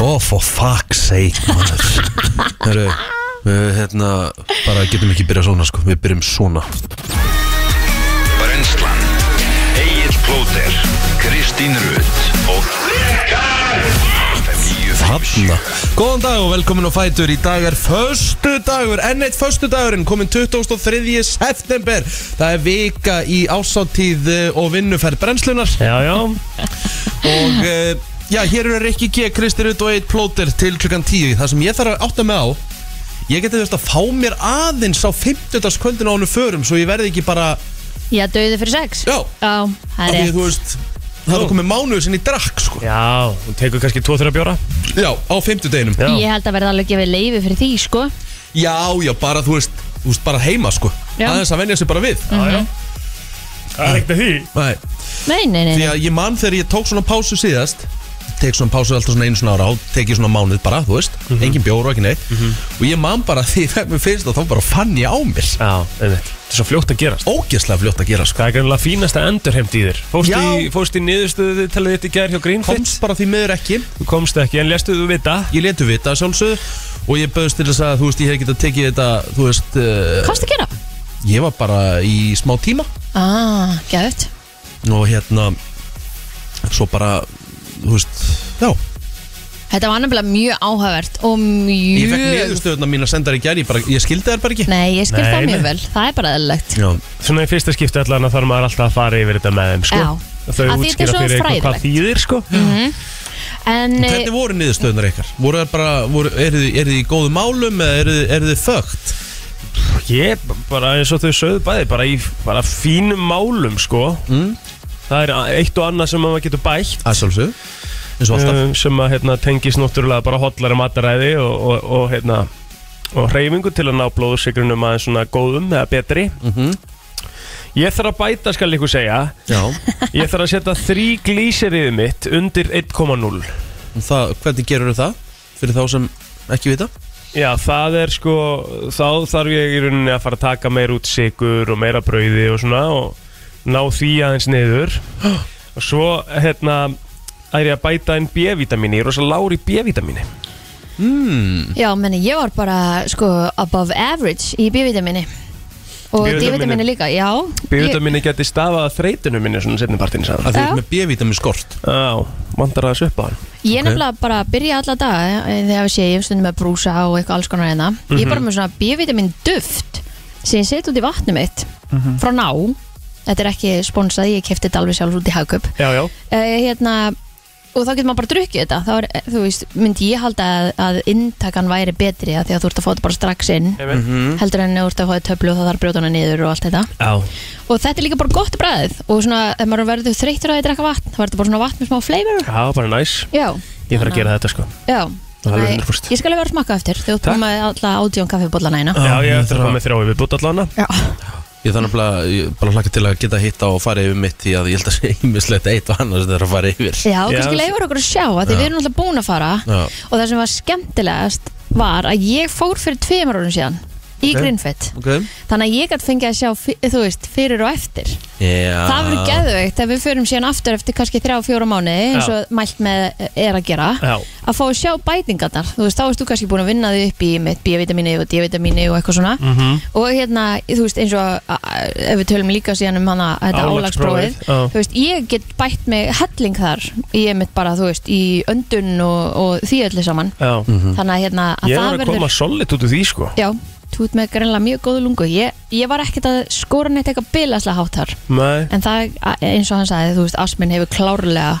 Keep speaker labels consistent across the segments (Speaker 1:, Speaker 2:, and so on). Speaker 1: Oh, for fuck's sake, maður Herru, við hérna bara getum ekki byrjað svona, sko Við byrjum svona
Speaker 2: Brenslan Egil Plóter Kristín Rutt og
Speaker 1: Hanna Góðan dag og velkomin á Fætur Í dag er föstu dagur, enn eitt föstu dagurinn Komin 23. september Það er vika í ásáttíð eh, og vinnuferð brennslunar
Speaker 3: Já, já,
Speaker 1: Og eh, já, hér eru Rikki G, Kristi Rutt og Eitt Plóter til klukkan 10 Það sem ég þarf að átta mig á Ég geti þurft að fá mér aðeins á 50. kvöldin á honum förum Svo ég verði ekki bara,
Speaker 4: Já, döði fyrir sex
Speaker 1: já,
Speaker 4: Já,
Speaker 1: af
Speaker 4: það
Speaker 1: því
Speaker 4: er
Speaker 1: að þú veist Það var komið mánuður sinni í drakk, sko
Speaker 3: já, hún tekur kannski 2-3 bjóra
Speaker 1: Já, á 50
Speaker 3: Já,
Speaker 4: Ég held að verða alveg gefið leifi fyrir því, sko
Speaker 1: Já, já, bara, þú veist, þú veist, bara heima, sko
Speaker 4: Já.
Speaker 1: Aðeins að venja sig bara við
Speaker 3: já, já Það er ekkert að því
Speaker 1: Nei,
Speaker 4: Nei, nei, nei,
Speaker 1: því
Speaker 4: nei.
Speaker 1: að ég man þegar ég tók svona pásu síðast Tek svona pásu alltaf svona einu svona ára á Tek ég svona mánuð bara, þú veist Engin bjóru og ekki neitt Og ég man bara því þegar mér finnst það Þá bara fann ég á mér
Speaker 3: Já, einmitt Það er svo fljótt að gerast
Speaker 1: Ógeðslega fljótt að gera sko
Speaker 3: Það er greinlega fínasta endurheimt í þér Fóst,
Speaker 1: Já.
Speaker 3: í, fóst í niðurstöðu talið þitt í gær hjá Greenfit
Speaker 1: Komst bara því miður ekki
Speaker 3: Þú komst ekki, en lestu þú vita
Speaker 1: Ég letu vita að sjálfsögðu Og ég bauðst til þess að, þú veist, ég hef getað tekið þetta Þú veist, uh,
Speaker 4: Komst að gera?
Speaker 1: ég var bara í smá tíma
Speaker 4: Ah, gæðut
Speaker 1: Og hérna Svo bara, þú veist, já
Speaker 4: Þetta var annarlega mjög áhugavert og mjög
Speaker 1: Ég fekk niðurstöðuna mín að senda þær í gær Ég, bara, ég skildi þær bara ekki
Speaker 4: Nei, ég skil
Speaker 3: Nei,
Speaker 4: það
Speaker 3: nei.
Speaker 4: mjög vel Það er bara eðlilegt
Speaker 1: Já,
Speaker 3: Svona í fyrsta skipti allan að þarf maður alltaf að fara yfir þetta með þeim, sko
Speaker 4: Já.
Speaker 3: Og Þau
Speaker 4: Að því þetta er
Speaker 3: útskýra
Speaker 4: svo
Speaker 3: fyrir eitthvað hvað
Speaker 4: fræðilegt. Mhm.
Speaker 3: þýðir, sko
Speaker 4: En eh,
Speaker 1: Hvernig voru niðurstöðunar ykkar? Voru þær bara, voru, eru þið, eru þið í góðum málum eða eru, þið- eru þið fögt?
Speaker 3: Ég, b- bara eins og þau sögðu bæði Bara í bara fínum málum, sko
Speaker 1: Mm.
Speaker 3: Það er a- eitt og annað sem maður getur bætt
Speaker 1: Æsálsög, eins og alltaf
Speaker 3: um, sem að hérna, tengist náttúrulega bara hollari mataræði og, og, og, hérna, og hreyfingu til að ná blóðsikrunum aðeins svona góðum eða betri Ég þarf að bæta skal ykkur segja
Speaker 1: Já,
Speaker 3: Ég þarf að setja þrý glýseriðið mitt undir 1,0
Speaker 1: og það, hvernig gerur það? Fyrir þá sem ekki vita
Speaker 3: Já, það er sko þá þarf ég í rauninni að fara að taka meira út sigur og meira brauði og svona og ná því aðeins niður og svo hérna er ég að bæta inn B-vitamíni ég er rosa lágur í B-vitamíni
Speaker 4: Já, meni, ég var bara sko above average í B-vitamini Og
Speaker 3: B-vitamíni.
Speaker 4: D-vitamini líka, já ég,
Speaker 3: B-vitamíni geti stafað að þreytinu minni svona setnipartin sagði
Speaker 1: að
Speaker 3: hann.
Speaker 1: þið
Speaker 4: Já.
Speaker 1: eru með B-vitamin skort
Speaker 3: Já, vandar að söpa hann
Speaker 4: ég nefnilega bara byrja alla daga eh, Þegar við sé ég stundum með brúsa og eitthvað alls konar einna
Speaker 3: Mhm.
Speaker 4: Ég er bara með svona B-vitamin duft sem ég set út í vatnum mitt
Speaker 3: Mhm.
Speaker 4: frá ná Þetta er ekki sponsað, ég kefti þetta alveg sjálf út í hagköp
Speaker 3: Já, já,
Speaker 4: uh, hérna, og þá getur maður bara drukkið þetta þá er, eh, þú veist, myndi ég halda að, að inntakan væri betri að því að þú ert að fá þetta bara strax inn
Speaker 3: mm -hmm.
Speaker 4: heldur en þú ert að fá þetta töflu og það þarf brjótana niður og allt þetta
Speaker 3: já
Speaker 4: og þetta er líka bara gott bræðið og svona, ef maður verður þreyttur að því að drekka vatn þá verður bara svona vatn með smá flavor
Speaker 3: Já, bara næs
Speaker 4: já,
Speaker 3: Ég þarf að gera þetta sko
Speaker 4: já
Speaker 3: Það er alveg
Speaker 4: Nei,
Speaker 3: 100%.
Speaker 4: ég skal alveg vera að smakka eftir þú ert
Speaker 3: Takk.
Speaker 4: búin með alla átjón kaffibóllana eina
Speaker 3: Já, ég
Speaker 1: ég
Speaker 3: þarf að
Speaker 1: þarf
Speaker 3: fá
Speaker 1: að-
Speaker 3: með þrjá við bútt allan
Speaker 4: já,
Speaker 1: Ég þannig að ég bara hlakka til að geta hitta og fara yfir mitt Því að ég held að segja ímislegt eitt og annars þetta er að fara yfir
Speaker 4: já kannski
Speaker 3: þú-
Speaker 4: leifur okkur að sjá að því við erum alltaf búin að fara
Speaker 1: Já,
Speaker 4: og það sem var skemmtilegast var að ég fór fyrir tveimur orðum síðan í
Speaker 1: Ok.
Speaker 4: okay.
Speaker 1: ok
Speaker 4: Þannig að ég gæti fengið að sjá, fi- þú veist, fyrir og eftir.
Speaker 1: Já
Speaker 4: Það verður geðveikt ef við förum síðan aftur eftir kannski þrjá, fjóra mánuði eins og mælt með er að gera.
Speaker 3: Já,
Speaker 4: Að fá að sjá bætingarnar. Þú veist, þá erst þú kannski búin að vinna þig upp í mitt B-vitamíni og D-vitamíni og eitthvað svona.
Speaker 3: Mhm.
Speaker 4: Og hérna, þú veist, eins og a- a- ef við tölum líka síðan um hana, þetta
Speaker 3: Álagsprófið,
Speaker 4: álagsprófið.
Speaker 3: já.
Speaker 4: Þú veist, ég get bætt með helling þar í mitt bara, þú veist, í öndun og, og því öllu saman.
Speaker 3: já
Speaker 4: Þannig að hérna, að
Speaker 3: Mhm. Ég
Speaker 4: það
Speaker 3: er að koma solid út úr því sko
Speaker 4: Já, þú ert með greinlega mjög góðu lungu ég, ég var ekkert að skora neitt eitthvað bilaslega hátt þar
Speaker 3: Nei
Speaker 4: En það, a- eins og hann sagði, þú veist, astmin hefur klárlega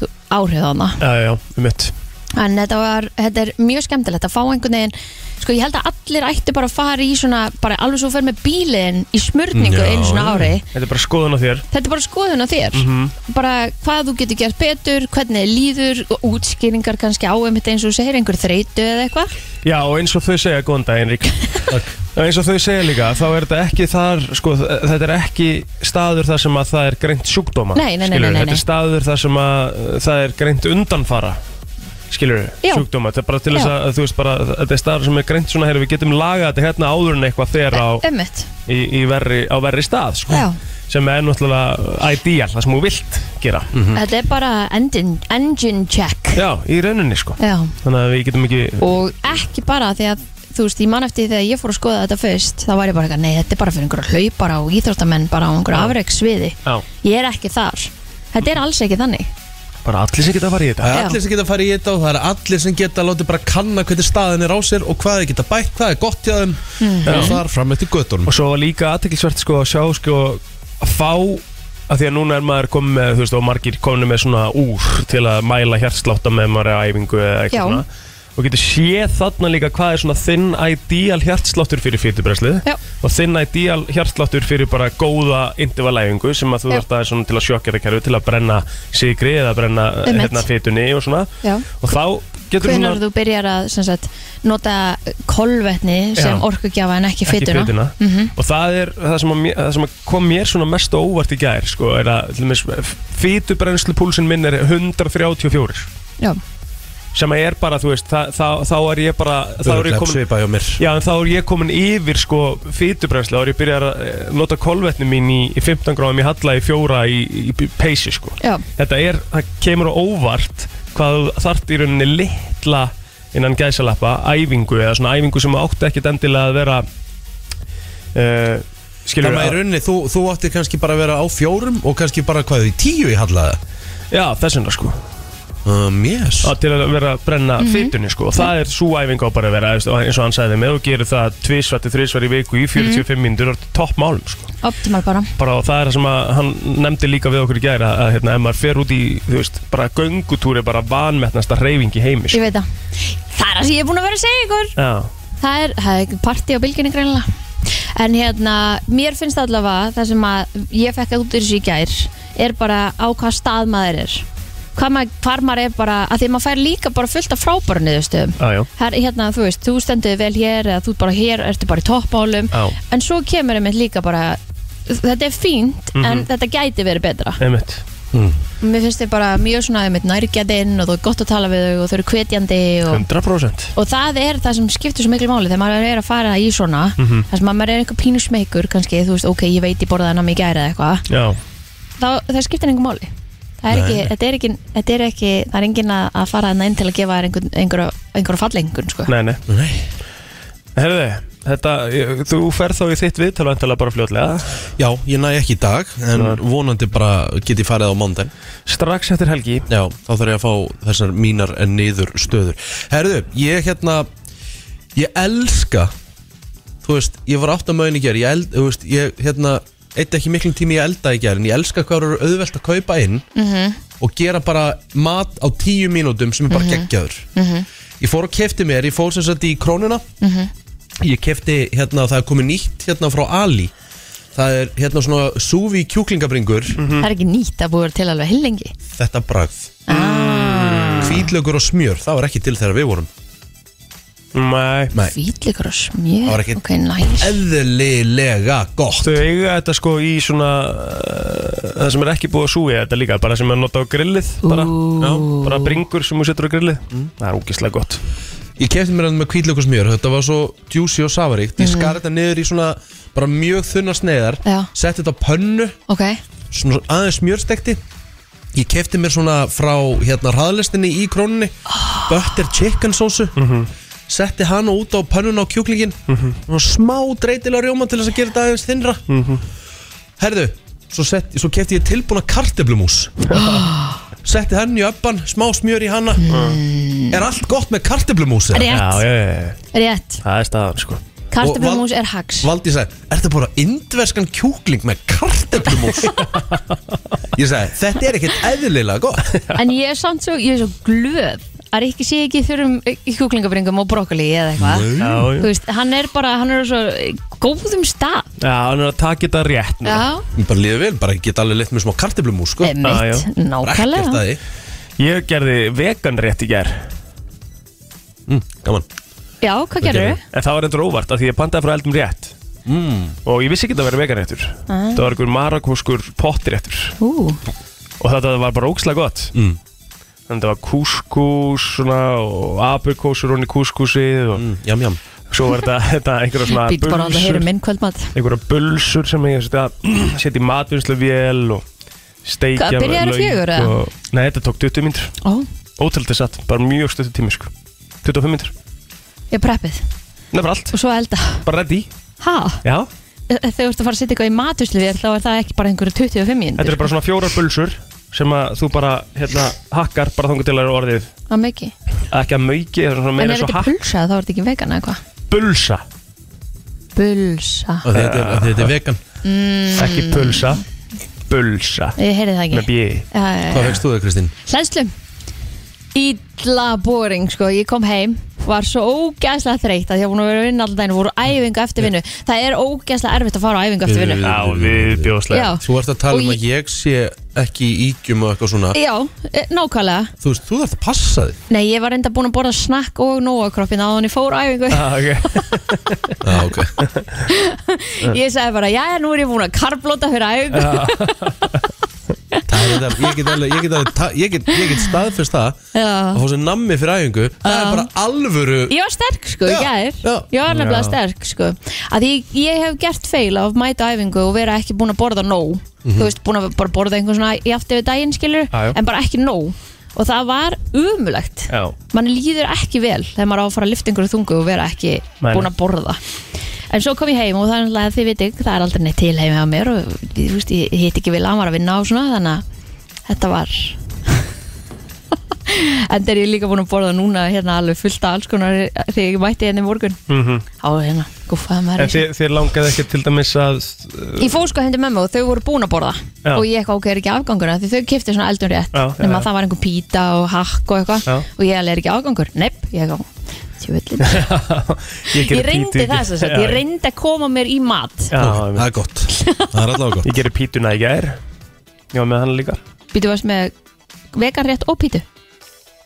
Speaker 4: þú- áhrif á hana
Speaker 3: Já, já, um mitt
Speaker 4: En þetta, var, þetta er mjög skemmtilegt að fá einhvern veginn Sko, ég held að allir ættu bara að fara í svona Bara alveg svo fer með bílinn í smörningu
Speaker 1: Já. Mhm.
Speaker 4: einu svona ári
Speaker 3: Þetta er bara skoðun á þér
Speaker 4: Þetta er bara skoðun á þér Bara hvað þú getur gert betur, hvernig þér líður og Útskýringar kannski á um þetta eins og þú segir Einhver þreytu eða eitthvað
Speaker 3: Já, og eins og þau segja, góðan dag Henrik Og eins og þau segja líka, þá er þetta ekki þar sko, Þetta er ekki staður þar sem að það er greint sjúkdóma
Speaker 4: Nei, nei, nei,
Speaker 3: skilurðu.
Speaker 4: nei, nei,
Speaker 3: Þetta er staður þar sem að uh, það er greint undanfara skilur við,
Speaker 4: Já.
Speaker 3: sjúkdóma þetta er bara til þess
Speaker 4: Já.
Speaker 3: að, þú veist bara, þetta er staður sem er greint svona, heyrðu, við getum lagað þetta hérna áður en eitthvað þegar á
Speaker 4: Ömmit,
Speaker 3: í, í verri, á verri stað sko.
Speaker 4: já
Speaker 3: sem er náttúrulega uh, ideal, það sem þú vilt gera
Speaker 1: Mhm.
Speaker 4: Þetta er bara engine, engine check
Speaker 3: Já, í rauninni sko
Speaker 4: Já.
Speaker 3: Þannig að við getum ekki
Speaker 4: Og ekki bara því að þú veist, ég man eftir því þegar ég fór að skoða þetta fyrst þá var ég bara eitthvað, nei, þetta er bara fyrir einhverja hlaupara og íþróttamenn bara á einhverja afreiksviði
Speaker 3: Já,
Speaker 4: Ég er ekki þar Þetta er alls ekki þannig
Speaker 3: bara allir sem geta að fara í þetta
Speaker 1: Það er
Speaker 4: Já.
Speaker 1: allir sem geta að fara í þetta og það er allir sem geta að láta bara kanna hvernig staðin er á sér og hvað þeir geta bætt, hvað er gott hjá þeim og það er fram eftir göttunum.
Speaker 3: Og svo var líka aðteklisvert sko að sjá sko að fá að því að núna er maður komið með, þú veist, og margir komið með svona úr til að mæla hjartslátta með maður er á æfingu eða
Speaker 4: Já.
Speaker 3: eitthvað svona og getur séð þarna líka hvað er svona þinn ideal hjartsláttur fyrir fyrirtubreslið
Speaker 4: Já.
Speaker 3: og þinn ideal hjartsláttur fyrir bara góða intervalæfingu sem að þú
Speaker 4: Já.
Speaker 3: þarft að svona til að sjokkja það kerfi til að brenna sigri eða brenna
Speaker 4: Einmitt.
Speaker 3: hérna fytunni og svona
Speaker 4: Já.
Speaker 3: og þá getur
Speaker 4: Hvenar þú byrjar að sem sagt, nota kolvetni sem
Speaker 3: Já.
Speaker 4: orkugjafa en ekki Mm,
Speaker 3: ekki
Speaker 4: fytuna
Speaker 3: fytuna og það er það sem, að, mér- það sem að kom mér svona mest á óvart í gær sko, er að fytubrennslu púlsinn minn er 134
Speaker 4: Já,
Speaker 3: sem að er bara, þú veist, það, þá, þá er ég bara þá er ég komin
Speaker 1: hjá mér.
Speaker 3: Já, en þá er ég komin yfir sko fytubrennslu, þá er ég byrjar að eh, nota kolvetni mín í, í 15 gráðum, ég halla í fjóra í, í, í peysi sko.
Speaker 4: já,
Speaker 3: Þetta er, það kemur á óvart hvað þú þarft í rauninni litla innan gæsalappa, æfingu eða svona æfingu sem átti ekkit endilega að vera uh, skilur
Speaker 1: Þannig að í rauninni, þú, þú átti kannski bara að vera á fjórum og kannski bara hvað, í tíu í hallaða?
Speaker 3: Já, þess vegna sko
Speaker 1: Um, yes.
Speaker 3: að til að vera að brenna
Speaker 4: Mhm.
Speaker 3: mm sko og það er svo æfingu á bara að vera þú veist, og eins og hann sagði með og gerir það tvisvætti, þrisvætti viku í 45
Speaker 4: Mhm.
Speaker 3: mm. mínútur topp málum sko
Speaker 4: optimal bara
Speaker 3: bara og það er það sem að hann nefndi líka við okkur í gæra að hérna, ef maður fer út í þú veist, bara göngutúri bara vanmetnasta reyfing í heimi
Speaker 4: Ég
Speaker 3: sko.
Speaker 4: veit það Það er það sem ég er búin að vera að segja ykkur
Speaker 3: Já,
Speaker 4: Það er, það er parti á bylginni greinilega En hérna, mér finnst allavega það sem að ég fekk út í þessu í gær er bara á hvað stað maður er hvað maður, hvar maður er bara að því að maður fær líka bara fullt af frábæru niðurstöðum
Speaker 3: já, já,
Speaker 4: Her, hérna, þú veist, þú stendur þig vel hér eða þú bara hér, ertu bara í toppmálum
Speaker 3: Já.
Speaker 4: en svo kemur einmitt líka bara þetta er fínt,
Speaker 3: Mhm.
Speaker 4: en þetta gæti verið betra
Speaker 3: einmitt
Speaker 4: mér finnst þið bara mjög svona einmitt nærgjadinn og þú er gott að tala við þau og þau eru hvetjandi og
Speaker 3: 100%
Speaker 4: og það er það sem skiptir svo miklu máli þegar maður er að fara í svona mm
Speaker 1: Mhm.
Speaker 4: -hmm. þess að maður er eitthvað pínusmeikur kannski, þú veist, ok, ég veit ég borðaði hana mig í gæra eða eitthvað
Speaker 3: Já,
Speaker 4: þá, það skiptir einhver máli það er ekki, þetta er ekki, þetta er ekki það er engin að, að fara hana inn til að gefa þér einhver, einhver, einhver fallengun, sko
Speaker 3: nei, nei
Speaker 1: Nei.
Speaker 3: Herðu, þetta, ég, þú ferð þá í þitt viðtal væntanlega bara fljótlega
Speaker 1: Já, ég næ ekki í dag, en
Speaker 3: Nei.
Speaker 1: vonandi bara get ég farið á mondan.
Speaker 3: strax eftir helgi
Speaker 1: Já, þá þarf ég að fá þessar mínar niður stöður Herðu, ég hérna Ég elska Þú veist, ég var átt að mögin í ger Ég, eld, þú veist, ég hérna Eitt ekki miklum tími ég elda í ger En ég elska hvað eru auðvelt að kaupa inn -hmm. Og gera bara mat á tíu mínútum Sem er bara geggjaður -hmm. Ég fór og kefti mér, ég fór sem sagt í krónuna -hmm. Ég kefti hérna Það er komið nýtt hérna frá Ali Það er hérna svona súfi kjúklingabringur
Speaker 4: það er ekki nýtt að búið til alveg hillengi
Speaker 1: þetta bragð ah. hvítlaugur og smjör, það var ekki til þegar við vorum
Speaker 3: Nei
Speaker 1: Nei.
Speaker 4: fýtlikur og smjör,
Speaker 1: Það var ekki-
Speaker 4: ok, næs
Speaker 1: eðlilega gott
Speaker 3: Þau eiga þetta sko í svona uh, það sem er ekki búið að súi þetta líka bara sem er nota á grillið bara, já, bara bringur sem þú setur á grillið
Speaker 4: Mm.
Speaker 3: það er ógislega gott
Speaker 1: ég kefti mér hann með hvítlaugur og smjör, þetta var svo juicy og safaríkt, ég skar þetta niður í svona bara mjög þunna sneiðar
Speaker 4: Já.
Speaker 1: setti þetta á pönnu,
Speaker 4: ok,
Speaker 1: svona aðeins smjörstekti ég kefti mér svona frá hérna hraðlistinni í króninni butter chicken sósu setti hann út á pönnun á kjúklingin og smá dreitilega rjóma til þess að gera þetta aðeins þinnra herðu svo, sett, svo kefti ég tilbúna karteblumús setti hann í öppan smá smjör í hanna er allt gott með karteblumús eða?
Speaker 4: rétt,
Speaker 3: já, já, já,
Speaker 4: rétt
Speaker 3: það er staðan sko
Speaker 4: kartaflumús er hags
Speaker 1: Valdi sagði, ertu bara indverskan kjúkling með karteblumús ég sagði, þetta er ekkert eðlilega gott
Speaker 4: en ég er samt svo, ég er svo glöð að Rikki sé ekki í þurrum í kjúklingabringum og brokkoli eða eitthvað
Speaker 1: Nei.
Speaker 3: já, já.
Speaker 4: Þú veist, hann er bara, hann er á svo góðum stað
Speaker 3: já, hann er að taka þetta rétt núna.
Speaker 4: Já,
Speaker 1: Mér bara líður vel, bara geta alveg leitt með smá kartiblumús sko.
Speaker 3: Já, já.
Speaker 4: emitt,
Speaker 1: Bara ekkert
Speaker 4: nákvæmlega
Speaker 1: að því
Speaker 3: ég gerði vegan rétt í ger
Speaker 1: mm, Gaman
Speaker 4: Já, hvað
Speaker 1: gerðu?
Speaker 4: gerðu?
Speaker 3: en það var endur óvart af því ég pantaði frá eldum rétt
Speaker 1: mm.
Speaker 3: og ég vissi ekki að vera vegan réttur það var einhver marakúskur pottréttur
Speaker 4: Ú,
Speaker 3: og þetta var bara ógislega gott
Speaker 1: Mm.
Speaker 3: þannig að það var kúskús svona, og apukósur honni kúskúsið og
Speaker 1: Jam, jam
Speaker 3: Svo var þetta, þetta einhverja svona
Speaker 4: Býtt Mm. bara að það heyri
Speaker 3: bulsur-
Speaker 4: minn kvöldmat
Speaker 3: einhverja bulsur sem ég setja, setja í matvinnsluvél og steikja
Speaker 4: Hvað, byrjaðir
Speaker 3: lauk
Speaker 4: fjögur, eða?
Speaker 3: og- Nei, þetta tók 20 mínútur
Speaker 4: Ó,
Speaker 3: Ótrúlega satt, bara mjög stöttu tími sko 25 mínútur,
Speaker 4: ég preppið
Speaker 3: nefnir allt,
Speaker 4: Og svo elda
Speaker 3: bara ready
Speaker 4: Ha? E,
Speaker 3: Já,
Speaker 4: Þegar þú ert að fara að setja eitthvað í matuslu þér Þá er það ekki bara einhverju 25
Speaker 3: þetta
Speaker 4: mínútur
Speaker 3: eru bara svona fjórar bulsur sem að þú bara, hérna, hakkar bara þangur til að eru orðið
Speaker 4: Það er mikið
Speaker 3: ekki að mauki, þetta er svona
Speaker 4: En
Speaker 3: meira
Speaker 4: er
Speaker 3: svo
Speaker 4: þetta
Speaker 3: hakk
Speaker 4: pulsa? Þá er þetta ekki vegan eða hvað?
Speaker 3: bulsa,
Speaker 4: Pulsa
Speaker 1: Og þetta, er- þetta er vegan
Speaker 3: ekki pulsa bulsa,
Speaker 4: Mm. Ég heyrði það
Speaker 3: með
Speaker 4: ekki
Speaker 3: bjöði
Speaker 4: Já, já, já.
Speaker 1: Hvað fegst þú þau Kristín?
Speaker 4: Hlæðslu Ítla boring sko, ég kom heim var svo ógæðslega þreytt að ég var búin að vera að vinna alltaf daginn, voru á æfingu eftir vinnu það er ógæðslega erfitt að fara á æfingu eftir vinnu
Speaker 1: Já,
Speaker 3: viðbjóðslega
Speaker 4: Já.
Speaker 1: Þú ert að tala
Speaker 4: Og
Speaker 1: um
Speaker 4: ég-
Speaker 1: að ég sé ekki í ígjum og eitthvað svona
Speaker 4: Já, eh, nákvæmlega
Speaker 1: Þú veist, þú þarf að passa þig
Speaker 4: Nei, ég var enda búin að borða snakk og nóakroppin á hann ég fór á æfingu
Speaker 3: Ah, okay.
Speaker 1: Já, Ah, ok
Speaker 4: Ég sagði bara, já, nú er ég búin að karblóta fyrir æfingu
Speaker 1: Það er þetta, ég get alveg, ég get alveg, ta- ég get, ég get staðfest það
Speaker 4: Já.
Speaker 1: að fá sér nammi fyrir æfingu það er bara alvöru
Speaker 4: Ég var sterk sko,
Speaker 1: Já,
Speaker 4: ég gær
Speaker 1: já.
Speaker 4: Ég var nefnilega
Speaker 3: Já.
Speaker 4: sterk sko Að ég, ég hef gert feil af mæta á æfingu og vera ekki búin að borða nóg Þú veist, búin að bara borða einhvern svona í aftur við daginn skilur
Speaker 3: Mhm. Já, já.
Speaker 4: En bara ekki nóg Og það var umulegt
Speaker 3: Já.
Speaker 4: Man líður ekki vel þegar maður á að fara að lifta einhverju þungu og vera ekki
Speaker 3: Nei,
Speaker 4: búin
Speaker 3: nei.
Speaker 4: að borða En svo kom ég heim og það er náttúrulega þið viti Það er aldrei neitt til heim hjá mér og ég, þú veist, ég hitt ekki vil að maður að vinna á svona Þannig að þetta var En þegar ég líka búin að borða núna hérna alveg fullt af alls konar þegar ég mætti henni í morgun Á hérna, guffaði maður
Speaker 3: Mhm. En
Speaker 4: í sig.
Speaker 3: þið, þið langaði ekki til dæmis að
Speaker 4: Ég fór sko hendur mömmu og þau voru búin að borða
Speaker 3: Já.
Speaker 4: og ég eitthvað ok, er ekki afgangur af því þau kifti svona eldum rétt
Speaker 3: Já, já,
Speaker 4: nema
Speaker 3: já.
Speaker 4: það var einhver pýta og hakk og eitthvað
Speaker 3: Já.
Speaker 4: og ég alveg er ekki afgangur, nepp ég eitthvað, tjóðlinn
Speaker 3: Ég,
Speaker 4: Ég reyndi það svo sett, ég reyndi að koma mér í mat
Speaker 3: Já,
Speaker 1: það
Speaker 3: einmitt.
Speaker 1: er gott, það er allavega gott
Speaker 3: ég gerir pítuna í gær Já, með hann líka
Speaker 4: Býtu varst með vegan rétt og pýtu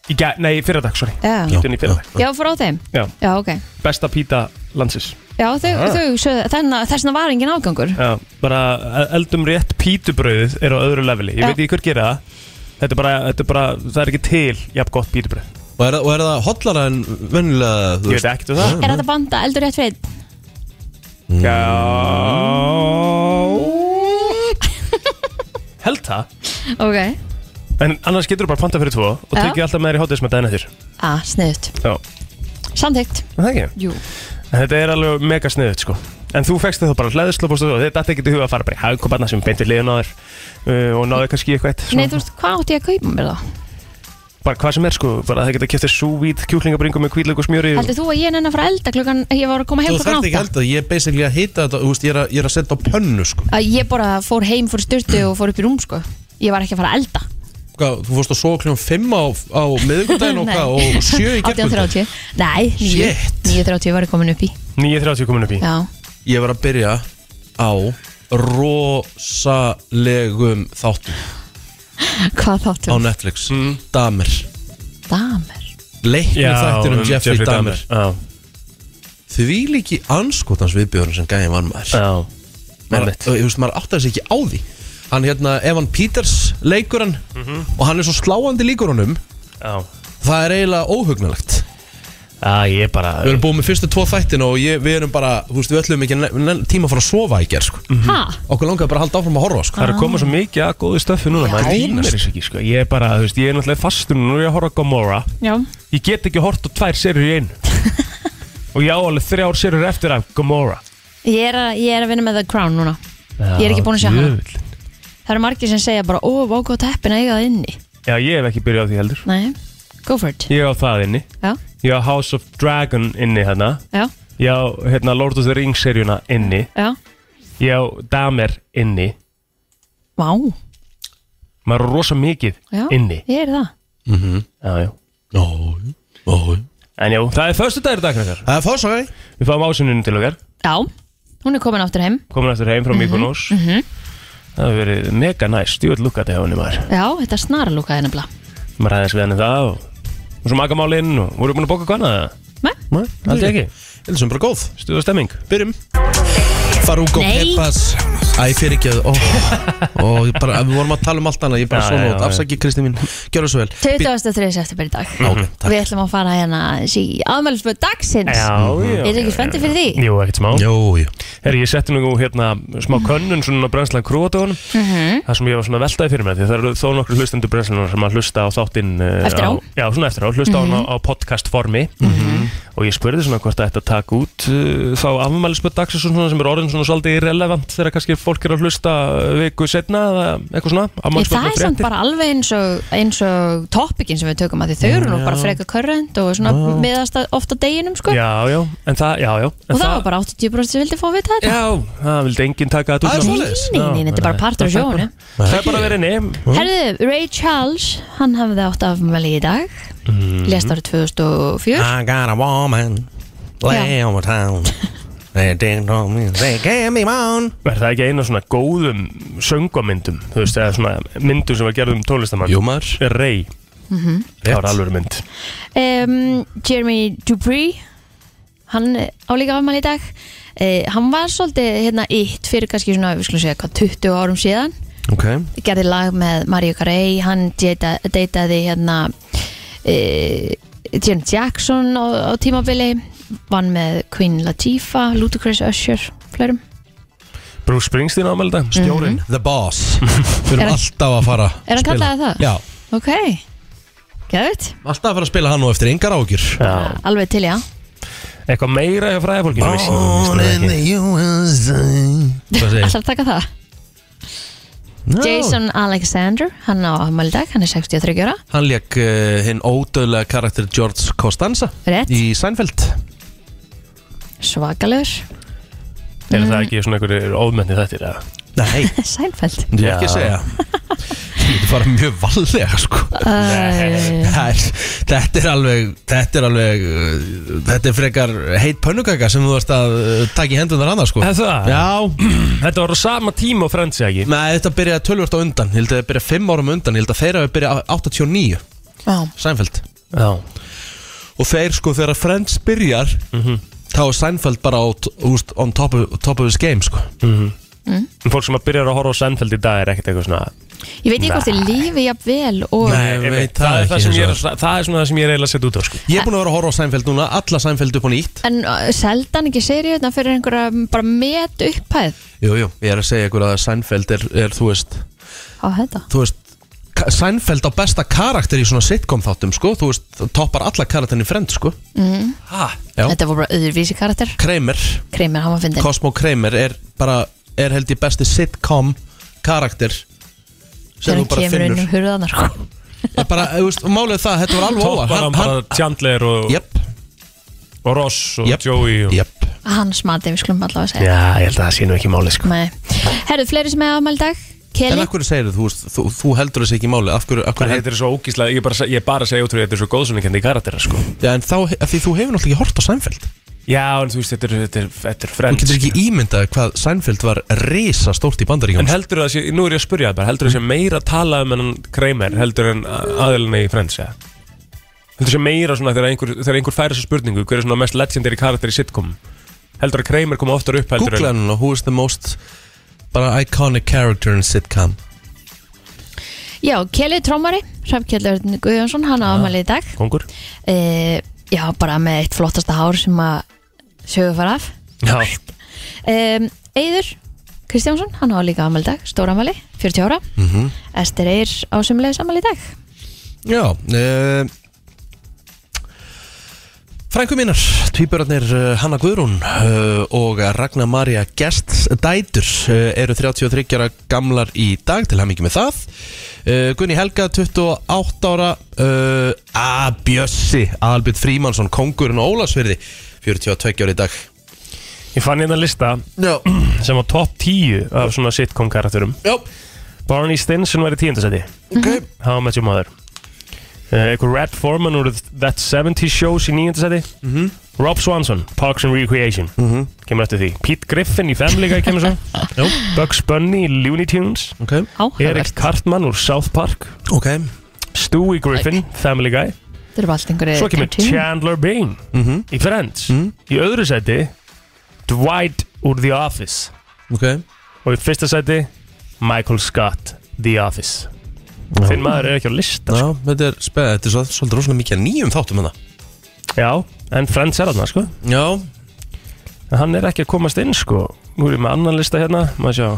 Speaker 3: í gær, Nei, fyrir dag, sorry
Speaker 4: Já,
Speaker 1: Já,
Speaker 3: Pítuna í fyrir dag
Speaker 4: já frá þeim
Speaker 3: Já,
Speaker 4: Já, ok
Speaker 3: besta píta landsins
Speaker 4: Já, þau, þau, sögðu- þannig að þessna var engin afgangur
Speaker 3: Já, bara e- eldum rétt pítubröðið er á öðru leveli Ég
Speaker 4: Já.
Speaker 3: veit ekki hver gera það Þetta er bara, þetta er bara, það er ekki til Jafn gott pítubröð
Speaker 1: og er, og er það hotlara en vennilega
Speaker 3: Ég veit ekkert um það
Speaker 4: Er þetta banda eldur rétt fyrir einn?
Speaker 3: Já Held það
Speaker 4: Ok
Speaker 3: En annars getur þú bara panta fyrir tvo Og
Speaker 4: Já.
Speaker 3: tekið alltaf með þér í hotdismat daginn eftir
Speaker 4: Ah, sniðut
Speaker 3: Já,
Speaker 4: Samþygt
Speaker 3: Er það ekki
Speaker 4: Jú
Speaker 3: En Þetta er alveg mega sniðut sko En þú fegst þetta bara hlæðislopast og þetta er ekki til huga að fara bara í hagkoparna sem beinti liðan á þér uh, og náði kannski í eitthvað eitt
Speaker 4: Nei,
Speaker 3: svona,
Speaker 4: þú veist, hvað átti ég að kaupa mér þá?
Speaker 3: bara hvað sem er sko, bara það geta kjöftið súvít kjúklingabringum með kvíðleik og smjöri og-
Speaker 4: Heldur þú að ég nenni að fara að elda klukkan Ég var að koma heim
Speaker 1: þú
Speaker 4: klukkan
Speaker 1: þarf ekki
Speaker 4: átta
Speaker 1: held að ég er basically að hita þetta þú veist, ég, er að, ég er að setja á pönnu sko.
Speaker 4: Að Ég bara fór heim, fór í styrtu og fór upp í rúm, sko Ég var ekki að fara að elda
Speaker 1: Hvað, þú fórst að sofa kljón 5 á, á miðvikudaginn og,
Speaker 4: Nei.
Speaker 1: hvað, og 7 í gerkvöldu
Speaker 4: 18.30 Nei, 9
Speaker 1: Shit.
Speaker 4: 9.30 var ég komin upp í
Speaker 3: 9.30 komin upp í
Speaker 4: Já
Speaker 1: ég var að byrja á rosalegum þáttum á
Speaker 4: Hvað þáttum?
Speaker 1: Netflix
Speaker 3: Mm.
Speaker 1: Damer,
Speaker 4: Damer
Speaker 1: leikni þættinum
Speaker 3: um
Speaker 1: Jeffrey Damer
Speaker 3: Já,
Speaker 1: því líki anskotans viðbjörn sem gæði vann maður
Speaker 3: já
Speaker 1: maður,
Speaker 3: Einmitt.
Speaker 1: þú veist, maður áttar sig ekki á því hann hérna, Evan Peters leikur hann
Speaker 3: Mhm.
Speaker 1: og hann er svo sláandi líkur honum
Speaker 3: Já,
Speaker 1: það er eiginlega óhugnalegt
Speaker 3: já ég er bara
Speaker 1: við erum búið með fyrstu tvo þættina og ég, við erum bara, þú veist, við ætlum ekki ne- ne- tíma að fara að sofa í gerð, sko
Speaker 3: Mm.
Speaker 4: Ha?
Speaker 1: okkur langaði bara að halda áfram að horfa, sko
Speaker 3: Það er að koma svo mikið að góðu stöffi núna maður
Speaker 1: Já.
Speaker 3: tímir þess ekki sko Ég er bara, þú veist, ég er náttúrulega fastur núna og ég er að horfa á Gomorra
Speaker 4: Já
Speaker 3: Ég get ekki hort á tvær serur í einu Og ég á alveg þrjár serur eftir af Gomorra
Speaker 4: Ég er að, ég er að vinna með The Crown núna Ég er ekki búin að sjá hana
Speaker 3: Jöfull.
Speaker 4: Það eru margir sem segja bara Ó, vá, hvað teppin að eiga það inni
Speaker 3: Já, ég hef ekki byrjað á því heldur
Speaker 4: Nei, go for it
Speaker 3: Ég á það inni
Speaker 4: Já,
Speaker 3: Ég á House of Dragon inni hérna
Speaker 4: já,
Speaker 3: Ég á hérna, Lord of the Rings seríuna inni
Speaker 4: já
Speaker 3: Ég á Damer inni
Speaker 4: Vá,
Speaker 3: Maður er rosa mikið
Speaker 4: já,
Speaker 3: inni
Speaker 4: ég er það
Speaker 3: já, já.
Speaker 1: Nó, nó
Speaker 3: En já, það er förstu dagur dagkrakar
Speaker 1: Það er fórsvæði
Speaker 3: Við fáum ásuninu til okkar
Speaker 4: Já, hún er komin aftur heim
Speaker 3: Komin eftir heim frá Mykonos Það hefur verið mega næst Stjórn lukkaði hjá henni maður
Speaker 4: Já, þetta snarlúkaði nefnilega
Speaker 3: Maður ræðis við henni það og, og svo makamálinn og voru búin að bóka hvað annað
Speaker 4: Nei,
Speaker 3: Nei, aldrei ekki
Speaker 1: Þetta er sem bara góð,
Speaker 3: Stuð og stemming
Speaker 1: byrjum Farúko
Speaker 4: Nei.
Speaker 1: Peppas Æ, fyrir ekki að Og ég bara, við vorum að tala um allt annað Ég bara
Speaker 3: Já,
Speaker 1: svona
Speaker 3: já,
Speaker 1: út,
Speaker 3: já.
Speaker 1: afsaki Kristi mín Gjörðu svo vel
Speaker 4: 23. september í dag
Speaker 1: Ok, takk.
Speaker 4: Við ætlum að fara hérna aðeins í afmælisböð dagsins
Speaker 3: Já, já
Speaker 4: Er þið ekki spenntið fyrir því?
Speaker 3: Jú, ekkert smá
Speaker 1: Jú, jú
Speaker 3: Herri, ég setti nú hérna smá könnun svona brennslan krúatónum mm
Speaker 4: Mhm.
Speaker 3: Það sem ég var svona veltaði fyrir mér Því það eru þó nokkur hlustendur brennslunar sem að hlusta á þáttinn uh,
Speaker 4: Eftir Mhm. á?
Speaker 3: Já, svona eftir á, hlusta á hann á, á podcast formi Og ég spurði svona hvort það ætti að taka út uh, Þá afmælisböð dagsins og svona sem er orðin svona svolítið irrelevant Þegar kannski fólk er að hlusta uh, viku setna eða eitthvað svona
Speaker 4: Ég,
Speaker 3: afmælisbörn
Speaker 4: það
Speaker 3: og
Speaker 4: er samt
Speaker 3: fréttir.
Speaker 4: bara alveg eins og, eins og topikin sem við tökum að því þau eru nú bara frekar körrend og svona miðast að- oft á deginum sko
Speaker 3: Já, já, en það, já, já en
Speaker 4: og það var bara 80% sem vildi fá að vita þetta
Speaker 3: Já, það vildi enginn taka þetta út
Speaker 1: Það er
Speaker 3: núna.
Speaker 1: svoleiðis.
Speaker 4: Nei, nei, nei, þetta er bara partur af
Speaker 3: Það er bara-
Speaker 4: sjónu
Speaker 3: Það er bara verið nefn
Speaker 4: Herðu, Ray Charles, hann hafði átt afmæli í dag
Speaker 3: Mhm.
Speaker 4: Lest árið 2004
Speaker 1: I got a woman Lay on the town They didn't know me They gave me one
Speaker 3: Er það ekki eina svona góðum söngamyndum Þú veist, eða svona myndum sem var um gerðum tónlistamann
Speaker 1: Jú, maður
Speaker 3: Rey Það var alveg mynd
Speaker 4: um, Jeremy Dupree hann eh, á líka afmæli í dag uh, hann var svolítið hérna ítt fyrir kannski svona, við skulum segja, hvað 20 árum síðan
Speaker 1: Ok
Speaker 4: gerði lag með Mario Carey hann deita- deitaði hérna uh, Janet Jackson á, á tímabili vann með Queen Latifah Ludacris Usher, flerum
Speaker 3: Bruce Springsteen ámæli dag Mhm. Stjórin
Speaker 1: The Boss Við
Speaker 4: Er
Speaker 1: erum
Speaker 4: hann-
Speaker 1: alltaf að fara að
Speaker 4: er hann
Speaker 1: spila.
Speaker 4: kallaði það?
Speaker 1: Já,
Speaker 4: ok, gæðið
Speaker 1: alltaf að fara að spila hann og eftir engar ágjur
Speaker 3: Já,
Speaker 4: alveg til já
Speaker 3: eitthvað meira hjá fræðafólkinu vissi ég, vissi það ekki.
Speaker 1: USA Hvað segir?
Speaker 4: alltaf taka það
Speaker 1: No.
Speaker 4: Jason Alexander, hann á afmæli í dag hann er 63 ára
Speaker 1: Hann leik uh, hinn ódöðlega karakter George Costanza
Speaker 4: Rétt.
Speaker 1: Í Seinfeld
Speaker 4: svakalur
Speaker 3: Er það ekki svona einhverjir ofmenni þetta eða?
Speaker 1: Nei,
Speaker 4: Sænfeld
Speaker 1: ég er ekki að
Speaker 3: Já.
Speaker 1: segja Þetta er bara mjög vallega sko
Speaker 4: Æ,
Speaker 1: Það er- Þetta er alveg Þetta er alveg uh, Þetta er frekar heit pönnukaka sem þú varst að uh, taka í hendunar annars sko
Speaker 3: Er það?
Speaker 1: Já,
Speaker 3: Þetta var á sama tíma og frendsi ekki
Speaker 1: með þetta byrjaði tölvört á undan Ég held að það byrjaði 5 árum á undan Ég held að þeirra hafi byrjað á 89
Speaker 4: Já,
Speaker 1: Seinfeld
Speaker 3: Já
Speaker 1: Og þeir sko þegar Friends byrjar
Speaker 3: Mhm.
Speaker 1: Þá er Seinfeld bara á, úst, on top of, top of his game sko
Speaker 3: En Fólk sem að byrjar að horfa á Seinfeld í dag er ekkert eitthvað svona
Speaker 4: ég veit ekki hvort þið lífi jafn vel og
Speaker 1: Nei. Ég
Speaker 3: Ég
Speaker 1: veit það
Speaker 3: það, er
Speaker 1: ekki
Speaker 3: það, sem
Speaker 1: hins
Speaker 3: ég er,
Speaker 1: vegar.
Speaker 3: það er svona það sem ég er eiginlega að setja út á sko.
Speaker 1: Ég er búin að vera að horfa á Seinfeld núna Alla Seinfeld upp á nýtt
Speaker 4: en uh, seldan ekki seriðna fyrir einhverja mm, bara met upphæð
Speaker 1: Jú, jú, ég er að segja ykkur að Seinfeld er, er þú veist
Speaker 4: á þetta
Speaker 1: þú veist ka- Seinfeld á besta karakter í svona sitcom þáttum sko, þú veist, það toppar alla karakterin í frend sko,
Speaker 3: ha,
Speaker 1: já,
Speaker 4: Mhm. þetta voru bara öðurvísi karakter
Speaker 1: Kramer
Speaker 4: Kramer, hann var fyndin
Speaker 1: Cosmo Kramer er bara, er held ég besti sitcom karakter sem
Speaker 4: þegar
Speaker 1: þú
Speaker 4: hann
Speaker 1: bara
Speaker 4: kemur inn
Speaker 1: finnur
Speaker 4: um hurðanar
Speaker 1: er bara, þú veist, málið er það, þetta var alveg
Speaker 3: Tók
Speaker 1: óvart
Speaker 3: var hann bara Chandler og,
Speaker 1: jöp,
Speaker 3: og Ross og
Speaker 1: jöp,
Speaker 3: Joey og...
Speaker 1: jöp
Speaker 4: hans mati, við skulum allavega segja
Speaker 3: Já, ég held að það sé nú ekki máli sko.
Speaker 4: Nei. herðu, fleiri sem er afmæli í dag
Speaker 1: en
Speaker 4: Kelly,
Speaker 1: af hverju segir þú, veist, þú, þú heldur þessi ekki málið af hverju, af
Speaker 3: Hvað
Speaker 1: hverju
Speaker 3: heitir svo ógíslega, ég bara, seg- ég bara segja útrúið Þetta er svo góðsönningandi í karaktera sko.
Speaker 1: já, en þá, af því þú hefur náttúrulega ekki hort á Seinfeld
Speaker 3: Já, en þú veist, þetta er, þetta er, þetta er sko.
Speaker 1: þú
Speaker 3: frend
Speaker 1: getur ekki ímyndað hvað Seinfeld var risa stórt í
Speaker 3: En
Speaker 1: bandaríkjum
Speaker 3: heldur það sé, nú er ég að spurja það bara Heldur það sé meira að tala um enn Kramer Heldur en aðalina í Friends ja? Heldur það sé meira svona þegar einhver, þegar einhver færi þessu spurningu Hver er svona mest legendary karakter í sitcom Heldur að Kramer koma oftar upp heldur
Speaker 1: Google
Speaker 3: en
Speaker 1: hann og who is the most bara iconic character in sitcom
Speaker 4: já, Kelly Trómari Hrafnkjellur Guðjónsson, hann á afmæli í dag
Speaker 3: Kongur
Speaker 4: e, já, bara með eitt flottasta hár sem að sögur fara af
Speaker 3: Já,
Speaker 4: um, Eður Kristjánsson, hann á líka afmæli í dag, stóra afmæli 40 ára,
Speaker 3: Mhm.
Speaker 4: Ester Eir á sumlega afmæli í dag
Speaker 1: Já uh, Frænku mínar, tvíburarnir eh, Hanna Guðrún uh, og Ragnar Maria Gestdætur uh, eru 33 ára gamlar í dag til hann ekki með það uh, Gunni Helga, 28 ára uh, A. Bjössi Albert Frímansson, kongurinn og Ólasverði 42 ára í dag
Speaker 3: ég fann hérna lista
Speaker 1: Já,
Speaker 3: sem var top 10 af svona sitcom karakterum
Speaker 1: já,
Speaker 3: Barney Stinson var í tíundasæti
Speaker 1: ok
Speaker 3: How I Met Your Mother uh, Eitthvað Red Foreman úr That 70's Shows í níundasæti Rob Swanson, Parks and Recreation Kemur eftir því Pete Griffin í Family Guy kemur svo
Speaker 1: Já.
Speaker 3: Bugs Bunny í Looney Tunes
Speaker 1: Ok,
Speaker 3: Erik
Speaker 4: áhugavert,
Speaker 3: Cartman úr South Park
Speaker 1: ok
Speaker 3: Stewie Griffin, Family Guy
Speaker 4: þetta eru bara allt einhverju
Speaker 3: Svo kemur
Speaker 4: cartoon.
Speaker 3: Chandler
Speaker 1: Mhm.
Speaker 3: Bing í Friends Í öðru sæti Dwight úr The Office
Speaker 1: Ok
Speaker 3: Og í fyrsta sæti Michael Scott, The Office Þinn maður er ekki á lista
Speaker 1: Já,
Speaker 3: sko.
Speaker 1: þetta er spæð, þetta er svo- svolítið rosalega mikið af nýjum þáttum hérna. hana
Speaker 3: Já, en Friends er þarna sko
Speaker 1: Já
Speaker 3: En hann er ekki að komast inn sko Nú er ég með annan lista hérna Maður sjá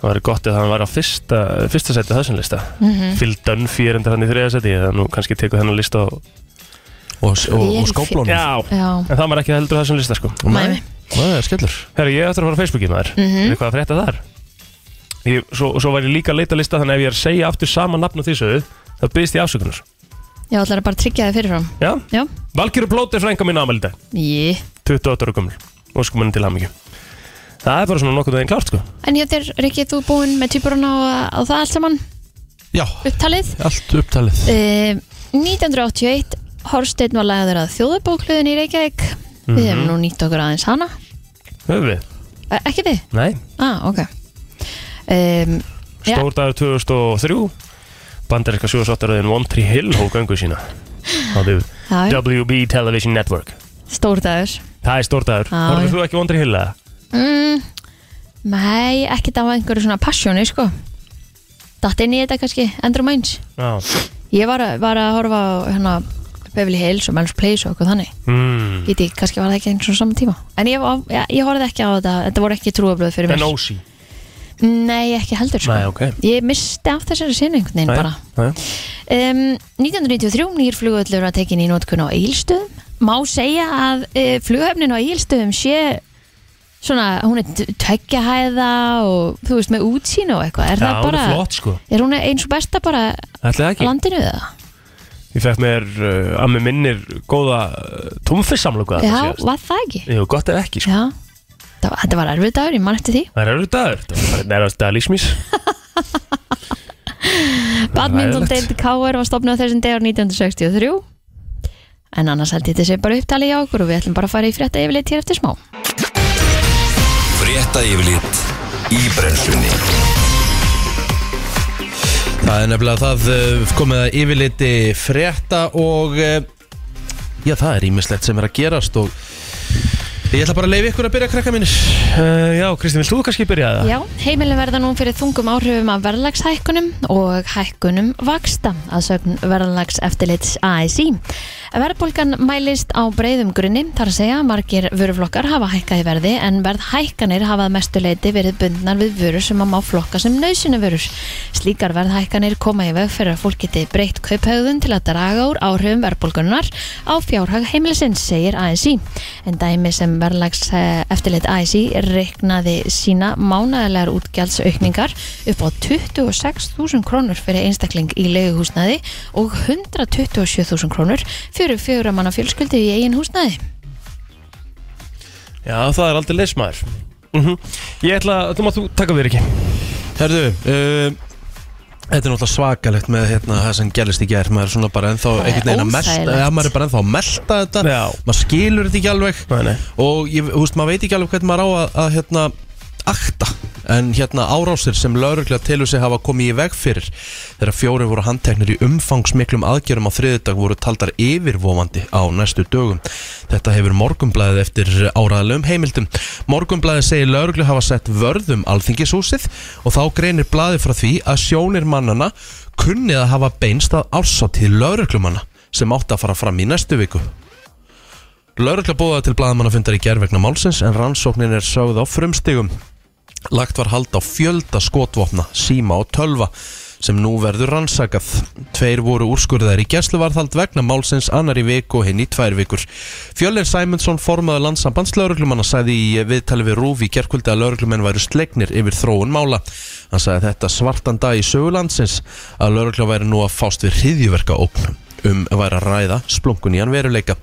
Speaker 3: Það væri gott ef hann var á fyrsta, fyrsta seti þessum lista mm -hmm. Phil Dunphy er endur hann í þriða seti Þannig að nú kannski tekur þennan lista og...
Speaker 1: Og, og,
Speaker 4: Ég er
Speaker 1: og
Speaker 4: í
Speaker 1: skóplónum
Speaker 3: Já,
Speaker 4: Já.
Speaker 3: en það var ekki heldur á þessum lista sko
Speaker 4: Mæmi.
Speaker 1: Það er skellur
Speaker 3: Herru, ég ætla að fara á Facebooki maður mm -hmm. Er eitthvað að frétta þar? Ég, svo, svo var ég líka að leita að lista Þannig að ef ég er að segja aftur sama nafn og því sögðu þá byggðist ég afsökunar
Speaker 4: Já, ætlar að bara tryggja þið fyrirfram.
Speaker 3: Já,
Speaker 4: Já.
Speaker 3: Valkyru Plóter frænka mín ámæli dag
Speaker 4: Jí.
Speaker 3: 28 ára gömul Óskum henni til hamingju Það er bara svona nokkuð veginn klart sko
Speaker 4: En ég þér, Rikki, þú búinn með týpurana og, og það allt saman
Speaker 1: Já,
Speaker 4: upptalið.
Speaker 1: allt upptalið
Speaker 4: Uh, 1981, Horsteinn var lagður að þjóðubókluðin í Reykjavík.
Speaker 3: Mhm.
Speaker 4: Við hefum nú nýtt okkur aðeins hana.
Speaker 3: Höfum við?
Speaker 4: Uh, ekki þið?
Speaker 3: Nei
Speaker 4: Ah, ok. Um, Já.
Speaker 3: Stór dagur 2003 Bandarinska sjóðsáttaröðin One Tree Hill hók göngu sína á því
Speaker 4: já, já,
Speaker 3: WB Television Network
Speaker 4: stór dagur.
Speaker 3: Það er stór dagur
Speaker 4: Já,
Speaker 3: Horfðu
Speaker 4: já.
Speaker 3: þú ekki á One Tree Hill eða?
Speaker 4: Mm, nei, ekki það var einhverju svona passjóni, sko. Datt inn í þetta kannski, endur mæns.
Speaker 3: Já
Speaker 4: Ég var, að- var að horfa á hérna, Beverly Hills og Mel's Place og eitthvað þannig.
Speaker 3: mm.
Speaker 4: Geti, kannski var það ekki eins og saman tíma. En ég, var- ég, ég horfði ekki á þetta, þetta voru ekki trúablöð fyrir mér.
Speaker 3: En Ósi
Speaker 4: Nei, ekki heldur, sko.
Speaker 3: Nei, ok
Speaker 4: Ég misti af þessari sinni einhvern veginn bara.
Speaker 3: Nei.
Speaker 4: Um, 1993 nýr flugvöllur var tekin í notkun á Egilstöðum má segja að uh, flughöfnin á Egilstöðum sé svona, hún er tveggjahæða og þú veist með útsýn og eitthvað er
Speaker 3: Já,
Speaker 4: það
Speaker 3: hún
Speaker 4: bara,
Speaker 3: er flott sko
Speaker 4: er hún eins og besta bara
Speaker 3: Ætli það
Speaker 4: á
Speaker 3: ekki
Speaker 4: landinu eða?
Speaker 3: Ég fekk mér uh, að mér minnir góða uh, tónfissamlöku
Speaker 4: Já, var það ekki?
Speaker 3: Jú, gott ef ekki sko
Speaker 4: Já, það, var- þetta var erfið dagur, ég mann eftir því
Speaker 3: Það er erfið dagur Það var bara nærast dagar lísmís
Speaker 4: Badminton
Speaker 3: Ræðilegt.
Speaker 4: deild KR var stopnað þessum degur 1963 en annars held ég þetta sé bara upptalið hjá okkur og við ætlum bara að fara í frétta yfirleitt hér eftir smá
Speaker 2: Frétta yfirlit í brennslunni
Speaker 1: Það er nefnilega það eh, komið að yfirliti frétta og eh, já, það er ímislegt sem er að gerast og ég ætla bara að leiði ykkur að byrja krakka mínir
Speaker 3: uh, Já, Kristi, vilt þú kannski byrja það?
Speaker 4: Já, heimilin verða nú fyrir þungum áhrifum af verðlagshækkunum og hækkunum vaksta að sögn verðlags eftirlits ASI. Verðbólgan mælist á breyðum grunni þar að segja að margir vöruflokkar hafa hækkað í verði en verðhækkanir hafa að mestu leiti verið bundnar við vörur sem að má flokka sem nöðsina vörur. Slíkar verðhækkanir koma í veg fyrir að fólk geti breytt kauphauðun til að draga úr áhrifum verðbólgunar á fjárhag heimilisins, segir ASI. En dæmi sem verðlags eftirlit ASI reiknaði sína mánæðilegar útgjaldsaukningar upp á 26.000 krónur fyrir einstakling í leiguhúsnaði og 127.000 krónur fyrir fjöguramanna fjölskyldu í eigin húsnaði.
Speaker 3: Já, það er aldrei leysmaður mm Ég ætla, þú maður þú taka við ekki
Speaker 1: Herðu, uh, þetta er náttúrulega svakalegt með hérna, það sem gerist í gerð maður er svona bara ennþá
Speaker 4: Það er
Speaker 1: einhvern veginn að melta
Speaker 4: óþægilegt.
Speaker 1: ja, maður er bara ennþá að melta þetta
Speaker 3: Já.
Speaker 1: maður skilur þetta ekki alveg
Speaker 3: Nei, nei.
Speaker 1: og ég, þú veist, maður veit ekki alveg hvernig maður á að, að hérna, akta en hérna árásir sem lauruglega telur sig hafa komið í veg fyrir þegar fjóri voru handteknir í umfangsmiklum aðgerum á þriðudag voru taldar yfirvofandi á næstu dögum. Þetta hefur morgumblæðið eftir áraðalegum heimildum. Morgumblæðið segir lauruglega hafa sett vörðum alþingishúsið og þá greinir blæðið frá því að sjónir mannana kunnið að hafa beinst að ársáttíð lauruglumanna sem átti að fara fram í næstu viku. Lörgla bóða til blaðamannafundar í gerð vegna málsins en rannsóknin er sögð á frumstigum. Lagt var hald á fjölda skotvopna, síma og tölva sem nú verður rannsakað. Tveir voru úrskurðar í gæsluvarðhald vegna málsins annar í viku og hinn í tvær vikur. Fjölin Sæmundsson formaður landsambandslauruglumanna sagði í viðtali við Rúf í gerkvöldi að lauruglumenn væru slegnir yfir þróun mála. Hann sagði þetta svartan dag í sögulandsins að laurugla væri nú að fást við hriðjuverkaóknum um væri að ræða splunkun í hann veruleika.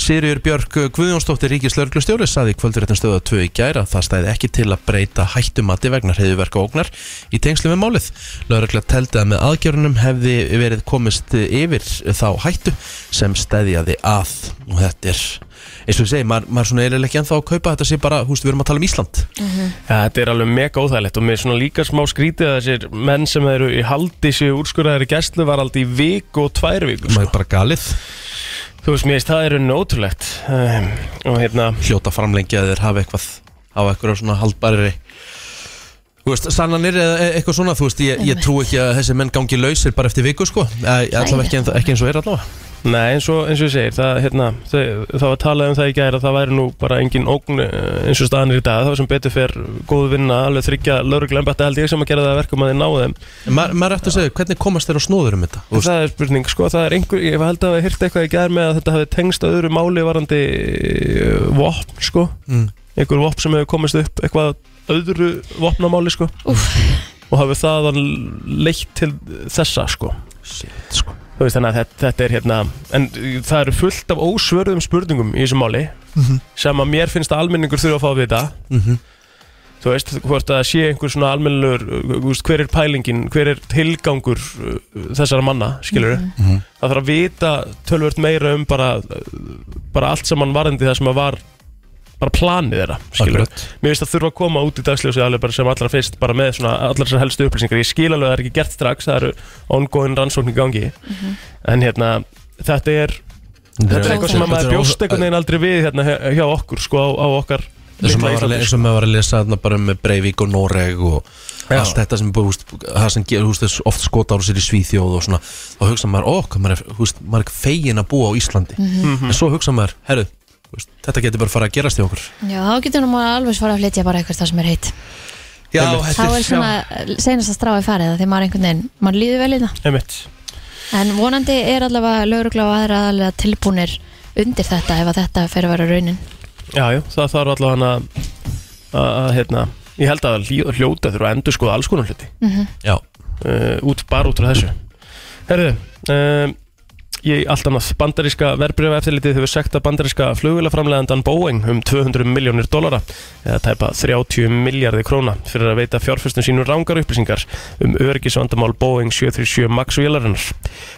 Speaker 1: Sigriður Björk Guðjónsdóttir Ríkis Lörglustjóri saði kvöldurréttin stöða 2 í gær að það stæði ekki til að breyta hættumati vegna reyðuverka ógnar í tengslu með málið. Lörgla teldi að með aðgjörunum hefði verið komist yfir þá hættu sem stæðjaði að og þetta er eins og ég segi, maður, maður svona eiginlega ekki ennþá að kaupa þetta sé bara, húst, við erum að tala um Ísland
Speaker 3: Já, þetta er alveg mega óþægilegt og mér er svona líka smá skrítið að þessir menn sem eru í haldi séu úrskurðaðir í gæslu var aldrei í viku og tvær viku
Speaker 1: maður
Speaker 3: sko.
Speaker 1: er bara galið,
Speaker 3: Þú veist, mér veist það eru nótrúlegt um, og hérna,
Speaker 1: hljóta framlengi að þeir hafa eitthvað á eitthvað svona haldbæri Þú veist, sannanir eða e- eitthvað svona, þú veist, ég, ég trú ekki að þessi menn gangi lausir bara eftir viku, sko Eh, Allavega ekki, en- ekki eins og er allavega
Speaker 3: Nei, eins og, eins og ég segir, það, hérna, það, það var talað um það í gæra, það væri nú bara engin ógn eh, eins og staðanir í dag, það var sem betur fer góð vinna, alveg þryggja lögreglembætti held ég sem að gera það að verkum að þið náðu þeim.
Speaker 1: En maður maður er eftir að segja, hvernig komast þér á snóður um þetta? Þú veist,
Speaker 3: Það er spurning, sko, það er einhver, ég held að hafa hýrt eitthvað í gæra með að þetta hafi tengst að öðru máli varandi eh, vopn, sko,
Speaker 1: Mm.
Speaker 3: einhver vopn sem hefur komist upp, eitthvað öðru vopnamáli, sko,
Speaker 4: Úff.
Speaker 3: og hafi það leitt til þessa, sko.
Speaker 1: shit, sko
Speaker 3: Þú veist þannig að þetta, þetta er hérna En það eru fullt af ósvörðum spurningum í þessu máli Sem að mér finnst að almenningur þurfa að fá að vita
Speaker 1: Mhm.
Speaker 3: Þú veist, hvort að sé einhver svona almennilegur uh, þú veist, Hver er pælingin, hver er tilgangur uh, þessara manna, skilur
Speaker 1: Mhm.
Speaker 3: Það þarf að vita tölvört meira um bara uh, Bara allt saman varandi það sem að var Bara planið þeirra, skilur
Speaker 1: Akkurat.
Speaker 3: Mér finnst að þurfa að koma út í dagsljósið alveg bara sem allra fyrst bara með svona allar þessar helstu upplýsingar ég skil alveg að það er ekki gert strax, það eru ongoing rannsókn í gangi en hérna, þetta er þetta er
Speaker 4: er
Speaker 3: eitthvað sem að
Speaker 4: óþarfi.
Speaker 3: maður
Speaker 1: Þetta er
Speaker 3: bjóst einhvern veginn aldrei við hérna hjá- hjá okkur, sko, á, á okkar
Speaker 1: eins og maður
Speaker 3: litla
Speaker 1: var að
Speaker 3: Íslandi,
Speaker 1: le- eins
Speaker 3: sko.
Speaker 1: og maður var að lesa þarna bara með Breivik og Noreg og
Speaker 3: Já.
Speaker 1: allt þetta sem, búst, það sem ger, húst, þess oft skotáru sér í Svíþjóð og svona, þá hugsa maður, ó, hvað maður er, húst, maður er fegin að búa á Íslandi en svo hugsa maður, herru, húst, þetta getur bara að fara að gerast í okkur
Speaker 4: Já, þá getur nú maður alveg svara að flytja bara eitthvað það sem er heitt
Speaker 1: Já,
Speaker 4: Þá er svona senast að stráði farið það því maður einhvern veginn, maður líður vel í það
Speaker 3: Einmitt.
Speaker 4: En vonandi er allavega lögregla og aðra aðalega tilbúnir undir þetta ef að þetta fer að vera raunin
Speaker 3: Já, já, það þarf allavega hann að- að að, hérna, ég held að hlý- hljóta þurfa að endur skoða alls konar hluti
Speaker 1: Já,
Speaker 3: uh, út, bara út frá þessu Herðu, um, ég allt annað bandaríska verbreyfa eftirlitið hefur sekt að bandaríska flugvélaframlegandan Boeing um 200 miljónir dollara eða tæpa 30 miljardi króna fyrir að veita fjárfestum sínum rángar upplýsingar um örgisvandamál Boeing 737 Max vélarinnar.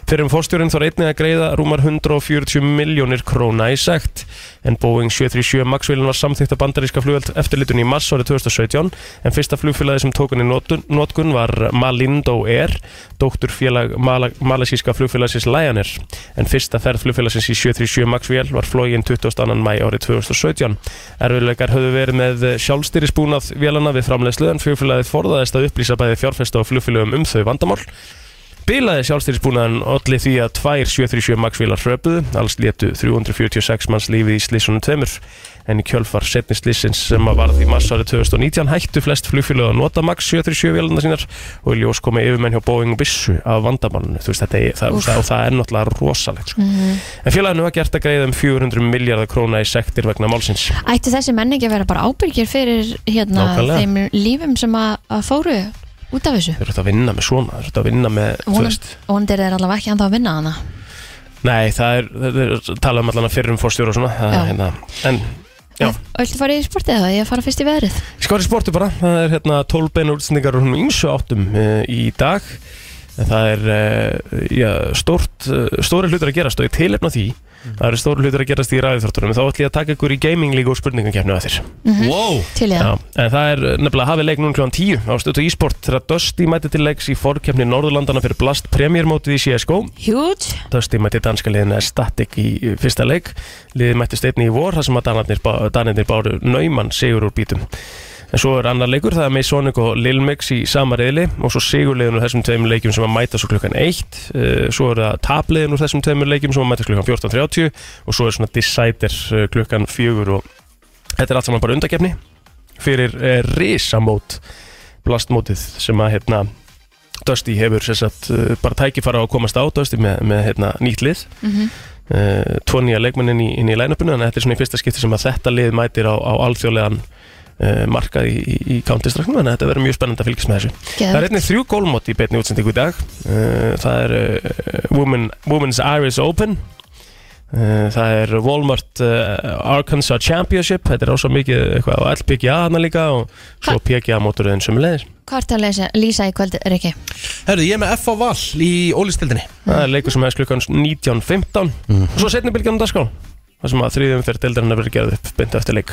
Speaker 3: Fyrir um fórstjórin þór einnig að greiða rúmar 140 miljónir króna í sekt en Boeing 737 Max vélin var samþykta bandaríska flugveld eftirlitun í mars árið 2017 en fyrsta flugfélagi sem tókun í notun- notkun var Malindo Air dótturfélag Mala- malasíska flugfélagsins Lion Air en fyrsta ferð flugfélagsins í 737 Max vél var flogin 22. mæ árið 2017 Erfiðleikar höfðu verið með sjálfstýrisbúnað vélana við framleiðslu en flugfélagið forðaðist að upplýsa bæði fjárfesta og flugfélagum um þau vandamál Bilaði sjálfstýrisbúnaðan olli því að tvær 737 Max-vélar hröpuðu, alls létu 346 manns lífið í slissunum tveimur, en í kjölfar setni slissins sem að varð í mars árið 2019 hættu flest flugfélög að nota Max 737 vélarna sínar og í ljós komið yfirmenn hjá Boeing og Bissu af vandamálunum, þú veist þetta er, það, það, og það er náttúrulega rosalegt sko. En félaginu var gert að greiða um 400 miljardar króna í sektir vegna málsins.
Speaker 4: Ættu þessi menn ekki að vera bara ábyrgir fyrir hérna
Speaker 3: Nákvæmlega.
Speaker 4: þeim lífum sem að, að fóru út af þessu
Speaker 3: Þeir eru þetta að vinna með svona, þeir eru þetta að vinna með, þú
Speaker 4: Vonandi-
Speaker 3: veist,
Speaker 4: Vonandi er þeir allavega ekki ennþá að vinna hana
Speaker 3: nei það er, það er talað um allan að fyrrum fórstjóra og svona, það,
Speaker 4: Já.
Speaker 3: er hérna, en Já.
Speaker 4: Öllu farið í sportið eða ég að fara fyrst í veðrið
Speaker 3: Skori sportu bara, það er hérna 12 beina útsendingar og ímsu áttum uh, í dag en það er uh, já, stort, uh, stóri hlutur að gerast og ég tilefna því það eru stóri hlutur að gerast í ræðuþróttunum þá ætlum ég að taka ykkur í gaming líka og spurningakefni að þér Mhm.
Speaker 1: wow
Speaker 4: Til í það
Speaker 3: en það er eh, nefnilega hafið leik núna kljóðan 10 á stötu ísport þegar Dusty mæti til leiks í fórkefni Norðurlandana fyrir Blast Premiermótið í CSGO
Speaker 4: Huge
Speaker 3: Dusty mætti danska liðin Static í eh, fyrsta leik liðið mætti steinni í vor þar sem að danarnir, bá- danirnir báru naumann sigur úr bítum en svo er annar leikur það er með Sonic og Lil Mix í sama reyðli og svo sigurliðin úr þessum tveimur leikjum sem að mæta svo klukkan 1 Eh, svo er það tapliðin úr þessum tveimur leikjum sem að mæta klukkan 14.30 og svo er svona Decider eh, klukkan 4 og þetta er allt saman bara undakefni fyrir eh, risamót blastmótið sem að hérna Dusty hefur sem sagt, eh, bara tækifara á að komast á Dusty með, með hérna, nýtt lið
Speaker 4: mm
Speaker 3: uh, tvo nýja leikmenn inn í, inn í line-upinu þannig að þetta er svona í fyrsta skipti sem að þetta lið mætir á, á alþjóðlegan uh, markað í, í, í Counter-Strike þannig að þetta verður mjög spennandi að fylgjast með þessu Það er einnig þrjú gólmót í beinni útsendingu í dag Eh, Það er eh, Women, Women's Irish Open Eh, Það er Walmart eh, Arkansas Championship Þetta er ósá mikið eitthvað á LPGA hana líka og svo PGA móturinn sem leiðir
Speaker 4: Hvað ertu að lesa, lýsa í kvöld, Riki?
Speaker 1: Herru, ég er með F á Val í ólistildinni
Speaker 3: Það er leikur sem hefst klukkan 19.15 og svo setni bylgjan á dagskrá þar sem að þriðjum fyrir deildarinnar verður gerð upp beint eftir leik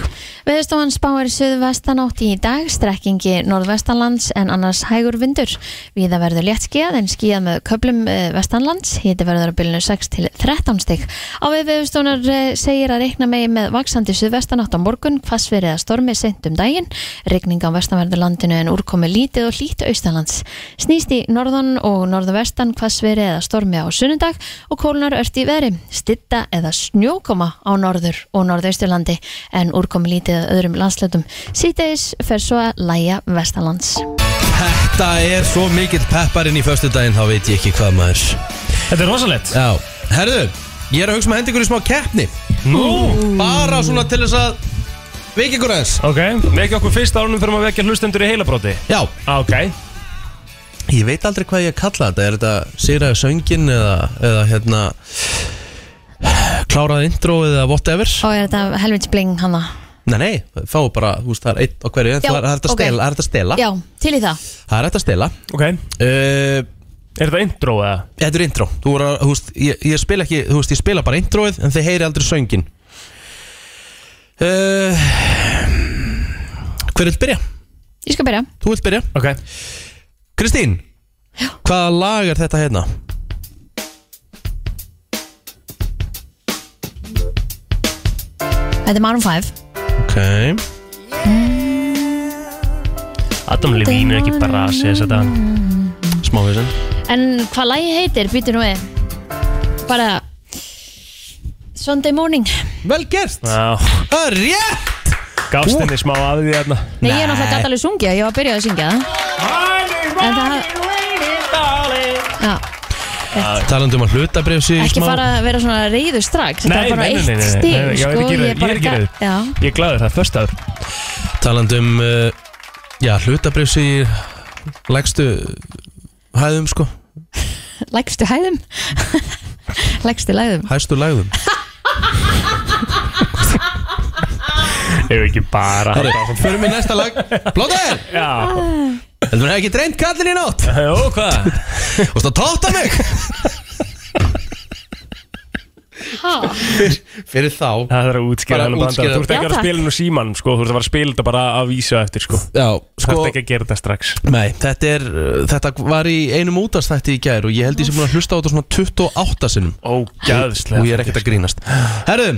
Speaker 4: Veðurstofan spáir suðvestanátt í dag, strekkingi norðvestanlands en annars hægur vindur. Víða verður létt skíðað en skíðað með köplum eh, vestanlands, hiti verður að bylnu 6 til 13 stig. Á við veðurstofunar eh, segir að reikna megi með vaksandi suðvestanátt á morgun, hvassverið að stormi seint um daginn, regning á vestanverðu landinu en úrkomi lítið og lítið austanlands. Snýst í norðan og norðvestan hvassverið eða stormi á sunnundag og kólnar ört í veri, stitta eða snjókoma á norður og norðausturlandi en úrkomi lítið að öðrum landslöndum. Sýteis fer svo að læja vestalands.
Speaker 1: Þetta er svo mikill pepparinn í föstudaginn Þá veit ég ekki hvað maður
Speaker 3: Þetta er rosalegt
Speaker 1: Já, herðu, ég er að hugsa með hendi ykkur í smá keppni
Speaker 3: Nú,
Speaker 1: Bara svona til þess að Viki ykkur aðeins
Speaker 3: ok, vekja okkur fyrst árunum fyrir að vekja hlustendur í heilabróti
Speaker 1: Já,
Speaker 3: Ah, Ok,
Speaker 1: ég veit aldrei hvað ég að kalla þetta Er þetta sigraði söngin eða, eða hérna Kláraði intro eða whatever
Speaker 4: Og er þetta helvits bling hana?
Speaker 1: Nei, nei, fá bara, þú veist, það er eitt á hverju en
Speaker 4: Já,
Speaker 1: Það er hægt að stela,
Speaker 4: ok.
Speaker 1: það er hægt að stela
Speaker 4: Já, til í það.
Speaker 1: Það er hægt að stela
Speaker 3: ok Er
Speaker 1: uh,
Speaker 3: þetta intro eða?
Speaker 1: Þetta er intro Þú voru að, þú veist, ég, ég spila ekki Þú veist, ég spila bara introið En þið heyri aldrei söngin uh, Hver vil byrja?
Speaker 4: Ég skal byrja.
Speaker 1: Þú vilt byrja?
Speaker 3: Ok
Speaker 1: Kristín Já. Hvaða lag er þetta hérna?
Speaker 4: Þetta er Maroon 5.
Speaker 1: Ok
Speaker 3: Adam Levine er ekki bara að segja þetta
Speaker 1: Smávísin
Speaker 4: En hvað lagi heitir, býtu nú við? Bara Sunday morning.
Speaker 1: Vel gert
Speaker 3: Já,
Speaker 1: Það er rétt
Speaker 3: gafst henni smá að því hérna
Speaker 4: Nei, ég er náttúrulega gæti alveg sungja, ég var að byrja að syngja það. En það, já,
Speaker 1: Talandi um að hluta bref sig
Speaker 4: ekki fara að vera svona reyður strax. Þetta
Speaker 3: Nei,
Speaker 4: er bara
Speaker 3: nei, nei, nei,
Speaker 4: eitt
Speaker 3: nei, nei, nei,
Speaker 4: stig,
Speaker 3: ég er
Speaker 4: sko.
Speaker 3: ekki reiður,
Speaker 4: Ég er bara
Speaker 3: ég er ekki reiður.
Speaker 4: Já,
Speaker 3: Ég er glæður það, förstaður
Speaker 1: Talandi um uh, Já, hluta bref sig Lægstu Hæðum sko
Speaker 4: lægstu hæðum. lægstu læðum.
Speaker 1: Hæstu lægðum
Speaker 3: Ég er ekki bara að halda áfram.
Speaker 1: Förum í næsta lag Blóður
Speaker 3: Já,
Speaker 1: Heldur maður ekki dreint kallin í nótt
Speaker 3: jó, hvað?
Speaker 1: Þú veist að tóta mig
Speaker 4: Ha,
Speaker 1: Fyrir þá
Speaker 3: Það þarf að útskýra
Speaker 1: Bara
Speaker 3: hann
Speaker 1: útskýra.
Speaker 3: bandar Þú ert ekki
Speaker 4: Já,
Speaker 3: að
Speaker 4: takk.
Speaker 3: spila nú símanum sko Þú ert að fara að spila þetta bara að vísa eftir sko
Speaker 1: Já,
Speaker 3: Þú
Speaker 1: sko
Speaker 3: ert ekki að gera þetta strax
Speaker 1: Nei, þetta er uh, Þetta var í einum útastætti í gær Og ég held ég sem búin að hlusta á þetta svona 28 sinnum Og
Speaker 3: Ógæðslega
Speaker 1: ég er ekkert að grínast Herðu,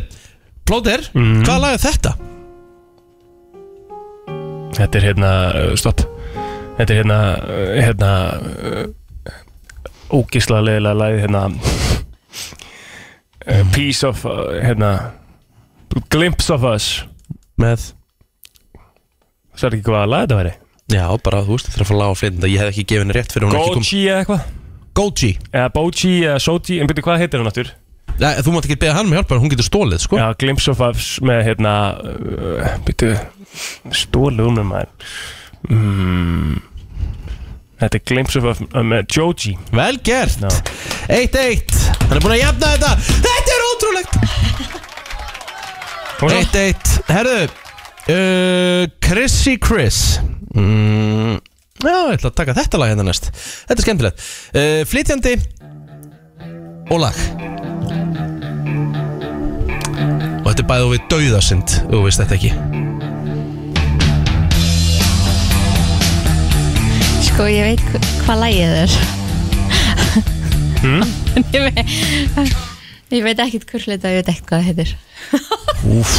Speaker 1: plóter, hvaða lag er þetta?
Speaker 3: Þetta er hérna, uh, stopp Þetta er hérna, uh, hérna Ógæslega leiðilega lagið hérna uh, Piece of, uh, hérna Glimpse of Us
Speaker 1: Með
Speaker 3: Það er ekki hvað lag þetta væri
Speaker 1: Já, bara þú veist, það er að fara að laga á flytenda Ég hef ekki gefið henni rétt fyrir hún er ekki
Speaker 3: Goji eða eitthvað
Speaker 1: kom Goji
Speaker 3: Eða Boji eða Soji En byrju hvað heitir hún aftur?
Speaker 1: Nei, þú mátt ekki beða hann með hjálpa Hún getur stólið, sko
Speaker 3: Já, Glimpse of Us með hérna uh, Býttu Stólu um með maður mm, Þetta er Glimpse of Us uh, með Joji
Speaker 1: Vel gert
Speaker 3: Já.
Speaker 1: 1-1 Hann er búin að jafna þetta Þetta er ótrúlegt
Speaker 3: Kom svo.
Speaker 1: 1-1 Herðu uh, Chrissy Chris mm, Já, ég ætla að taka þetta lag hérna næst Þetta er skemmtilegt uh, Flytjandi Og lag Og þetta er bæðið við dauðasind Þú veist þetta ekki
Speaker 4: sko, ég veit hva- hvað lagið er. Hmm? ég veit, ég veit ekkert hvort að ég veit ekkert hvað það heitir.
Speaker 1: Úf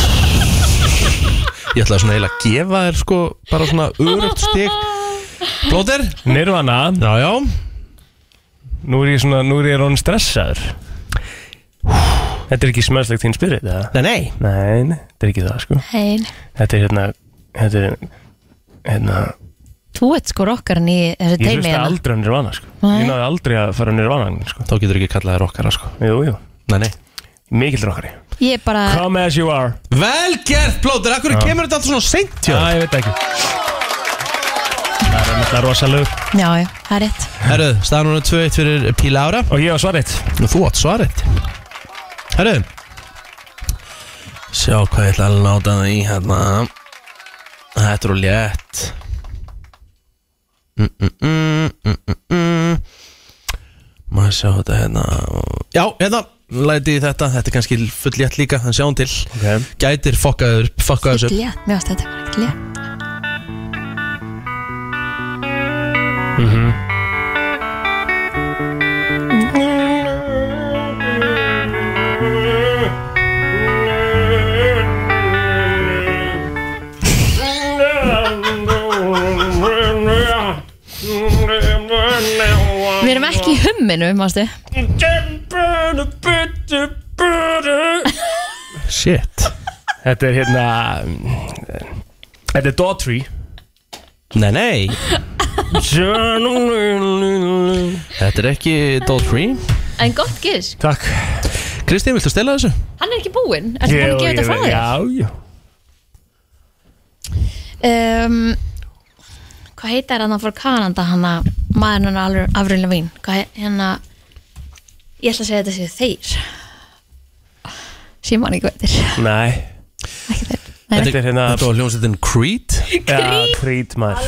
Speaker 1: Ég ætla svona eiginlega að gefa þér sko Bara svona örugt stig Blóter
Speaker 3: Nirvana
Speaker 1: Já, já
Speaker 3: Nú er ég svona, nú er ég rónin stressaður Þetta er ekki smæðslegt þín spirit eða?
Speaker 1: Nei, nei
Speaker 3: Nei, nei, þetta er ekki það sko
Speaker 4: Hein.
Speaker 3: Þetta er hérna Þetta er hérna
Speaker 4: Þú ert sko rokkarinn í þessu
Speaker 3: Ég
Speaker 4: teimi
Speaker 3: hlusta
Speaker 4: hérna.
Speaker 3: aldrei á Nirvana sko
Speaker 4: Nei.
Speaker 3: Ég náði aldrei að fara á Nirvana sko
Speaker 1: Þá getur ekki kallað þér okkara sko
Speaker 3: Jú, jú
Speaker 1: Nei, nei
Speaker 3: Mikill rockari
Speaker 4: Ég er bara,
Speaker 3: Come as you are
Speaker 1: Vel gert, Plóter, akkur kemur þetta alltaf svona seint hjá
Speaker 3: Já,
Speaker 1: þér?
Speaker 3: ég veit ekki Það er náttúrulega rosalegur
Speaker 4: já, já, það er rétt.
Speaker 1: Herru, staðan núna 2-1 fyrir Píla Ára
Speaker 3: Og ég var svarið
Speaker 1: og þú átt svarið Herru Sjá hvað ég ætla að láta það í hérna Þetta er úr létt Mm, mm, mm, mm, mm, mm. Má ég sjá þetta hérna Já, hérna læti í þetta Þetta er kannski fullétt líka, en sjáum til
Speaker 3: Ok.
Speaker 1: Gætir fokkaður, fokkaður sér
Speaker 4: Létt, mér varst þetta bara ekki létt Við erum ekki í humminu, mástu
Speaker 3: Shit Þetta er hérna Þetta er Daughtry
Speaker 1: Nei, nei, þetta er ekki Dolphy
Speaker 4: En gott gisk,
Speaker 3: Takk
Speaker 1: Kristín, viltu stela þessu?
Speaker 4: hann er ekki búinn Ertu búinn að gefa þetta frá þér?
Speaker 3: Já, já
Speaker 4: um, hvað heitir hann frá Kanada hann að maðurinn hann alveg afrunlega vín hvað he- hérna ég ætla að segja þetta séu þeir síman ekki veitir
Speaker 3: Nei
Speaker 4: ekki þeir Nei.
Speaker 3: Þetta er hérna
Speaker 1: Þetta var hljómsveitin Creed
Speaker 3: ja, Krít maður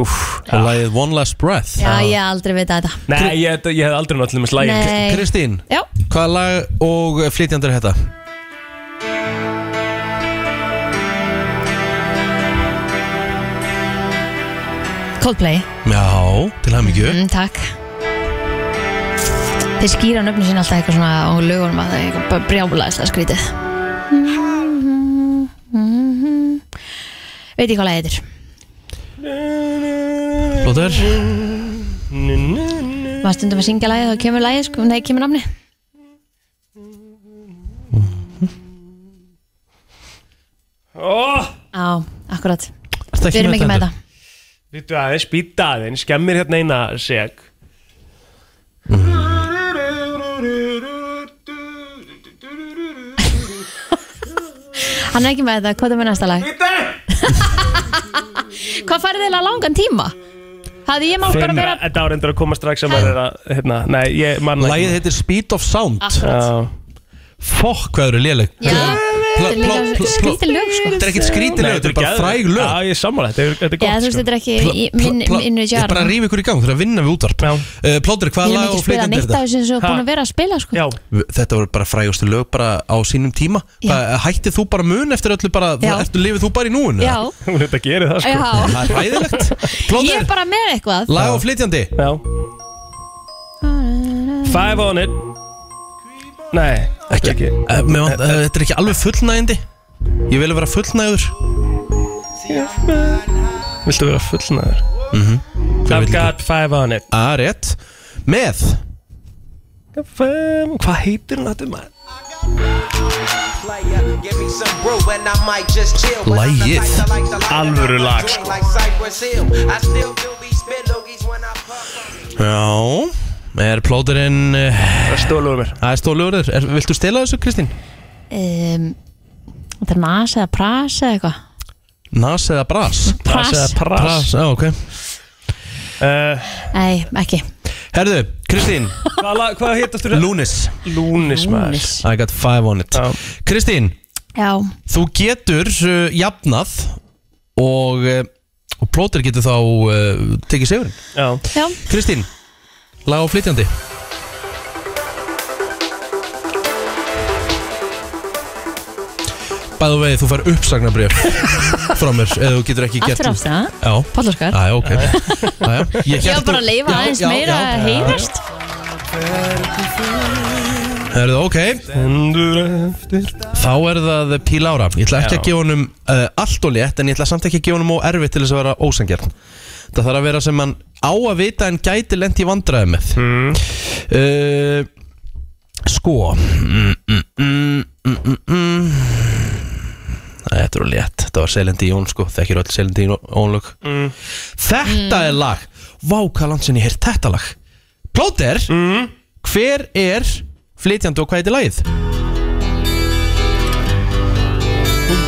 Speaker 3: Úf
Speaker 1: og lagið One Last Breath
Speaker 4: já ég hef aldrei veit þetta
Speaker 3: Nei, ég, þetta- ég hef aldrei náttúrulega með slægin
Speaker 4: Nei.
Speaker 1: Kristín,
Speaker 4: já
Speaker 1: hvaða lag og flytjandur er þetta?
Speaker 4: Coldplay
Speaker 1: Já, til hann mikið
Speaker 4: mm, takk þeir skýra nöfnum sín alltaf eitthvað svona á lögunum að það er eitthvað bara brjálaðislega skrítið Mm-hmm. veit ég hvað lagið þetta
Speaker 1: Blóður
Speaker 4: Mm. maður stundum að syngja lagið þá kemur lagið sko, nei kemur namni
Speaker 3: Ó,
Speaker 4: Já, akkurat. Við erum ekki með þetta.
Speaker 3: Lítu aðeins, býta aðeins Skemmir hérna eina seg
Speaker 4: Hann er ekki með þetta. Hvað er með næsta lag? Hvað farið þið langan tíma? Hafði ég mátt bara vera...
Speaker 3: Þetta áreindar að koma strax að maður er að hérna, Nei, ég manna
Speaker 1: Lagið heitir Speed of Sound
Speaker 4: Akkurat.
Speaker 3: Já.
Speaker 1: Fokk, hvað eru léleg
Speaker 4: Ah. Já, þetta er líka skrítið lög, sko.
Speaker 1: Þetta er ekkert skrítið lög, þetta er bara
Speaker 3: geðveikt.
Speaker 1: fræg lög
Speaker 3: Já, ég sammála, þetta er, þetta er
Speaker 4: Já,
Speaker 3: gott sko.
Speaker 4: þú veist, þetta er ekki í
Speaker 1: Pla-
Speaker 4: minn-
Speaker 1: pla-
Speaker 4: minnu
Speaker 1: Ég bara
Speaker 4: jar.
Speaker 1: rýf ykkur í gang, þegar að vinna við útvarp
Speaker 3: Já.
Speaker 1: uh, Plóður,
Speaker 4: Ég
Speaker 1: hvaða
Speaker 4: er
Speaker 1: lag og
Speaker 4: ekki að spila
Speaker 1: flytjandi er
Speaker 4: neitt af
Speaker 1: þetta?
Speaker 4: þessu sem þú er búin að vera að spila, sko.
Speaker 3: Já,
Speaker 1: Þetta voru bara frægustu lög bara á sínum tíma Hvað, Hættið þú bara mun eftir öllu bara
Speaker 4: Já.
Speaker 1: Ertu lifið þú bara í núinu?
Speaker 4: Já,
Speaker 3: hún er þetta að gera það sko
Speaker 4: já.
Speaker 1: Það er hæðilegt
Speaker 4: Ég er
Speaker 1: Plóður,
Speaker 4: bara með eitthvað.
Speaker 1: lag og flytjandi
Speaker 3: Já Five on it Nei,
Speaker 1: Ekki,
Speaker 3: ekki.
Speaker 1: ekki. Með, uh, Þetta er ekki alveg fullnægindi Ég vil vera fullnægur
Speaker 3: viltu vera fullnaður?
Speaker 1: vill
Speaker 3: I've
Speaker 1: ekki?
Speaker 3: got five on it
Speaker 1: Að rétt Með
Speaker 3: Five- Hvað heitir hún þetta maður?
Speaker 1: Lagið.
Speaker 3: Alvöru lag, sko.
Speaker 1: Já Er plóðurinn uh,
Speaker 3: Það stóluður mér
Speaker 1: Það er stólugur þér Er- Viltu stela þessu Kristín?
Speaker 4: Um, Þetta er nas eða pras eða eitthvað.
Speaker 1: Nas eða bras?
Speaker 4: Pras.
Speaker 3: eða Pras
Speaker 1: já ok
Speaker 3: uh,
Speaker 4: Nei, ekki.
Speaker 1: Herðu, Kristín
Speaker 3: Hvað, lag- hvað heitast þú?
Speaker 1: Lunis
Speaker 3: Lúnis maður
Speaker 4: Lúnis.
Speaker 1: I got five on it
Speaker 3: Já.
Speaker 1: Kristín,
Speaker 4: Já,
Speaker 1: þú getur uh, jafnað og, uh, og plóður getur þá uh, tekið sigurinn
Speaker 3: Já
Speaker 4: já.
Speaker 1: Kristín, lag og flytjandi Bæðu vegi, þú fær uppsagnabrjöf frá mér, eða þú getur ekki gert
Speaker 4: Aftur ástæða.
Speaker 1: Já,
Speaker 4: Pállaskar.
Speaker 1: aðja, ok aðja, Ég
Speaker 4: Ég
Speaker 1: hélt
Speaker 4: var
Speaker 1: þú-
Speaker 4: bara að leifa
Speaker 1: Já,
Speaker 4: aðeins
Speaker 1: já,
Speaker 4: meira
Speaker 1: já,
Speaker 4: að
Speaker 1: já.
Speaker 4: heyrast.
Speaker 1: Herðu, ok,
Speaker 3: Endur eftir
Speaker 1: Þá er það Píl Ára Ég ætla ekki
Speaker 3: Já.
Speaker 1: að gefa honum uh, allt og létt En ég ætla samt ekki að gefa honum og erfitt til þess að vera ósangjarn Það þarf að vera sem hann á að vita En gæti lent í vandræði með uh, Sko mm, mm, mm, mm, mm, mm. Æ, Þetta er of létt Þetta var Selendi Jón sko Þekkir öll Selendi Jónlög mm. Þetta er lag Vá hvað land sem ég heyrt þetta lag Plóter mm. Hver er flytjandi og hvað heitir lagið?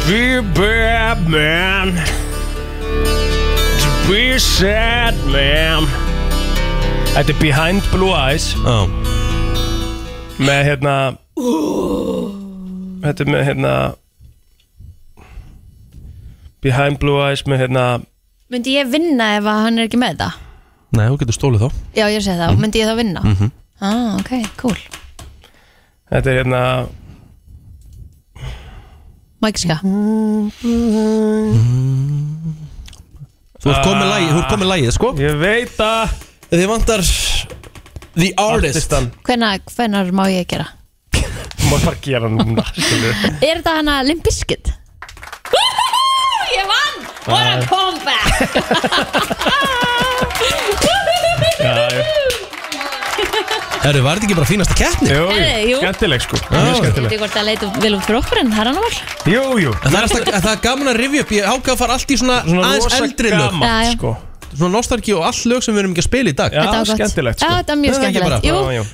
Speaker 3: Be bad man To be sad man Þetta er Behind Blue Eyes
Speaker 1: Oh.
Speaker 3: Með hérna Þetta er með hérna Behind Blue Eyes með hérna
Speaker 4: Myndi ég vinna ef að hann er ekki með það?
Speaker 1: Nei, þú getur stólið þá Mhm.
Speaker 4: Já, ég segi það, myndi ég þá vinna? ah, ok, cool
Speaker 3: Þetta er hérna
Speaker 4: Mækiska
Speaker 1: Mhm. Þú ert
Speaker 3: Ah.
Speaker 1: komið lagið, þú ert komið lagið, sko
Speaker 3: Ég veit að
Speaker 1: Þið vantar The Artist
Speaker 3: Artistan
Speaker 4: hvenar, hvenar má ég gera?
Speaker 3: Má bara gera hann núna skilur.
Speaker 4: Er þetta hana Limp Bizkit? Ég vann! What
Speaker 1: Ah.
Speaker 4: a comeback!
Speaker 3: Já, já.
Speaker 1: Herru, var þetta ekki bara fínasta keppni?
Speaker 3: Jú,
Speaker 4: Herri, jú.
Speaker 3: jú Skemmtileg sko
Speaker 1: Já.
Speaker 3: Mjög
Speaker 4: Ég veit
Speaker 3: skemmtileg
Speaker 4: ekki hvort það leitur vel út fyrir okkur en það er hann að val
Speaker 3: Jú, jú
Speaker 1: En það er, alltaf, en það er gaman að rifja upp, ég ákveð að fara allt í svona,
Speaker 3: Svona
Speaker 1: aðeins
Speaker 3: rosa
Speaker 1: eldri lög
Speaker 3: gamalt,
Speaker 4: Já, já.
Speaker 3: sko
Speaker 1: Svona nostalgi og all lög sem við erum ekki að spila í dag
Speaker 3: Já, skemmtilegt
Speaker 4: Já,
Speaker 3: sko
Speaker 4: þetta er mjög
Speaker 1: Það er ekki
Speaker 4: skemmtilegt
Speaker 1: bara-
Speaker 4: Jú,
Speaker 3: Já, já.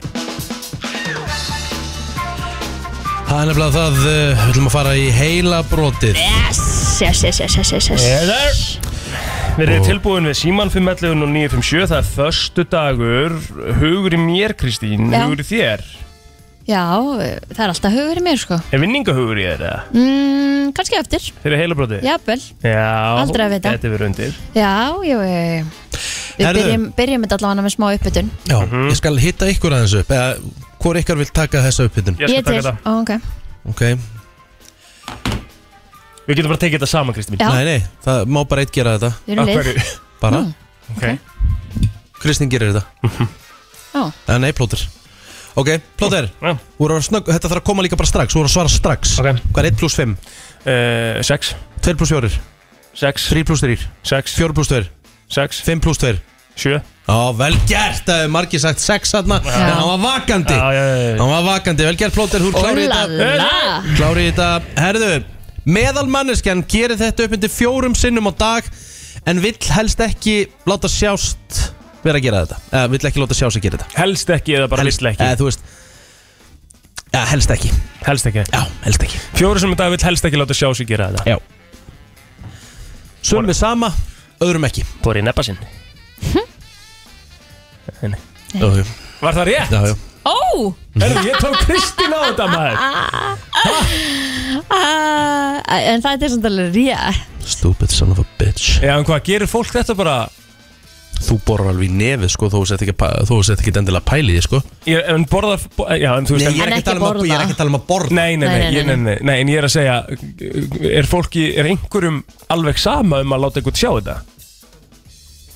Speaker 1: Það er nefnilega það, uh, við ætlum að fara í heila brotið
Speaker 4: yes, yes, yes, yes, yes, yes, yes.
Speaker 3: Heather Við erum tilbúin við síman 511 og 957 Það er förstu dagur Hugur í mér Kristín,
Speaker 4: Já.
Speaker 3: hugur í þér
Speaker 4: Já, það er alltaf hugur í mér sko
Speaker 3: Er vinningahugur í þér eða?
Speaker 4: mm, Kanski eftir,
Speaker 3: Fyrir heilabróti?
Speaker 4: jafnvel
Speaker 3: Já
Speaker 4: Aldrei að vita.
Speaker 3: Þetta er verið undir
Speaker 4: Já, jú, jú, jú. Við
Speaker 1: Herðu.
Speaker 4: byrjum, byrjum þetta allavega með smá uppbytun
Speaker 1: Já,
Speaker 3: Mhm.
Speaker 1: ég skal hitta ykkur aðeins upp eða hvor ykkar vil taka þessa upphittun
Speaker 3: Ég skal taka þetta
Speaker 4: Ó, ok
Speaker 1: Ok,
Speaker 3: Við getum bara að tekið þetta saman Kristín mín
Speaker 4: Já.
Speaker 1: nei, nei, það má bara eitt gera þetta
Speaker 4: Við erum
Speaker 3: Af
Speaker 4: lið
Speaker 3: hverju?
Speaker 1: Bara,
Speaker 3: Ok
Speaker 1: Kristín gerir þetta
Speaker 4: Já.
Speaker 1: Eða nei, plóter Ok, plóter,
Speaker 3: Já.
Speaker 1: snögg, þetta þarf að koma líka bara strax Þú voru að svara strax
Speaker 3: Ok.
Speaker 1: Hvað er 1 pluss 5,
Speaker 3: Eh, Sex
Speaker 1: 2 pluss 4,
Speaker 3: Sex
Speaker 1: 3 pluss 3,
Speaker 3: Sex
Speaker 1: 4 pluss 2,
Speaker 3: Sex
Speaker 1: 5 pluss 2
Speaker 3: Sjö
Speaker 1: Já, vel gert, það hefur margir sagt 6 þarna En hann var vakandi
Speaker 3: Já, já, já, já.
Speaker 1: Hann var vakandi, vel gert plóter, hún klárir þetta
Speaker 4: Ólala
Speaker 1: Klári í þetta, herðu Meðal manneskjan gerir þetta upp undir fjórum sinnum á dag En vill helst ekki láta sjást vera að gera þetta Eða vill ekki láta sjást að gera þetta
Speaker 3: Helst ekki eða bara helst ekki
Speaker 1: eða, þú veist Já, helst ekki
Speaker 3: Helst ekki
Speaker 1: Já, helst ekki
Speaker 3: Fjóri sem þetta vil helst ekki láta sjá sig gera þetta
Speaker 1: Já Summi sama, öðrum ekki
Speaker 3: Bóri neppa sinn
Speaker 4: Hm?
Speaker 1: Já, já,
Speaker 3: Var það rétt?
Speaker 1: já, já.
Speaker 4: Ó,
Speaker 3: Herðu, ég tók Kristín á þetta maður
Speaker 4: ah, en það er samt alveg rétt
Speaker 1: Stupid son of a bitch
Speaker 3: Já, en hvað, gerir fólk þetta bara
Speaker 1: Þú borður alveg í nefið, sko, þó þú sett ekki, að pa- þó þú sett ekki endilega pæli í því, sko
Speaker 3: ég, En borðar, bo, já, en þú veist
Speaker 1: ég
Speaker 4: En
Speaker 1: er
Speaker 4: ekki
Speaker 1: ekki að tala um að-
Speaker 4: borða.
Speaker 1: ég er ekki að tala um að borða
Speaker 3: Nei, nei, nei, nei, nei, nei, nei, en ég er að segja Er fólki, er einhverjum alveg sama um að láta einhvern sjá þetta?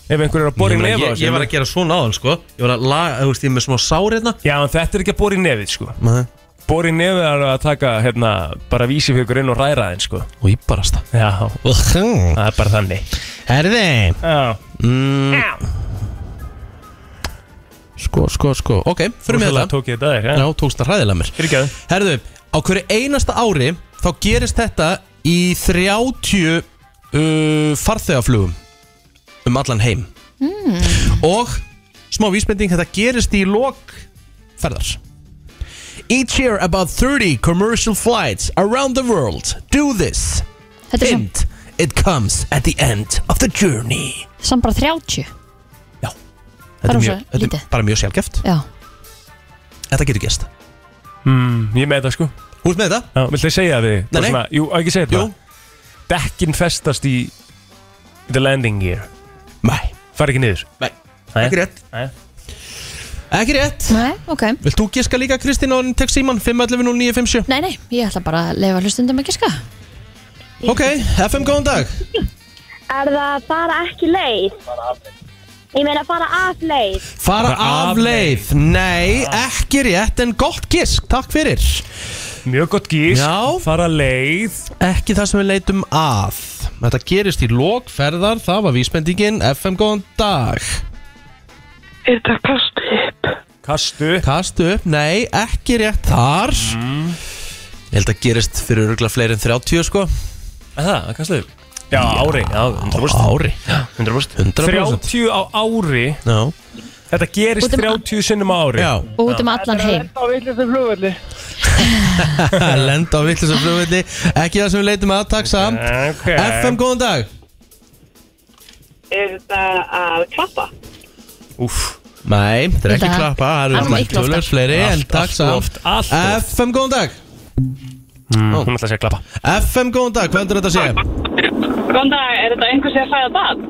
Speaker 3: Ef einhver er að bora í
Speaker 1: Ég meina,
Speaker 3: nefið á
Speaker 1: ég, ég var að gera svona áðan sko Ég var að laga, þú veist, ég er með smá sár hérna
Speaker 3: Já, en þetta er ekki að bora í nefið, sko
Speaker 1: Nei.
Speaker 3: Bora í nefið er að taka, hérna, bara vísifjökur inn og ræra þeim, sko
Speaker 1: Og ég barast
Speaker 3: Já,
Speaker 1: það
Speaker 3: það er bara þannig
Speaker 1: Herði
Speaker 3: Já,
Speaker 1: Sko, sko, sko Ok, fyrir
Speaker 3: fyrir
Speaker 1: með
Speaker 3: mig það
Speaker 1: það
Speaker 3: Tók ég þetta þér,
Speaker 1: Já,
Speaker 3: já,
Speaker 1: tókst það hræðilega mér
Speaker 3: fyrir ekki
Speaker 1: Herðu, á hverju einasta ári Þá gerist þetta í 30 uh, farþegaflugum Um allan heim
Speaker 4: Hmm.
Speaker 1: Og smá vísbending Þetta gerist í lok ferðar Each year about 30 commercial flights around the world do this
Speaker 4: Þetta er sam,
Speaker 1: Hint, it comes at the end of the journey
Speaker 4: samt bara 30
Speaker 1: Þetta er,
Speaker 4: Bara svo
Speaker 1: mjög, þetta
Speaker 4: lítið.
Speaker 1: er bara mjög sjálfgeft
Speaker 4: Já,
Speaker 1: Þetta getur gæst
Speaker 3: mm, Ég er með þetta, sko
Speaker 1: Þú veist með þetta?
Speaker 3: Já, viltu þið segja því? Bara
Speaker 1: nei.
Speaker 3: svona- Jú, á ekki segja
Speaker 1: Jú
Speaker 3: þetta Dekkin festast í The landing gear
Speaker 1: Nei
Speaker 3: Far ekki niður
Speaker 1: Nei
Speaker 3: Nei.
Speaker 1: Ekki rétt
Speaker 3: Nei.
Speaker 1: Ekki rétt
Speaker 4: nei, ok
Speaker 1: Vilt þú giska líka Kristín á tek síman 511-0957
Speaker 4: Nei, nei, ég ætla bara að leifa hlustundum að giska
Speaker 1: Ok, FM góðan dag
Speaker 5: Er það að fara ekki leið? Ég meina að fara af leið.
Speaker 1: Fara
Speaker 3: Bara
Speaker 1: af
Speaker 3: af
Speaker 1: leið Nei, ekki rétt en gott gisk Takk fyrir
Speaker 3: Mjög gott gís
Speaker 1: Já.
Speaker 3: Fara leið
Speaker 1: Ekki það sem við leitum að Þetta gerist í lokferðar Það var vísbendingin FM góðan dag
Speaker 6: Er þetta kast upp?
Speaker 3: Kastu
Speaker 1: Kastu upp, nei, ekki rétt þar Mm. Ég held að gerist fyrir örgulega fleiri en 30 sko
Speaker 3: Það, kastu Já, ári Já, 100%
Speaker 1: Ári
Speaker 3: 100%
Speaker 1: 100%
Speaker 3: 30 á ári
Speaker 1: Já,
Speaker 3: Þetta gerist
Speaker 4: Út um-
Speaker 3: 30 sinnum á ári
Speaker 1: Já.
Speaker 4: Út um allan heim
Speaker 6: Á villustum flugvöldi.
Speaker 1: að lenda á vittlisum flugvilli Ekki það sem við leitum að, takk samt
Speaker 3: Ok
Speaker 1: FM, góðan dag
Speaker 6: Er þetta að klappa?
Speaker 3: Úff
Speaker 1: Nei, þetta er ekki
Speaker 4: Þetta-
Speaker 1: klappa, það
Speaker 4: Allt
Speaker 1: eru
Speaker 4: miklu oftar.
Speaker 1: tölur fleiri en
Speaker 3: Allt,
Speaker 1: takk
Speaker 3: allt
Speaker 1: samt
Speaker 3: oft, allt oft.
Speaker 1: FM, góðan dag
Speaker 3: mm, Hún ætla að segja klappa
Speaker 1: FM, góðan dag, hvað endur þetta að segja?
Speaker 6: Góðan dag, er þetta einhversi að fæða bad?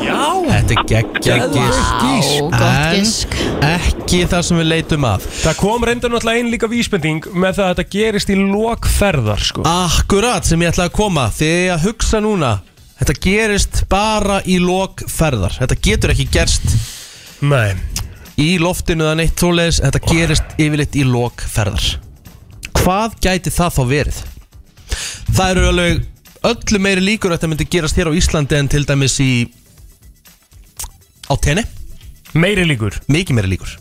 Speaker 3: Já
Speaker 1: Þetta er geggja
Speaker 3: Geðveikt
Speaker 1: gísk
Speaker 4: Á, gott
Speaker 1: En
Speaker 4: gisk
Speaker 1: ekki ekki það sem við leitum að
Speaker 3: Það kom reyndar náttúrulega einn líka vísbending með það að þetta gerist í lokferðar sko.
Speaker 1: Akkurat sem ég ætla að koma Þegar ég hugsa núna Þetta gerist bara í lok ferðar Þetta getur ekki gerst
Speaker 3: Nei
Speaker 1: í loftinu eða neitt svoleiðis Þetta gerist yfirleitt í lok ferðar Hvað gæti það þá verið? Það eru alveg öllu meiri líkur að þetta myndi gerast hér á Íslandi en til dæmis í á tenni,
Speaker 3: Meiri líkur
Speaker 1: mikið meiri líkur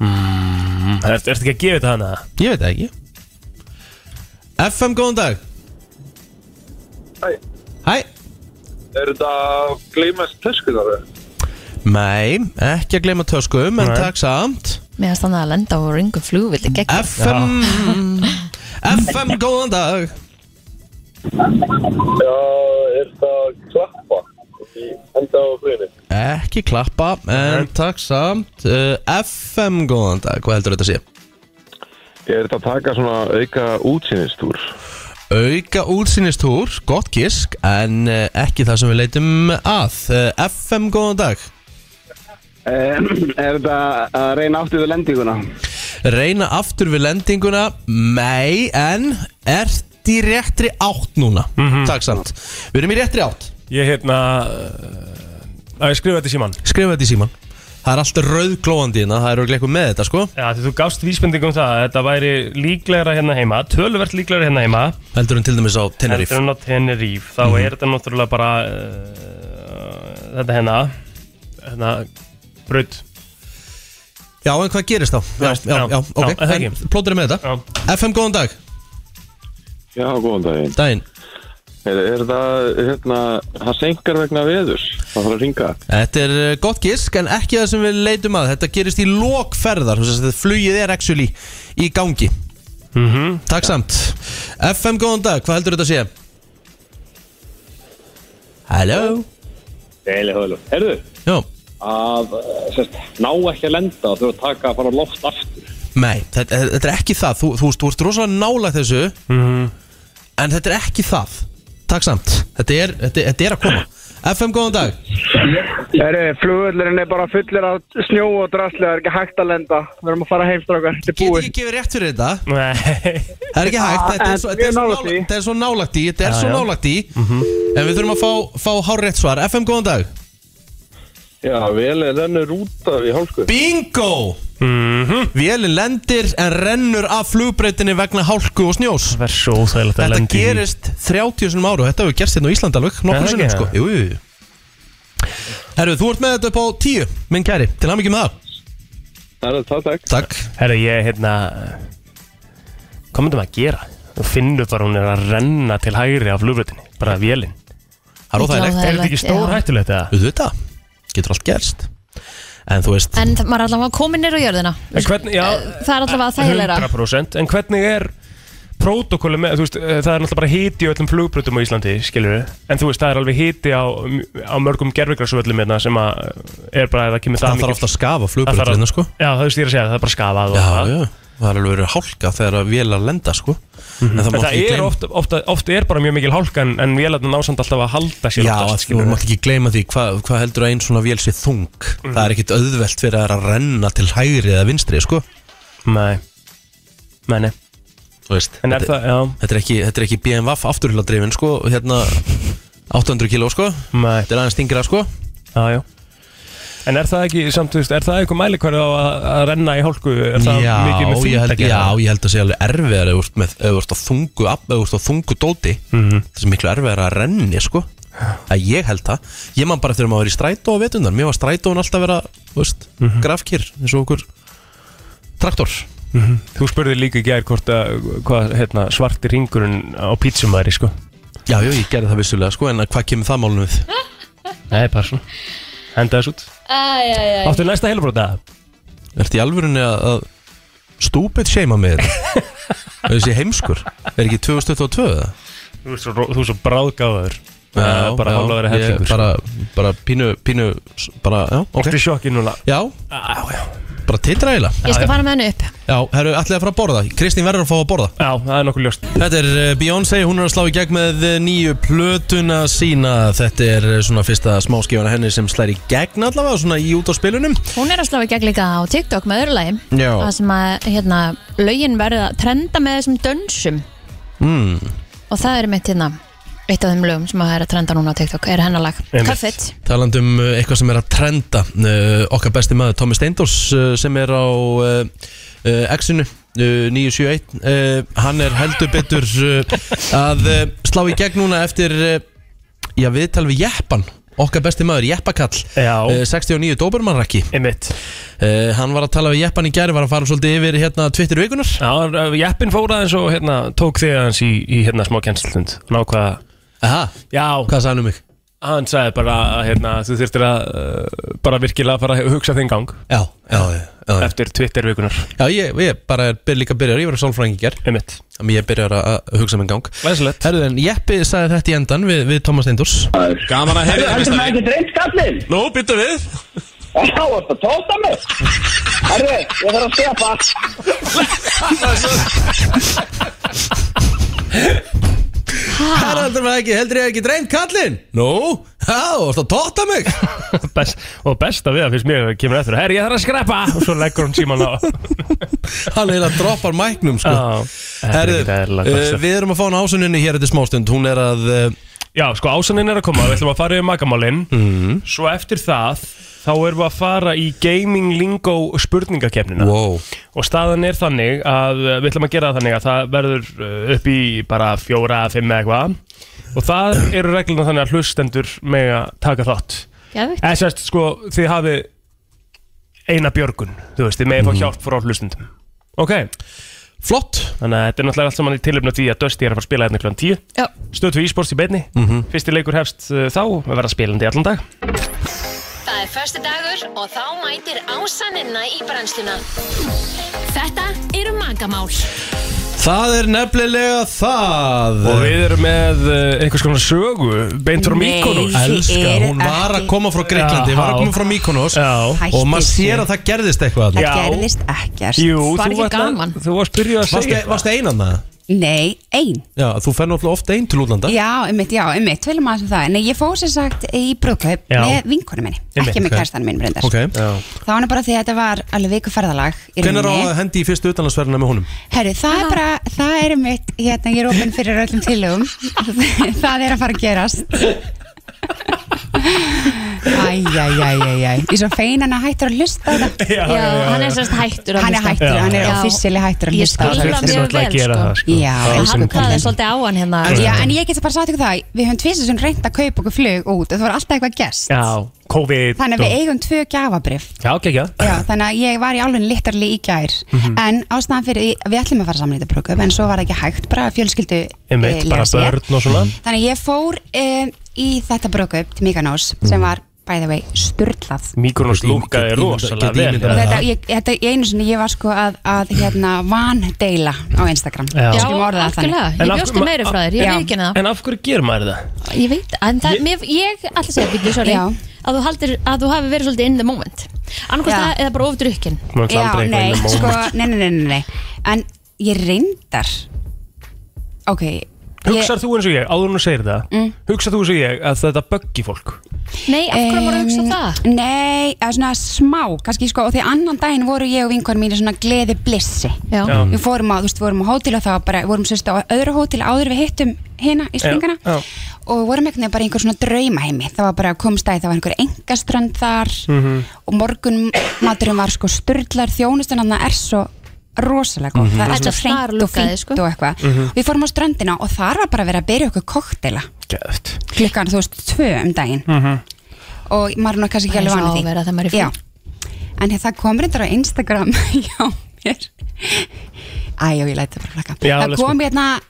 Speaker 3: Er, Ertu ekki að gefa þetta hana?
Speaker 1: Ég veit það ekki FM, góðan dag
Speaker 7: Hæ.
Speaker 1: Hæ
Speaker 7: Er þetta gleymast töskunar?
Speaker 1: Nei, ekki að gleyma töskum en
Speaker 3: Nei.
Speaker 1: takk samt
Speaker 4: Mér að standa að lenda á ringum flugvildi gegn
Speaker 1: FM FM, góðan dag
Speaker 7: Já, er þetta klappa? Í enda á friðinu.
Speaker 1: Ekki klappa, en takk samt uh, FM, góðan dag, hvað heldur þetta sé?
Speaker 7: Er þetta að taka svona auka útsýnistúr?
Speaker 1: Auka útsýnistúr, gott kisk En uh, ekki það sem við leitum að uh, FM, góðan dag
Speaker 8: Eh, Er þetta að reyna aftur við lendinguna?
Speaker 1: Reyna aftur við lendinguna Nei, en Ert í réttri átt núna
Speaker 3: Mhm.
Speaker 1: Takk samt, við erum í réttri átt
Speaker 3: Ég hérna uh, að ég skrifa þetta í síman
Speaker 1: Skrifa þetta í síman Það er alltaf rauðglóandi hérna, það er auðvitað eitthvað með þetta sko
Speaker 3: Já, því þú gafst vísbending um það að þetta væri líklegra hérna heima töluvert líklegra hérna heima
Speaker 1: Heldur hún til dæmis á Teneríf
Speaker 3: heldur en á Teneríf þá er þetta náttúrulega bara uh, þetta hérna hérna brudd
Speaker 1: Já, en hvað gerist þá? Já, já, já,
Speaker 3: já,
Speaker 1: ok,
Speaker 3: já, það ekki.
Speaker 1: En plótur er með þetta
Speaker 3: Já.
Speaker 1: FM, góðan dag,
Speaker 7: Já, góðan daginn.
Speaker 1: daginn
Speaker 7: Er, er þetta, hérna, það senkar vegna veðurs? Það þarf að ringa.
Speaker 1: Þetta er uh, gott gisk en ekki það sem við leitum að Þetta gerist í lokferðar þess að þetta flugið er actually í gangi
Speaker 3: Mhm.
Speaker 1: Takk samt FM, góðan dag, hvað heldur þetta að sé? Hello
Speaker 8: Heili, heili. Herðu,
Speaker 1: Jó,
Speaker 8: að eh, sérst, ná ekki að lenda og þurfa að taka að fara á loft aftur.
Speaker 1: nei, þetta, þetta er ekki það Þú, þú, veist, þú ert rosalega nálægt þessu
Speaker 3: Mhm.
Speaker 1: -hmm. En þetta er ekki það Takk samt, þetta er, þetta, þetta er að koma FM, góðan dag
Speaker 9: Herri, flugvöllurinn er bara fullir af snjó og drasli, það er ekki hægt að lenda. Við erum að fara heim, strákar, þetta er
Speaker 1: Get
Speaker 9: búið.
Speaker 1: ekki gefið rétt fyrir þetta
Speaker 3: Nei
Speaker 1: Það er ekki hægt, þetta er
Speaker 9: en
Speaker 1: svo-
Speaker 9: mjög
Speaker 1: þetta er svo
Speaker 9: nálægt í.
Speaker 1: nála- þetta er svo nálægt í Þetta er svo
Speaker 3: já. Mhm.
Speaker 1: nálægt í En við þurfum að fá, fá hárétt svar FM, góðan dag
Speaker 7: Já, vel er rennur út af í hálsku.
Speaker 1: Bingo!
Speaker 3: Mhm.
Speaker 1: Vélin lendir en rennur af flugbreytinni vegna hálku og snjós
Speaker 3: Það er svo óþægilegt að
Speaker 1: Þetta
Speaker 3: lendi
Speaker 1: gerist 30 sinum ára og Þetta hefur gerst hérna á Ísland alveg
Speaker 3: Er
Speaker 1: Nokkur
Speaker 3: það
Speaker 1: sinnum
Speaker 3: ekki?
Speaker 1: sko Jú, jú, jú Herru, þú ert með þetta upp á 10 Minn kæri, til hann ekki með það
Speaker 7: Það er það, takk.
Speaker 1: Takk
Speaker 3: Herra, ég, hérna Hvað myndum að gera? Þú finnur bara hún er að renna til hægri af flugbrötinni Bara vélinn
Speaker 1: Það er óþægilegt
Speaker 4: Illa á
Speaker 3: Er þetta ekki
Speaker 4: Já.
Speaker 3: stór hættulegt eða?
Speaker 1: Þú veit það, getur allt gerst En þú veist
Speaker 4: En það- maður er allavega komin nýr á jörðina
Speaker 3: En hvernig, já
Speaker 4: Það er allavega þægilegra
Speaker 3: 100% En hvernig er Protokolli með, þú veist, eh, það er náttúrulega bara hiti á öllum flugbrötum á Íslandi, skilur við En þú veist, það er alveg hiti á, á mörgum gerfigrarsvöllum hérna sem að eh, er bara að það kemur
Speaker 1: Það þarf
Speaker 3: mikið-
Speaker 1: ofta að skafa
Speaker 3: það þarf
Speaker 1: flugbreytinna sko
Speaker 3: Já, það þú veist, ég er að segja, það er bara skafað og
Speaker 1: Já,
Speaker 3: það.
Speaker 1: já, það er alveg verið hálka þegar að vél að lenda sko En það,
Speaker 3: En
Speaker 1: má ekki
Speaker 3: það Mhm. er
Speaker 1: gleyma-
Speaker 3: ofta, ofta, ofta er bara mjög mikil hálka en, en vélarnar násamt alltaf að halda sér
Speaker 1: Já,
Speaker 3: oftast,
Speaker 1: að þú mátt ekki gleyma því hvað hva heldur að einn svona vél sé þung
Speaker 3: Mhm.
Speaker 1: Það er ekkit auðvelt fyrir að það er að renna til hægri eða vinstri sko
Speaker 3: Nei, nei, nei
Speaker 1: Þú veist,
Speaker 3: En er
Speaker 1: þetta,
Speaker 3: það, já,
Speaker 1: þetta, er ekki, þetta er ekki BMW afturhjóladrifin sko Hérna 800 kíló sko Þetta
Speaker 3: nei,
Speaker 1: er aðeins stingra sko
Speaker 3: já, já En er það ekki, samt, þú veist, er það eitthvað mælikvarð á að, að renna í hálku? Er það
Speaker 1: já,
Speaker 3: mikið með
Speaker 1: ég
Speaker 3: þyngd að
Speaker 1: held,
Speaker 3: gera?
Speaker 1: já, ég held að sé alveg erfiðar Ef þú ert með- ef þú ert á þungu afl- ef þú ert á þungu dóti Það er miklu erfiðar að renni sko að ég held það ég man bara þegar maður var í strætó á vetundan mér var strætón alltaf vera þú veist, grafkýr eins og okkur traktor
Speaker 3: Þú spurði líka í gær hvort að, hvað, hérna, svarti ringurinn á pítsum væri, sko
Speaker 1: já, jú, ég gerði það vissulega sko en að hvað kemur það málunum við
Speaker 3: Nei, bara svona, henda þess út
Speaker 4: Æ, æ, æ.
Speaker 3: Áttu næsta heilabróta?
Speaker 1: ertu í alvörunni að, að stúpid seima með þetta Og hérna? þessi heimskur er ekki 2022 eða?
Speaker 3: Þú ert svo, ró- þú ert svo bráðgáður
Speaker 1: Já,
Speaker 3: Bara hálfa verið
Speaker 1: ég sko.
Speaker 3: hellingur,
Speaker 1: bara, bara pínu, pínu bara, já,
Speaker 3: sko Þú
Speaker 1: ok
Speaker 3: ert í sjokki núna
Speaker 1: já,
Speaker 3: Á, já
Speaker 1: bara titra eiginlega
Speaker 4: Ég skal fara með henni upp
Speaker 1: Já, herru, allir að fara að borða Kristín verður að fá að borða
Speaker 3: Já, það er nokkuð ljóst
Speaker 1: Þetta er eh, Beyoncé, hún er að slá í gegn með eh, nýju plötuna sína Þetta er eh, svona fyrsta smáskifana henni sem slær í gegn allavega Svona í út á spilunum
Speaker 4: Hún er að slá í gegn líka á TikTok með öðru lagi
Speaker 1: Já.
Speaker 4: Það sem að hérna, lögin verður að trenda með þessum dönsum
Speaker 1: mm.
Speaker 4: Og það er mitt hérna Eitt af þeim lögum sem að það er að trenda núna á TikTok Er hennalag
Speaker 3: Einmitt.
Speaker 4: Cuffit
Speaker 1: Taland um eh, eitthvað sem er að trenda Eh, Okkar besti maður Tommy Steindors eh, sem er á eh, eh, X-inu eh, 971 Eh, Hann er heldur betur eh, að eh, slá í gegn núna eftir eh, Já, viðtal við Jeppan Okkar besti maður, Jeppakall
Speaker 3: Já.
Speaker 1: eh, 69 Dóbermannrakki
Speaker 3: Einmitt
Speaker 1: Uh, hann var að tala við Jeppan í gæri, var að fara svolítið yfir hérna Twitter vikunar
Speaker 3: Já, eh, jeppin fór aðeins og hérna, tók þig aðeins í, í hérna, smá kjenslund Ná hvað
Speaker 1: Aha,
Speaker 3: Já,
Speaker 1: hvað sagði hann um mig?
Speaker 3: hann sagði bara að hérna, þú þurftir að uh, bara virkilega fara að hugsa þinn gang
Speaker 1: Já, já, já, já, já.
Speaker 3: eftir Twitter-vikunar
Speaker 1: já ég, ég bara er byr, líka byrjar, ég var að sálfræðingi í gær
Speaker 3: Einmitt
Speaker 1: Þannig ég byrjar að- að hugsa minn gang
Speaker 3: Læsilegt
Speaker 1: Herðu en, Jeppi sagði þetta í endan við, við Thomas Steindors
Speaker 3: Ah.
Speaker 2: Gaman að hefja
Speaker 9: Heldur maður ekki dreint skallin?
Speaker 2: Nú, býttu við
Speaker 9: Já, þetta tóta mig Herri, ég þarf að stefa
Speaker 1: Heldur maður ekki, heldur ég ekki dreint kallinn? Nú, já, þú varst að totta mig
Speaker 3: Best, Og besta við það finnst mér kemur eftir Herri, ég þarf að skrepa Og svo leggur hún síman á
Speaker 1: Hann eiginlega droppar mæknum sko
Speaker 3: Já, Ah, þetta er
Speaker 1: Herðu,
Speaker 3: ekkert eðlilega
Speaker 1: uh,
Speaker 3: gott sko. stuff.
Speaker 1: við erum að fá hann ásuninni hér eftir smástund Hún er að, uh,
Speaker 3: Já, sko ásaninn er að koma Við ætlum að fara yfir magamálin
Speaker 1: Mhm.
Speaker 3: Svo eftir það Þá erum við að fara í Gaming Lingo spurningakefnina
Speaker 1: wow
Speaker 3: Og staðan er þannig að uh, Við ætlum að gera það þannig að það verður uh, upp í bara fjóra, fimm eða eitthvað Og það eru regluna þannig að hlustendur með að taka þátt
Speaker 4: Geðvikt
Speaker 3: Eða sérst, sko, þið hafið eina björgun, þú veist, þið megið fá hjálp frá hlustundum. Mm. Ok,
Speaker 1: Flott,
Speaker 3: þannig að þetta er náttúrulega allt saman í tilöfna því að Dusty er að fara að spila hérna kl. 10.
Speaker 4: Já,
Speaker 3: Stöð 2 e-sports í beinni, fyrsti leikur hefst uh, þá, við verða spilandi allan dag.
Speaker 10: Það er förstu dagur og þá mætir ásaninna í brennsluna. Þetta eru magamál.
Speaker 1: það er nefnilega það
Speaker 3: Og við erum með uh, einhvers konar sögu, beint frá
Speaker 10: Nei.
Speaker 3: Mykonos.
Speaker 10: Ég
Speaker 1: Elska,
Speaker 10: er
Speaker 1: hún var að
Speaker 10: ekki-
Speaker 1: koma frá Greiklandi, var að
Speaker 3: Já.
Speaker 1: koma frá Mykonos
Speaker 3: Já,
Speaker 10: Hæ.
Speaker 1: og maður
Speaker 10: Hættu
Speaker 1: sér
Speaker 10: þessu.
Speaker 1: að það gerðist eitthvað
Speaker 10: Það
Speaker 1: þarna.
Speaker 3: Já.
Speaker 10: gerðist ekkert.
Speaker 3: jú,
Speaker 4: Var
Speaker 3: þú
Speaker 4: ekki
Speaker 3: varst að-
Speaker 4: gaman?
Speaker 3: Þú varst byrjuð að
Speaker 1: Varstu,
Speaker 3: segja eitthvað.
Speaker 1: varstu einan með það?
Speaker 10: Nei, ein.
Speaker 1: Já, þú fer náttúrulega oft einn til útlanda
Speaker 10: Já, einmitt, já, einmitt, tölum aðeins um það Nei, ég fór sem sagt í brúðkaup
Speaker 3: Já.
Speaker 10: með vinkonu minni
Speaker 3: Einmitt,
Speaker 10: Ekki með
Speaker 1: ok.
Speaker 10: okay. kæstanum minn, reyndar
Speaker 1: Ok,
Speaker 10: Það var nú bara því að þetta var alveg viku ferðalag í
Speaker 1: hvenær á
Speaker 10: rauninni.
Speaker 1: að hendi í fyrstu utanlandsverðina með honum?
Speaker 10: Herru, það er bara, það er mitt Hérna, ég er ofinn fyrir öllum tilögum Það er að fara að gerast Æjæjæjæjæ Ég er svo fein hann að hættur að hlusta á þetta
Speaker 3: Já,
Speaker 4: já, hann er sérst hættur að
Speaker 10: Hann er
Speaker 4: hlusta.
Speaker 10: hættur, hann er
Speaker 4: Já.
Speaker 10: officially hættur að
Speaker 4: Ég
Speaker 10: hlusta á
Speaker 4: skil
Speaker 10: þetta.
Speaker 3: Ég
Speaker 4: það mjög
Speaker 3: ætla að
Speaker 4: vel
Speaker 3: gera
Speaker 4: sko
Speaker 3: það, sko.
Speaker 10: Já,
Speaker 4: Það
Speaker 10: elsku
Speaker 4: hafði
Speaker 10: kallinn.
Speaker 4: svolítið á hann hérna
Speaker 10: Já, en ég get bara sagt ykkur það Við höfum tvisið sem reynd að kaupa okkur flug út og Það var alltaf eitthvað gest
Speaker 3: Já, COVID.
Speaker 10: Þannig að við
Speaker 3: og-
Speaker 10: eigum tvö gjafabrif
Speaker 3: Já, ok, já.
Speaker 10: Já, þannig að ég var í alveg litterli í gær
Speaker 3: Mhm.
Speaker 10: En ástæðan fyrir, við ætlum að fara saman í þetta brúkup En svo var það ekki hægt, bara fjölskyldu
Speaker 3: Einmitt,
Speaker 10: eh,
Speaker 3: bara
Speaker 10: lega sér.
Speaker 3: börn og svona.
Speaker 10: Þannig að ég fór um, í þetta brúkup til Mykonos
Speaker 3: Mhm.
Speaker 10: Sem var, by the way, sturlað
Speaker 3: Mykonos
Speaker 1: Get ímynda-
Speaker 3: lúkaði
Speaker 1: get ímynda-
Speaker 3: rosalega vel.
Speaker 1: get ímynda-
Speaker 10: Þetta,
Speaker 3: Já.
Speaker 10: ég, þetta, ég einu sinni, ég var sko að, að hérna, vandeila á Instagram
Speaker 3: Já.
Speaker 4: Já,
Speaker 10: Skulum orða það þannig.
Speaker 4: algjörlega,
Speaker 3: En
Speaker 4: ég
Speaker 3: af-
Speaker 4: bjóstu meiri frá þér, ég
Speaker 10: Já.
Speaker 4: veit það
Speaker 3: En af hverju gerir maður það?
Speaker 4: Ég veit, en það, mér, ég ætla að segja, byrju, sorry,
Speaker 10: Já.
Speaker 4: að þú haldir, að þú hafi verið svolítið in the moment. Annarkvæmst
Speaker 10: Já.
Speaker 4: það eða bara ofdrukkin.
Speaker 3: Maður ætlar
Speaker 10: Já,
Speaker 3: aldrei eitthvað
Speaker 10: nei,
Speaker 3: in the moment.
Speaker 10: sko, nei, nei, nei, nei, nei En ég reyndar Ok ég-
Speaker 3: Hugsar þú eins og ég, áður en þú segir það mm. Hugsar þú eins og ég að þetta böggi fólk
Speaker 4: Nei, af hverju voru að hugsa
Speaker 10: Em,
Speaker 4: það?
Speaker 10: Nei, eða svona smá, kannski sko Og því annan daginn voru ég og vinkonu mín í svona gleði blissi
Speaker 4: Já.
Speaker 3: Já.
Speaker 10: Við fórum á, þú veist, vorum á hótel og það var bara Vorum sérst á öðru hótel áður við hittum hérna í springana
Speaker 3: Já, já.
Speaker 10: Og vorum einhvern veginn bara í einhver svona draumaheimi Það var bara komstæði, það var einhver engaströnd þar -hmm. Og morgun maturinn var sko Sturlar þjónustan Þannig er svo rosalega góð Það er
Speaker 4: Þetta
Speaker 10: svo hreint og
Speaker 4: snarlukkaði,
Speaker 10: fínt
Speaker 4: sko.
Speaker 10: og eitthvað Við fórum á ströndina og þar var bara verið að byrja okkur koktela
Speaker 3: Gæft
Speaker 10: klukkan, þú veist, tvö um daginn og maður er nú kannski ekki
Speaker 4: Það er
Speaker 10: alveg
Speaker 4: svo
Speaker 10: vanið því
Speaker 4: að vera þegar maður er í frí.
Speaker 10: Já. en hérna, það kom reyndar á Instagram hjá mér æjó, ég læti það bara flakka
Speaker 3: Já, sko.
Speaker 10: það
Speaker 3: let's
Speaker 10: kom hérna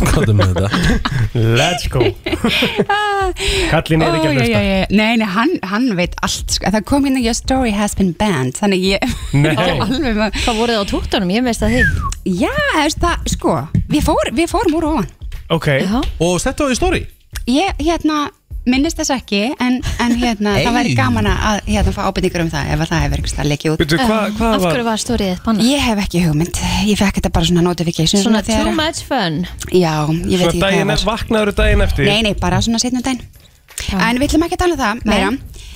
Speaker 1: Hvað er með þetta?
Speaker 3: Let's go Kallin er ekki að
Speaker 10: Ó, já, já,
Speaker 3: hlusta
Speaker 10: já. nei, nei, hann, hann veit allt sko. það kom hérna, your story has been banned þannig ég
Speaker 3: Nei.
Speaker 10: ég var alveg með
Speaker 4: Hvað voru þið á tóktunum? Ég veist að þið.
Speaker 10: já, þú veist það, sko, við, fór, við fórum úr ofan
Speaker 3: Ok,
Speaker 4: Já.
Speaker 1: Og settu á því stóri?
Speaker 10: ég, hérna, minnist þess ekki en, en hérna, það væri
Speaker 3: Hey.
Speaker 10: gaman að hérna, fá ábyrningur um það ef að það hefur einhvers það leikið út
Speaker 3: Bíddu, hvað- hvað Af var- hverju
Speaker 10: var stóriðið banna? Ég hef ekki hugmynd, ég fekk þetta bara svona notification
Speaker 4: Svona
Speaker 10: þegar-
Speaker 4: too much fun
Speaker 10: Já, ég veit
Speaker 3: Svo
Speaker 10: ekki hvað
Speaker 3: daginn,
Speaker 10: það
Speaker 3: er,
Speaker 10: var
Speaker 3: vaknaður daginn eftir
Speaker 10: Nei, nei, bara svona setnum daginn En við ætlum ekki að tala um það meira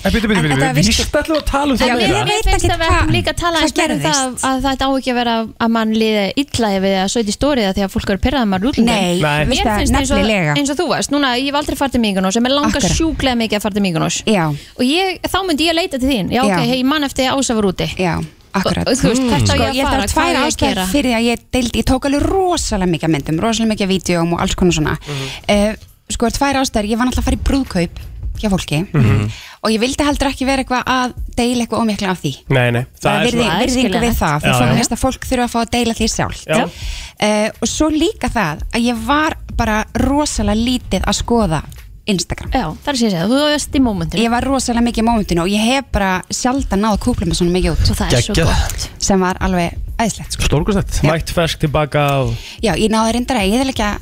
Speaker 3: En byrju, byrju, byrju,
Speaker 10: þetta
Speaker 3: byrju,
Speaker 10: virki-
Speaker 3: víst ætlum við að tala um
Speaker 4: En
Speaker 3: það
Speaker 4: mér
Speaker 3: meira
Speaker 4: mér finnst að við ættum líka að tala eins meira um það að þetta á ekki að vera að mann liði illa ef við að sögði stóriða því að fólk eru pyrraðið maður út
Speaker 10: Nei, Nei.
Speaker 4: mér
Speaker 10: veistu það,
Speaker 4: finnst eins og,
Speaker 10: nefnilega.
Speaker 4: eins og þú varst Núna, ég hef aldrei farið til Mykonos en mér langar
Speaker 10: Akkurat.
Speaker 4: sjúklega mikið að farið til Mykonos
Speaker 10: Já.
Speaker 4: Og ég, þá myndi ég leita til þín Já,
Speaker 10: Já.
Speaker 4: ok, hey, ég mann eftir að ása var úti
Speaker 10: Já, akkurat
Speaker 4: Og þú veist, hvert á
Speaker 10: Sko,
Speaker 4: ég
Speaker 10: ég
Speaker 4: að fara, hvað
Speaker 10: þarf
Speaker 4: á
Speaker 10: tvær
Speaker 4: ég að
Speaker 10: ástæður
Speaker 4: gera
Speaker 10: fyrir því að ég deildi, ég tók alveg rosalega mikið af myndum, rosalega mikið af vídjum og alls konar svona
Speaker 3: Mhm.
Speaker 10: mm Sko, tvær ástæður, ég var náttúrulega að fara í brúðkaup hjá fólki
Speaker 3: Mhm.
Speaker 10: og ég vildi heldur ekki vera eitthvað að deila eitthvað ómikla af því
Speaker 3: Nei, nei,
Speaker 10: það virði,
Speaker 3: svona-
Speaker 10: virðingu við það því
Speaker 3: Já,
Speaker 10: svo
Speaker 3: já.
Speaker 10: veist að fólk þurfa að fá að deila því sjálft
Speaker 3: Já.
Speaker 10: uh, og svo líka það að ég var bara rosalega lítið að skoða Instagram
Speaker 4: Já, þar sé ég segja, þú varst í mómentinu
Speaker 10: Ég var rosalega mikið í mómentinu og ég hef bara sjaldan náð að kúpla mig svona mikið út Og
Speaker 3: það er svo Geggjað. gott.
Speaker 10: Sem var alveg æðislegt sko.
Speaker 3: Stórkustætt Mætt fersk tilbaka á
Speaker 10: Já, ég náði reyndar að eðilegja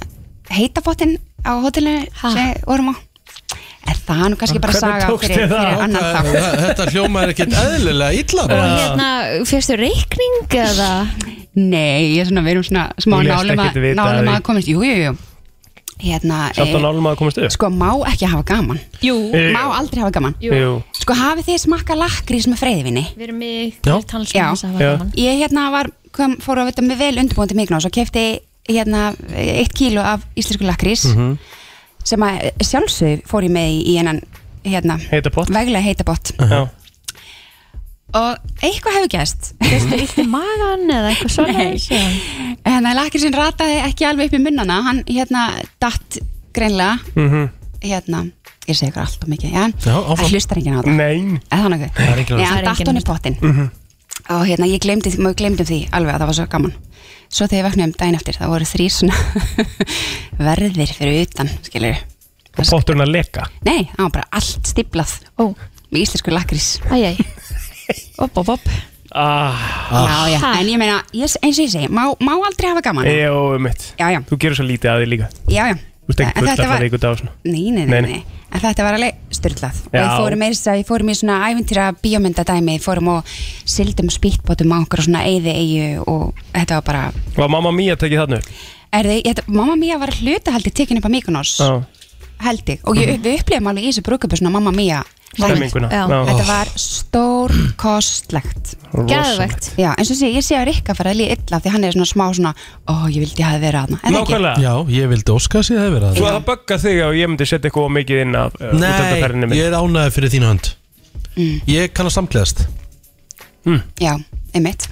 Speaker 10: heitabotinn á hótelinu sem við vorum á Er það nú kannski bara saga fyrir, fyrir annan
Speaker 1: Ok,
Speaker 10: þátt
Speaker 1: þa- Þetta hljóma er ekkert eðlilega illa
Speaker 4: Og
Speaker 1: bara.
Speaker 4: hérna, fyrstu reikning eða
Speaker 10: Nei, ég er svona, við erum svona smá
Speaker 3: Þú lést
Speaker 10: nálum að,
Speaker 3: ekkert vita
Speaker 10: nálum
Speaker 3: af
Speaker 10: að
Speaker 3: því.
Speaker 10: komast Jú, jú, jú Hérna,
Speaker 3: Sjátt að
Speaker 10: eh,
Speaker 3: nálum að komast upp
Speaker 10: sko, má ekki hafa gaman Jú
Speaker 3: Jú.
Speaker 10: Má aldrei hafa gaman
Speaker 3: Jú.
Speaker 10: Sko, hafið þið smakka lakrís með freyðivinni?
Speaker 4: Við erum í
Speaker 3: Já.
Speaker 10: Já,
Speaker 4: talsmynds að
Speaker 3: Já.
Speaker 4: var gaman
Speaker 10: ég hérna var, kom, fór að vita með vel undirbúin til Mykonos og kefti hérna eitt kíló af íslensku lakrís
Speaker 3: Mhm.
Speaker 10: sem að sjálfsög fór ég með í, í hennan hérna,
Speaker 3: Heita pott
Speaker 10: veglega heitabott
Speaker 3: Já.
Speaker 10: og eitthvað hefur gæst
Speaker 4: Fyrstu ítti magan eða eitthvað svona
Speaker 10: en að lakrísin Hérna, rataði ekki alveg upp í munnana hann hérna datt greinlega
Speaker 3: Mhm.
Speaker 10: hérna, ég segi ykkur alltaf mikið já,
Speaker 3: Já, áfram.
Speaker 10: það hlustar enginn á það
Speaker 3: Nein
Speaker 10: eða þannig að
Speaker 3: Það er enginn að
Speaker 10: Nei,
Speaker 3: hlusta.
Speaker 10: hann
Speaker 3: Það er
Speaker 10: datt
Speaker 3: enginn
Speaker 10: hann í pottin og hérna ég glemdi, því- maður glemdi því alveg að það var svo gaman svo þegar ég vaknaði um daginn eftir þá voru þrýr svona verðir fyrir utan skilur
Speaker 3: Og potturinn að leka
Speaker 10: nei, það var bara allt stiplað
Speaker 4: Ó.
Speaker 10: með íslensku lakrís
Speaker 4: Æjæj Opp, opp, opp
Speaker 10: já,
Speaker 3: Já,
Speaker 10: já, en ég meina, ég, eins og ég segi má, má aldrei hafa gaman
Speaker 3: Jó, mitt
Speaker 10: Já, já.
Speaker 3: Þú gerur svo lítið að því líka
Speaker 10: já, já,
Speaker 3: Þú ert
Speaker 10: En
Speaker 3: ekki full
Speaker 10: þetta
Speaker 3: að
Speaker 10: var-
Speaker 3: fara ykkur dag svona
Speaker 10: nei, nei,
Speaker 3: Nei, nei.
Speaker 10: nei, nei. en þetta var alveg styrlað og
Speaker 3: Já.
Speaker 10: við fórum meira þess að við fórum í svona ævintýra bíómyndadæmi, fórum og sildum spýtbótum á okkur og svona eyði eyju og þetta var bara
Speaker 3: Var mamma mía tekið þarna upp?
Speaker 10: Er þið, ég, mamma mía var hlutahaldi tekin upp á Mykonos,
Speaker 3: Já Mhm.
Speaker 10: held ég og ég, við upplifum alveg í þessu brúkupu svona mamma mía
Speaker 3: Stemminguna. Já. Já.
Speaker 10: Þetta var stórkostlegt
Speaker 3: Geðveikt.
Speaker 10: Já, eins og sé, ég sé að Rikka fara að líða illa því hann er svona smá svona, ó, ég vildi að hafa verið aðna En ekki,
Speaker 3: Nákvæmlega
Speaker 1: Já, ég vildi óska að sé það vera
Speaker 3: Svo að það bögga þig að ég myndi setja eitthvað of mikið inn af uh, útöndafærinu
Speaker 1: Nei,
Speaker 3: minni
Speaker 1: ég er ánægði fyrir þína hönd
Speaker 10: Mm.
Speaker 1: Ég kann að samklæðast
Speaker 10: já, einmitt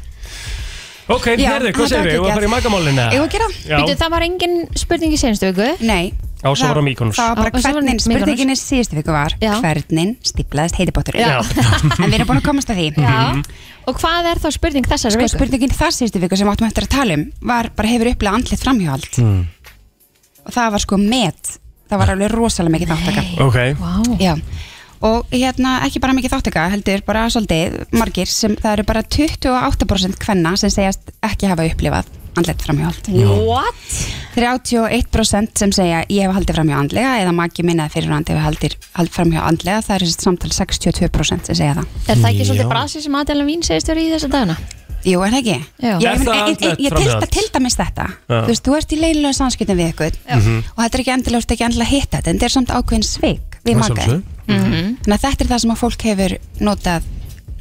Speaker 3: Ok,
Speaker 10: Já,
Speaker 3: hérði, hvað
Speaker 10: þetta
Speaker 3: segir
Speaker 10: var
Speaker 3: við? Ég var að fara í
Speaker 10: geggjað.
Speaker 3: magamálinu
Speaker 10: Eigum við að gera það?
Speaker 3: Já.
Speaker 4: Býtu, það var engin spurning í senstu viku
Speaker 10: Nei
Speaker 3: Já, svo var á Mykonos.
Speaker 10: Það var
Speaker 4: Já, svo
Speaker 10: bara
Speaker 4: var
Speaker 10: hvernig,
Speaker 4: Mykonos.
Speaker 10: spurninginni síðustu viku var
Speaker 4: Já.
Speaker 10: Hvernig stíplaðist heitibótturinn
Speaker 4: Já.
Speaker 10: En við erum búin að komast að því Mhm.
Speaker 4: Já.
Speaker 1: Mhm.
Speaker 4: Og hvað er þá spurning þessar
Speaker 10: Sko,
Speaker 4: viku?
Speaker 10: spurningin það síðustu viku sem við áttum eftir að tala um var bara hefur upplegað andlit framhjóðald
Speaker 3: Hmm.
Speaker 10: mm. og það var sko met það var alveg rosalega mikið þáttaka
Speaker 3: Ok
Speaker 10: Já. og hérna ekki bara mikið þáttaka heldur bara svolítið margir sem það eru bara 28% kvenna sem segjast ekki hafa upplifað andlit framhjóðald
Speaker 4: What?
Speaker 10: 31% sem segja ég hef haldið framhjá andlega eða maki minna fyrirhandi hefur haldið hald framhjá andlega það er þessi samtal 62% sem segja það
Speaker 4: Er það ekki
Speaker 1: Já.
Speaker 4: svolítið brasi sem aðdælan mín segist verið í þessa dagana?
Speaker 10: Jú, er það ekki?
Speaker 4: Já.
Speaker 10: Ég,
Speaker 4: Er
Speaker 10: ég,
Speaker 3: það
Speaker 10: ég, ég,
Speaker 3: andlegt
Speaker 10: ég til,
Speaker 3: framhjald?
Speaker 10: til dæmis þetta
Speaker 3: Já. Mhm.
Speaker 10: Þú veist, þú ert í leilulega samskiptum við ykkur og þetta er ekki endilega, þú ert ekki endilega að hitta þetta en þetta er samt ákveðin sveik við
Speaker 1: Að
Speaker 10: makaði
Speaker 1: sjálfsögðu.
Speaker 10: Þannig að þetta er það sem að fólk hefur notað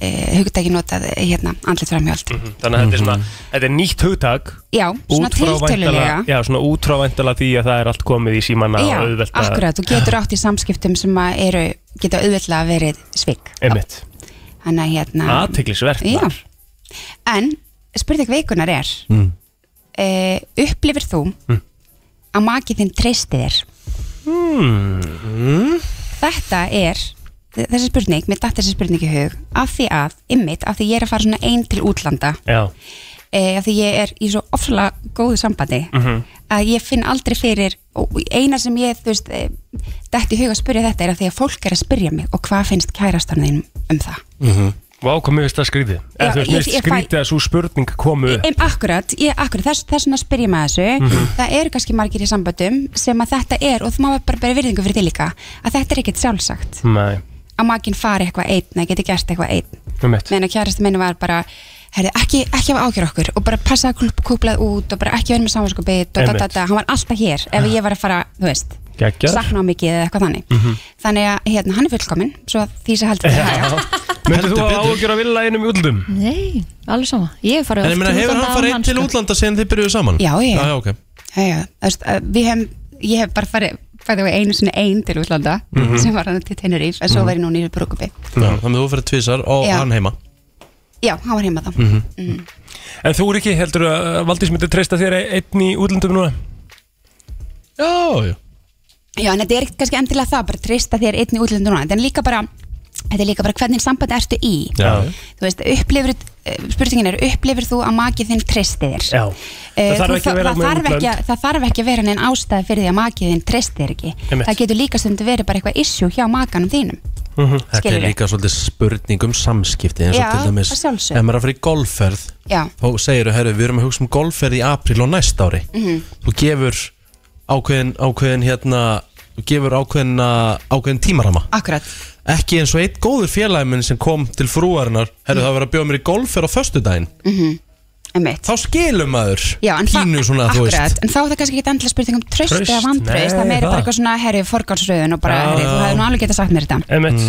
Speaker 10: e, hugtæki notað eh, hérna, andlit framhjóld
Speaker 3: Þannig að þetta er svona Þetta er nýtt hugtak
Speaker 10: Já, Mhm.
Speaker 3: Mm.
Speaker 10: svona
Speaker 3: Út frá
Speaker 10: tiltölulega
Speaker 3: væntanlega- Já, svona útrávæntala því að það er allt komið í símanna
Speaker 10: Já, akkurat, þú getur átt í samskiptum sem að eru, geta auðvitað verið svik
Speaker 3: Einmitt
Speaker 10: Þannig að hérna
Speaker 3: Athyglisvert
Speaker 10: Já.
Speaker 3: þar.
Speaker 10: En spurning vikunar er
Speaker 1: mm.
Speaker 10: eh, upplifir þú að makið þinn treysti þér
Speaker 3: mm.
Speaker 10: Þetta er þessi spurning, mér datt þessi spurning í hug af því að, ymmit, af því ég er að fara svona einn til útlanda
Speaker 3: Já
Speaker 10: e, af því ég er í svo ofsalega góðu sambandi
Speaker 3: Mhm.
Speaker 10: að ég finn aldrei fyrir og eina sem ég, þú veist eh, dætt í hug að spyrja þetta er að því að fólk er að spyrja mig og hvað finnst kærastan þín um það
Speaker 1: Mhm.
Speaker 3: Vá, hvað mér veist það skrítið
Speaker 10: Já,
Speaker 3: Eða þú veist, mér
Speaker 10: ég-
Speaker 3: veist
Speaker 10: ég fæ-
Speaker 3: skrítið að svo spurning komu upp
Speaker 10: Em, akkurat, ég, akkurat, þess, þess vegna spyr ég með þessu
Speaker 3: Mhm.
Speaker 10: það eru kannski margir í samböndum sem að þetta er, og þú má bara bera virðingu fyrir því líka að þetta er ekkert sjálfsagt
Speaker 3: Nei,
Speaker 10: að maginn fari eitthvað einn, að geti gert eitthvað einn
Speaker 3: um mitt
Speaker 10: meðan að kærasti minni var bara herri, ekki, ekki hafa ágjör okkur og bara passa að kúplað út og bara ekki verið með samanskapið og da, da,
Speaker 3: Einmitt.
Speaker 10: da, hann var alltaf hér ef ég var að fara, þú veist,
Speaker 3: Gekkjar
Speaker 10: sakna á mikið eða eitthvað þannig
Speaker 3: Mhm.
Speaker 10: þannig að hérna, hann er fullkominn svo að því sem heldur
Speaker 3: Myndir þú að ágjöra vilja einum í útlum?
Speaker 4: Nei, alveg sama Ég hef farið um
Speaker 1: En ég meina, hefur hann farið einn til útlanda síðan þið byrjuðu saman?
Speaker 10: sko. Já, já.
Speaker 1: Já, ok.
Speaker 10: já, já, þú veist, að við hefum ég hef bara farið, farið einu sinni ein til útlanda
Speaker 1: Mhm.
Speaker 10: sem var hann til Tenerife en
Speaker 3: Mhm.
Speaker 10: svo var ég núna í Brúkupi
Speaker 1: Já, Þannig að þú fyrir tvísar og
Speaker 10: Já.
Speaker 1: hann heima.
Speaker 10: já, hann var heima þá
Speaker 1: Mhm.
Speaker 10: Mhm.
Speaker 3: En þú er ekki, heldur að Valdís myndi treysta þér e- einn í útlöndum núna?
Speaker 1: Já, já
Speaker 10: Já, en þetta er ekkert kannski endilega það, bara treysta þér einn í útlöndum núna, þetta er líka bara þetta er líka bara hvernig sambandi ertu í
Speaker 3: Já.
Speaker 10: þú veist, upplifur eh, spurningin er, upplifur þú að makið þinn treysti þér
Speaker 3: Já
Speaker 10: Eh,
Speaker 3: Það þarf
Speaker 10: þú-
Speaker 3: ekki að vera
Speaker 10: það
Speaker 3: með
Speaker 10: þarf ekki að-
Speaker 3: útlönd.
Speaker 10: það þarf ekki að vera neinn ástæð fyrir því að makið þinn treysti þér ekki
Speaker 1: Einmitt.
Speaker 10: það getur líka stundu verið bara eitthvað issue hjá makanum þínum
Speaker 1: Þetta er
Speaker 10: Skilurðu?
Speaker 1: líka svolítið spurning um samskipti eins og
Speaker 10: Já,
Speaker 1: til dæmis
Speaker 10: að sjálfsögðu.
Speaker 1: ef maður er að fara í golfferð
Speaker 10: Já.
Speaker 1: þá segiru, herru, við erum að hugsa um golfferð í apríl og næst ári
Speaker 10: Mhm.
Speaker 1: þú gefur ákveðin, ákveðin hérna, þú gefur ákveðin ákveðin tímarama
Speaker 10: Akkurat
Speaker 1: ekki eins og eitt góður félagi minn sem kom til frúarinnar herru, það var að bjóða mér í golfferð á föstudaginn
Speaker 10: mm Einmitt.
Speaker 1: þá skilum maður
Speaker 10: Já, en það-
Speaker 1: pínu svona, þú
Speaker 10: akkurat,
Speaker 1: veist
Speaker 10: en þá er það kannski ekki endilega spurning um tröst
Speaker 1: Traust?
Speaker 10: eða vantröst,
Speaker 1: Nei,
Speaker 10: það er meira bara
Speaker 1: það.
Speaker 10: eitthvað svona herri forgálsröðun og bara,
Speaker 1: Já,
Speaker 10: herri, þú
Speaker 1: já.
Speaker 10: hefði nú alveg getað sagt mér þetta
Speaker 3: Emmett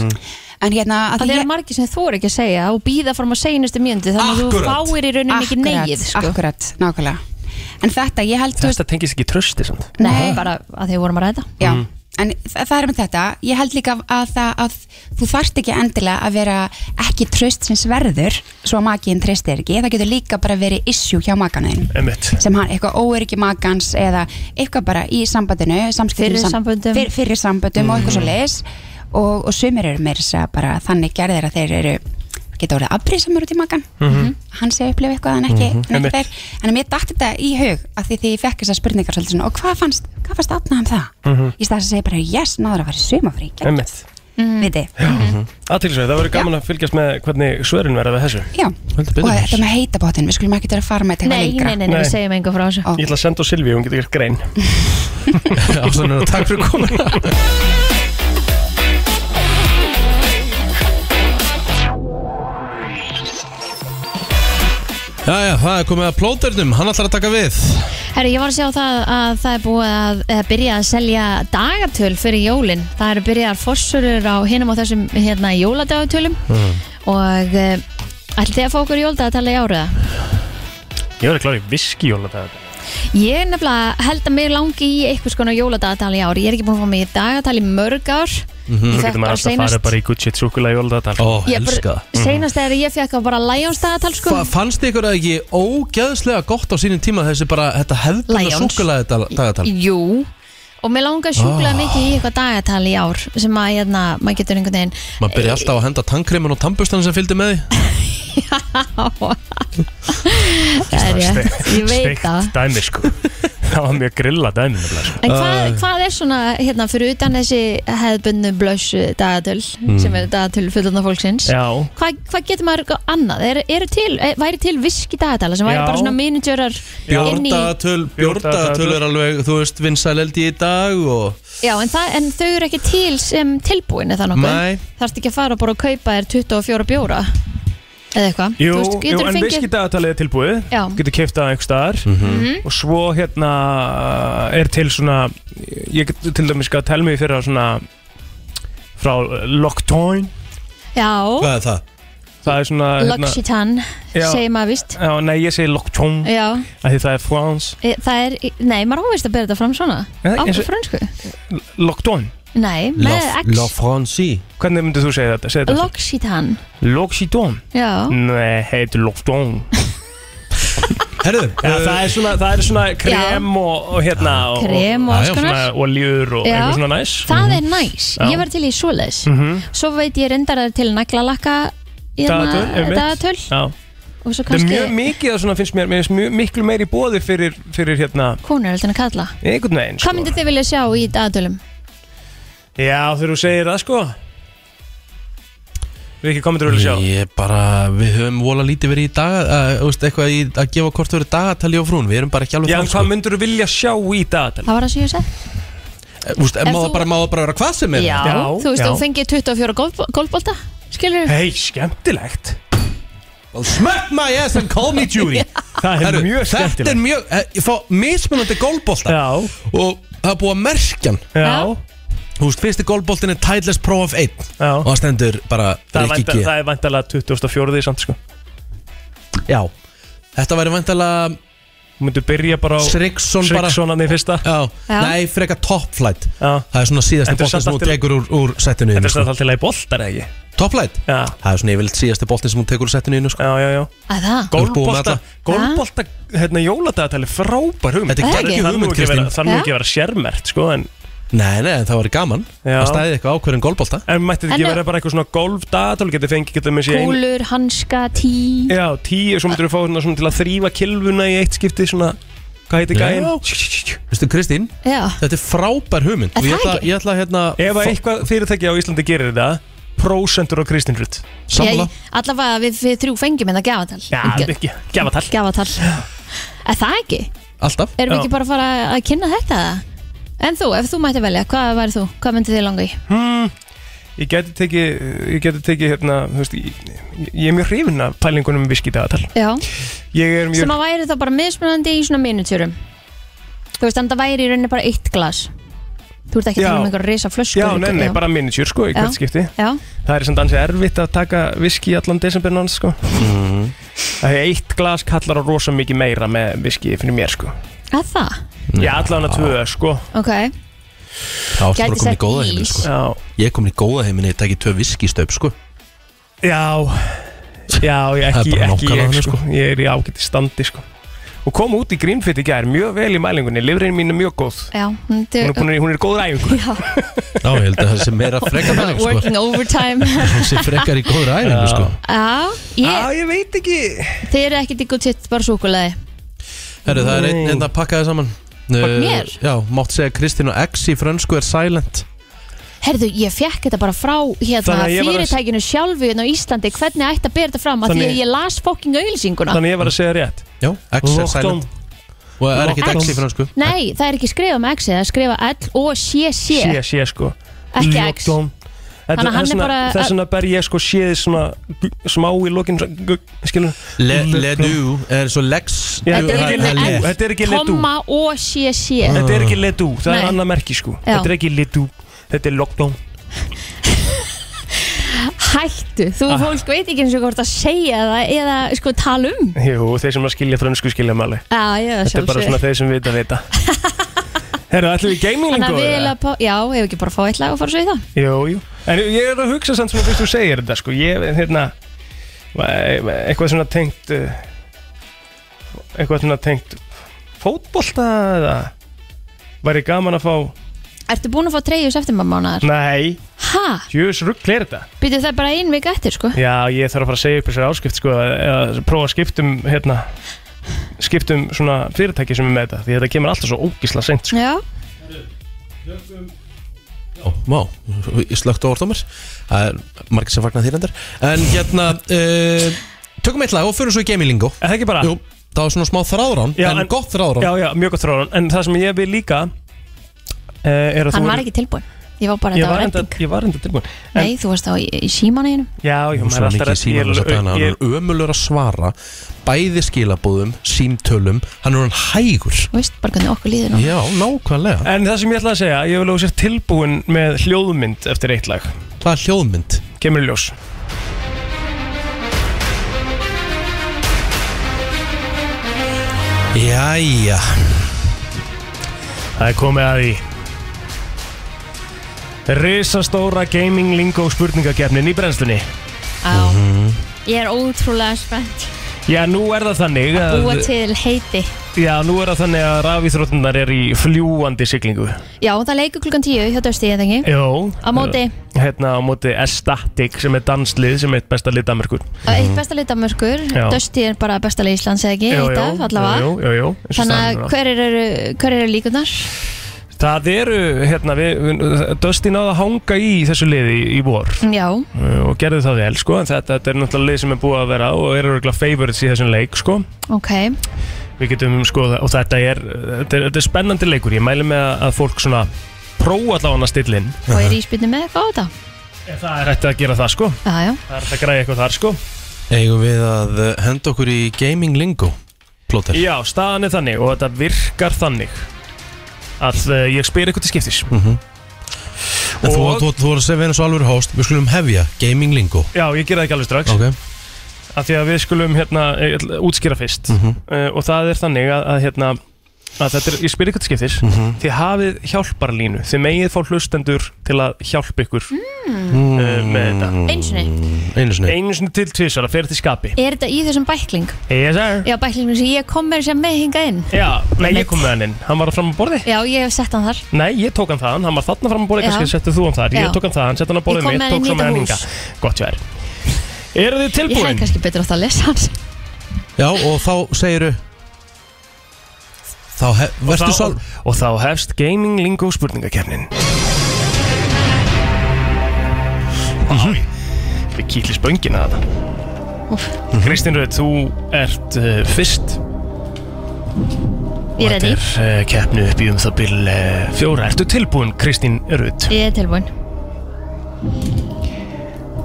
Speaker 10: en hérna að
Speaker 4: Það eru margir sem þú eru ekki að segja og býða fram á seinustu mjöndu þannig að þú
Speaker 10: Akkúrat.
Speaker 4: fáir í rauninni ekki
Speaker 10: Akkúrat,
Speaker 4: neyð sko.
Speaker 10: Akkurat, nákvæmlega En þetta, ég held, þú veist,
Speaker 3: Þetta tengist ekki trösti samt
Speaker 4: Nei, bara að þið vorum að ræða
Speaker 10: Já,
Speaker 1: Mm.
Speaker 10: en þa- það er með þetta Ég held líka að það að þú þarft ekki endilega að vera ekki tröst sem sverður, svo að makiðin treysti þér ekki, það getur líka bara verið issue hjá makanin
Speaker 3: Emmett
Speaker 10: sem hann, eitthvað óöryggi makans eða eitthvað bara í sambandinu samskiptum
Speaker 4: Fyrir
Speaker 10: sam-
Speaker 4: samböndum.
Speaker 10: fyr, fyrir samböndum og
Speaker 3: Mhm.
Speaker 10: eitthvað svo leis og, og sumir eru meira þess að segja bara þannig gerðir að þeir eru geta orðið afbrýðsamur út í makan
Speaker 3: Mhm.
Speaker 10: hann sé að upplifa eitthvað en ekki,
Speaker 3: Mhm.
Speaker 10: mm ekki
Speaker 3: Einmitt.
Speaker 10: þeir en mér datt þetta í hug af því því ég fekk þessar spurningar svolítið svona og hvað fannst, hvað fannst Átna um það
Speaker 3: Mhm.
Speaker 10: í stað þess að segja bara yes, náður að fara í sumafrí
Speaker 3: Emmett
Speaker 10: mm. við þið
Speaker 3: Mhm. Aðtilsveit, það verður gaman að fylgjast með hvernig svörin verða við þessu
Speaker 10: Já, og þetta með heitabótin, við skulum ekki vera að fara með þetta eitthvað
Speaker 4: Nei,
Speaker 10: lengra
Speaker 4: nei, nei, nei,
Speaker 3: Nei.
Speaker 4: við segjum enga frá þessu
Speaker 3: Ég ætla að senda á Silvíu, hún getur gert grein
Speaker 1: Ásanur, takk fyrir komuna Jæja, það er komið að plóternum, hann ætlar að taka við
Speaker 4: Herri, ég var að sjá það að það er búið að eða byrja að selja dagatöl fyrir jólin. Það eru byrjaðar fórsörur á hinum og þessum hérna jóladagatölum og uh, ætlum þið að fá okkur jóladagatala í áriða?
Speaker 3: Ég verður klári viski jóla þetta
Speaker 4: Ég nefnilega held að mér langi í eitthvað skona jóladagatala í ári. Ég er ekki búin að fá mig í dagatal í mörg ár.
Speaker 3: Nú
Speaker 4: Ég
Speaker 3: getur
Speaker 4: fekk
Speaker 3: maður
Speaker 4: bara
Speaker 3: alltaf að fara bara í Gucci súkulega jóla þetta
Speaker 1: Ó,
Speaker 4: Ég bara, seinast þegar ég fekk að bara Lions dagatal sko.
Speaker 1: Fa- Fannst ykkur það ekki ógeðslega gott á sínum tíma þessi bara þetta hefðbunna
Speaker 4: Lions.
Speaker 1: súkulega dagatal
Speaker 4: Jú og mér langar sjúklega
Speaker 1: Ah.
Speaker 4: mikið í eitthvað dagatal í ár sem að hérna, maður getur einhvern veginn
Speaker 1: Maður byrja alltaf að henda tannkremin og tannbustan sem fylgdi með því
Speaker 4: Það er rétt, ég veit það
Speaker 3: Steikt dæmi sko Það var mjög grilla dæmi nefnilega sko.
Speaker 4: En hvað, hvað er svona, hérna, fyrir utan þessi hefðbundu blöss dagatöl
Speaker 3: Mm.
Speaker 4: sem eru dagatöl fullorðna fólksins
Speaker 3: Já.
Speaker 4: hvað, hvað getur maður eitthvað annað? Er, eru til, er, væri til viski dagatala sem væri
Speaker 1: Já.
Speaker 4: bara svona miniatúrar inn í
Speaker 1: Bjórdagatöl, bjórdagatöl er alveg, þú veist, vinsæleldi í dag og
Speaker 4: Já, en, það, en þau eru ekki til sem tilbúin eða
Speaker 1: Nei.
Speaker 4: nokkuð Þarfst ekki að fara bara og kaupa þér 24 bjóra eða eitthvað
Speaker 3: Jú,
Speaker 4: Þú veist,
Speaker 3: jú,
Speaker 4: getur
Speaker 3: en
Speaker 4: fengið-
Speaker 3: viski dagatalið er tilbúið
Speaker 4: Já.
Speaker 3: Þú getur keiftað einhver staðar
Speaker 4: Mhm.
Speaker 3: og svo hérna er til svona ég get til dæmis að telmi fyrir svona frá uh, Lockdown
Speaker 4: Já,
Speaker 1: er það?
Speaker 3: Það er svona hérna-
Speaker 4: L'Occitane,
Speaker 3: Já.
Speaker 4: segir maður vist
Speaker 3: Já, nei, ég segi Lockdown
Speaker 4: Já,
Speaker 3: af því það er France
Speaker 4: e, það er, nei, maður ávist að bera þetta fram svona
Speaker 3: Já,
Speaker 4: Á
Speaker 3: eins og-
Speaker 4: frönsku
Speaker 3: Lockdown
Speaker 4: Nei, með X
Speaker 1: Franci
Speaker 3: Hvernig myndir þú segja þetta? Segja þetta aftur.
Speaker 4: L'Occitane,
Speaker 3: Lockdown
Speaker 4: já
Speaker 3: Mm. Nei, heitir Lockdown
Speaker 1: Herðu eh,
Speaker 3: Já, það er svona, það er svona krem og, og hérna og,
Speaker 4: Ah, Krem og alls
Speaker 3: Já, já,
Speaker 4: konar.
Speaker 3: Svona oljur og
Speaker 4: Já.
Speaker 3: eitthvað svona næs Mhm.
Speaker 4: Það er næs,
Speaker 3: Já.
Speaker 4: ég var til í svoleiðis
Speaker 3: Mhm.
Speaker 4: Svo veit ég reyndar það til naglalakka hérna,
Speaker 3: Dagatöl, einmitt.
Speaker 4: dagatöl
Speaker 3: Já.
Speaker 4: Og svo
Speaker 3: Það er
Speaker 4: kannski
Speaker 3: mjög mikið að svona finnst mér, mér finnst mjög, miklu meiri bóði fyrir, fyrir hérna
Speaker 4: konur heldur en að kalla
Speaker 3: einhvern veginn sko.
Speaker 4: Hvað myndið þið vilja sjá í dagatölum?
Speaker 3: Já, þegar þú segir það sko Við ekki komið til að sjá
Speaker 1: Ég bara, við höfum vola lítið verið í dag að, veist, eitthvað í, að gefa hvort verið dagatali á frún Við erum bara ekki alveg sko.
Speaker 3: Já, en hvað myndur þú vilja sjá í dagatali?
Speaker 4: Það var það sem ég segi
Speaker 1: Eh, Þú veist,
Speaker 4: En
Speaker 1: má það
Speaker 4: þú-
Speaker 1: bara, má það bara vera hvað sem er
Speaker 4: Já, þú veist, þú fengið 24 golf, golfbolta Skilur
Speaker 3: Hei, skemmtilegt
Speaker 1: Well, smack my ass and call me Judy
Speaker 3: Það er mjög
Speaker 1: Þetta
Speaker 3: skemmtilegt.
Speaker 1: er mjög, eh, ég fá mismunandi golfbólta
Speaker 3: Já.
Speaker 1: Og það er búið að merkja hann
Speaker 3: Já.
Speaker 1: Þú veist, fyrsti golfbóltin er Tidless Pro of 1
Speaker 3: Já.
Speaker 1: Og það stendur bara
Speaker 3: Það er
Speaker 1: Rikki
Speaker 3: vænta-
Speaker 1: G.
Speaker 3: það er vantalega 2004 samt sko
Speaker 1: Já Þetta væri vantalega
Speaker 3: Þú myndur byrja bara á
Speaker 1: Srixon bara
Speaker 3: Srixsonan í fyrsta
Speaker 1: Já,
Speaker 4: Já.
Speaker 1: nei, freka top flight
Speaker 3: Já.
Speaker 1: Það er svona síðasti
Speaker 3: Þetta er
Speaker 1: boltin
Speaker 3: samt
Speaker 1: sem hún
Speaker 3: allt í lagi.
Speaker 1: tekur úr, úr settinu
Speaker 3: Þetta er
Speaker 1: sko.
Speaker 3: samt alltaf í boltar eða ekki
Speaker 1: Top flight?
Speaker 3: Já,
Speaker 1: Það er svona yfirleitt síðasti boltin sem hún tekur úr settinu sko.
Speaker 3: já, já, já
Speaker 4: Að
Speaker 1: Þú
Speaker 4: það?
Speaker 1: ert búin með
Speaker 3: Golfbolta,
Speaker 1: alla.
Speaker 3: golfbolta, hérna jóladagatal er frábær hugmynd
Speaker 1: Þetta er
Speaker 4: Það er ekki.
Speaker 1: geggjum
Speaker 3: Það nú
Speaker 1: hugmynd,
Speaker 3: ekki að vera-
Speaker 1: Kristín
Speaker 3: þarf nú
Speaker 4: Já.
Speaker 3: ekki að vera sérmert sko en
Speaker 1: Nei, nei, það væri gaman
Speaker 3: Já.
Speaker 1: Það stæði eitthvað ákverðin golfbolta
Speaker 3: En mætti þetta
Speaker 4: En
Speaker 3: ekki
Speaker 4: ef-
Speaker 3: vera bara eitthvað svona golfdatal Getið fengið, getið með sér ein
Speaker 4: Kúlur, hanska, tí
Speaker 3: Já, tíu, svo myndur við fá hérna svona, svona til að þrýfa kilvuna í eitt skipti Svona, hvað heitir
Speaker 1: Já.
Speaker 3: gæinn?
Speaker 1: Vistu, Kristín,
Speaker 4: Já,
Speaker 1: þetta er frábær hugmynd
Speaker 4: Er
Speaker 1: Og ég
Speaker 4: það
Speaker 1: ætla,
Speaker 4: ekki?
Speaker 1: ég ætla hérna
Speaker 3: Ef að eitthvað fyrirtæki á Íslandi gerir þetta Prósendur og Kristín Rutt
Speaker 1: Samla
Speaker 4: allavega við, við þrjú fengjum hérna en það gafatal
Speaker 3: Já, þetta er ekki, gefatal
Speaker 4: Gafatal Er það ekki?
Speaker 1: Alltaf
Speaker 4: Erum við
Speaker 3: Já.
Speaker 4: ekki bara að fara að kynna þetta? En þú, ef þú mætti velja, hvað væri þú? Hvað myndið þið langa í?
Speaker 3: hmm, Ég geti tekið, ég geti tekið hérna, þú veist, ég, ég- ég er mjög hrifin af pælingunum um viskidagatal
Speaker 4: Já,
Speaker 3: Ég er mjög,
Speaker 4: sem að væri þá bara mismunandi í svona minutjörum Þú veist, en það væri í rauninni bara eitt glas Þú ert ekki að
Speaker 3: Já.
Speaker 4: tala um einhver risa flösku
Speaker 3: já, nei, nei, bara miniatjur sko, í
Speaker 4: Já.
Speaker 3: hvert skipti
Speaker 4: Já,
Speaker 3: Það er sem dansið erfitt að taka viski allan desember náns sko
Speaker 1: Mhm.
Speaker 3: Það er eitt glas kallar á rosa mikið meira með viski fyrir mér sko
Speaker 4: að það,
Speaker 3: Já, allan að tvö sko
Speaker 4: ok
Speaker 1: Það áttu bara
Speaker 4: Gæti
Speaker 1: að koma í
Speaker 4: sett
Speaker 1: góða
Speaker 4: ís.
Speaker 1: heiminn sko.
Speaker 3: Já,
Speaker 1: Ég er komin í góða heiminn Ég tekið tvö viskistöp sko.
Speaker 3: já, já
Speaker 1: Það
Speaker 3: ég-
Speaker 1: er bara
Speaker 3: ekki, ekki
Speaker 1: nákvæmlega
Speaker 3: ég
Speaker 1: þannig,
Speaker 3: sko Ég er í ágæti standi sko Og kom út í Greenfit í gær, mjög vel í mælingunni, livrinn mín er mjög góð
Speaker 4: Já, hún
Speaker 3: Hún er,
Speaker 4: er
Speaker 3: búin, hún er í góð ræfingu
Speaker 4: Já,
Speaker 1: Já, ég held að það sé meira frekar
Speaker 4: bara
Speaker 1: þannig sko.
Speaker 4: working overtime
Speaker 1: Það sé frekar í góður æringu sko.
Speaker 4: Já, ég,
Speaker 3: sko. Já, ég veit ekki
Speaker 4: þið eru ekki digg og titt bara súkulega
Speaker 1: Herru, það er einn einn að pakka það saman Pakk
Speaker 4: mér?
Speaker 1: Já, mátt segja Kristín og X í frönsku er silent
Speaker 4: Herðu, ég fekk þetta bara frá hérna,
Speaker 3: Þannig að ég var að-
Speaker 4: fyrirtækinu sjálfu hérna á Íslandi hvernig ætti að bera þetta fram að því
Speaker 3: Þannig-
Speaker 4: að ég las fokking auðlýsinguna
Speaker 3: Þannig ég var að segja rétt
Speaker 1: Já, X er
Speaker 3: Lockdown
Speaker 1: silent Og það er ekkert
Speaker 3: Lockdown.
Speaker 1: X í frönsku
Speaker 4: Nei, það er ekki skrifað með X-ið, það er skrifað L og C-C
Speaker 3: Sé, sé sko
Speaker 4: Ekki X.
Speaker 3: Lockdown. Þetta,
Speaker 4: Þannig að hann er
Speaker 3: þess vegna-
Speaker 4: bara-
Speaker 3: Þess vegna ber ég sko séð svona gu- smá í lokin svona gu- Skilur
Speaker 1: Le, le du er svo Lex
Speaker 3: Já,
Speaker 4: Þetta er ekki
Speaker 1: Það
Speaker 4: le-
Speaker 1: le.
Speaker 3: Þetta er ekki ledú
Speaker 4: Komma og C-C
Speaker 3: Þetta er ekki ledú, það er
Speaker 4: Nei.
Speaker 3: annað merki sko
Speaker 4: Já.
Speaker 3: Þetta er ekki ledú, þetta er lockdown
Speaker 4: Hættu, þú
Speaker 3: Ah.
Speaker 4: fólk veit ekki eins og hvort að segja það eða sko tala um
Speaker 3: Jú, þeir sem að skilja frönsku skilja mali
Speaker 4: Já, ég það
Speaker 3: Þetta er bara
Speaker 4: sjálfsög
Speaker 3: svona þeir sem vita vita Herra, ætlum við
Speaker 4: Þannig að
Speaker 3: gaminglingu?
Speaker 4: við erum að, pá- já, ef ekki bara fá eitt lag og fara svo í það
Speaker 3: Jú, jú En ég er að hugsa samt svona fyrst þú segir þetta sko Ég, hérna Eitthvað svona tengt uh, Eitthvað svona tengt Fótbolta eða Væri gaman að fá
Speaker 4: Ertu búin að fá treyjus eftir
Speaker 3: Mm.
Speaker 4: maður mánar?
Speaker 3: Nei,
Speaker 4: Ha,
Speaker 3: jús ruggl er þetta
Speaker 4: byrju það er bara ein vika eftir sko
Speaker 3: Já, ég þarf að fara að segja upp þessari áskipt sko, eða prófa að skiptum hérna, skiptum svona fyrirtæki sem er með þetta því þetta kemur alltaf svo ógísla seint sko.
Speaker 4: Já,
Speaker 1: Má, ég slögt á orð á mér Það er margir sem fagnar þér endur En hérna uh, Tökum eitt lag og förum svo í gaminglingu
Speaker 3: Er það ekki bara?
Speaker 1: Jú, það var svona smá þráðrán
Speaker 3: Já,
Speaker 1: Ah. En
Speaker 3: en-
Speaker 1: gott þráðrán
Speaker 3: Já, já, mjög gott þróðan en það sem ég vil líka uh, er að
Speaker 4: hann
Speaker 3: þú
Speaker 4: var ekki tilbúin Ég var bara,
Speaker 3: Ég
Speaker 4: þetta
Speaker 3: var
Speaker 4: var
Speaker 3: enda,
Speaker 4: ending
Speaker 3: ég var enda tilbúin en,
Speaker 4: Nei, þú varst þá í, í símaneginu
Speaker 3: Já, já,
Speaker 1: Hún
Speaker 3: maður er
Speaker 1: svo
Speaker 3: alltaf
Speaker 1: mikið
Speaker 3: redd- ég
Speaker 1: síma þess að dana
Speaker 3: er-
Speaker 1: Hann
Speaker 3: ég-
Speaker 1: er ömulur að svara Bæði skilabóðum, símtölum Hann er hann hægur
Speaker 4: Þú veist bara hvernig okkur líður nú
Speaker 1: Já, nákvæmlega
Speaker 3: En það sem ég ætla að segja, ég vil á sér tilbúin með hljóðmynd eftir eitt lag
Speaker 1: Hvað er hljóðmynd?
Speaker 3: Kemur í ljós
Speaker 1: Jæja
Speaker 3: Það er komið að því Risastóra gaming lingo spurningakefnin í brennslunni
Speaker 4: Á, ég er ótrúlega spennt
Speaker 3: Já, nú er það þannig að
Speaker 4: Búa til heiti
Speaker 3: Já, nú er það þannig að rafíþróttunar er í fljúandi siglingu
Speaker 4: Já, það leikur klukkan tíu hjá Dösti, ég þengi
Speaker 3: Jó
Speaker 4: Á móti,
Speaker 3: Hérna á móti Estatic sem er danslið sem er eitt besta lið Danmarkur
Speaker 4: á eitt besta lið Danmörkur
Speaker 3: Já.
Speaker 4: Dösti er bara besta lið Íslands, eða ekki, eitt af, allavega
Speaker 3: Jó, jó, jó
Speaker 4: Þannig að hverjir eru, hver eru líkunar?
Speaker 3: Það eru, hérna, við, við, Dusty náði að hanga í þessu liði í, í vor
Speaker 4: Já,
Speaker 3: uh, og gerði það vel, sko, en þetta, þetta er náttúrulega lið sem er búið að vera á og eru örgulega favorites í þessum leik, sko.
Speaker 4: ok
Speaker 3: Við getum, sko, og þetta er, þetta er, þetta er spennandi leikur, ég mæli með að fólk svona prófa allavega að stilla inn.
Speaker 4: Og er íspilni með eitthvað á þetta?
Speaker 3: Það er hægt að gera það, sko.
Speaker 4: Já, já
Speaker 3: Það er hægt að græja eitthvað þar, sko.
Speaker 1: Eigum við að eh, henda okkur í gaming lingo Plóter
Speaker 3: Já, staðan er þannig og þetta virkar þannig að uh, ég spyr eitthvað til skiptis. Mm -hmm.
Speaker 1: En þú,
Speaker 3: Og-
Speaker 1: þú, þú voru að segja við eins og alveg host Við skulum hefja gaming lingo
Speaker 3: Já, ég gera það ekki alveg strax.
Speaker 1: Ok
Speaker 3: af því að við skulum hérna eh, ég ætla að útskýra fyrst
Speaker 1: Mhm.
Speaker 3: uh, og það er þannig að, að hérna að þetta er, ég spyr ykkur til skiptis
Speaker 1: Mhm.
Speaker 3: þið hafið hjálparlínu, þið megið fá hlustendur til að hjálpa ykkur
Speaker 1: Mm.
Speaker 3: uh, með þetta
Speaker 4: Einu sinni.
Speaker 1: Einu sinni
Speaker 3: einu sinni til tvisar að fyrir til skapi
Speaker 4: Er þetta í þessum bækling?
Speaker 3: yes sir
Speaker 4: Já, bæklingum sem ég kom með sem með hinga inn
Speaker 3: já, nei ég kom með hann inn, hann var fram á borði
Speaker 4: Já, ég hef sett hann þar
Speaker 3: Nei, ég tók hann þaðan, hann var þarna fram á borði,
Speaker 4: Já.
Speaker 3: kannski settu þú hann þar,
Speaker 4: Já.
Speaker 3: ég tók hann þaðan, sett hann á
Speaker 4: Ég
Speaker 3: borðið
Speaker 4: kom með
Speaker 3: mitt,
Speaker 4: hann
Speaker 3: tók
Speaker 4: í
Speaker 3: svo með
Speaker 4: þetta
Speaker 3: hann
Speaker 4: hús.
Speaker 3: hinga. Gott verð. Eru þið
Speaker 4: Ég
Speaker 3: tilbúin?
Speaker 4: hef kannski betur átt að lesa hans
Speaker 1: Já, og þá segiru Þá hef,
Speaker 3: Og
Speaker 1: vertu
Speaker 3: þá-
Speaker 1: sál
Speaker 3: Og þá hefst Gaming Lingo spurningakernin Vá, Við kýtli spöngina að það Kristín Röð, þú ert uh, fyrst
Speaker 4: Ég er ready.
Speaker 3: Og þetta er uh, keppnu upp í um það bil uh, fjóra Ertu tilbúin, Kristín Röð?
Speaker 4: Ég er tilbúin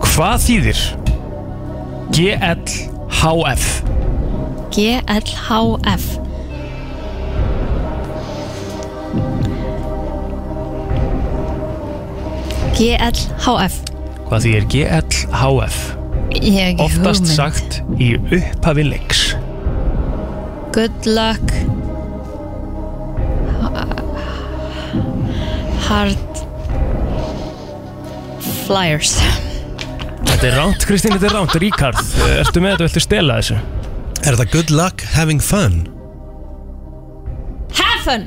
Speaker 3: Hvað þýðir GLHF?
Speaker 4: GLHF GLHF
Speaker 3: Hvað þýðir GLHF?
Speaker 4: Ég hef ekki
Speaker 3: Oftast
Speaker 4: hugmynd.
Speaker 3: sagt í upphafi leiks
Speaker 4: Good luck Hard Flyers
Speaker 3: Þetta er ránt, Kristín, þetta er ránt, Ríkard Ertu með þetta, viltu stela þessu?
Speaker 1: Er þetta good luck having fun?
Speaker 4: Have fun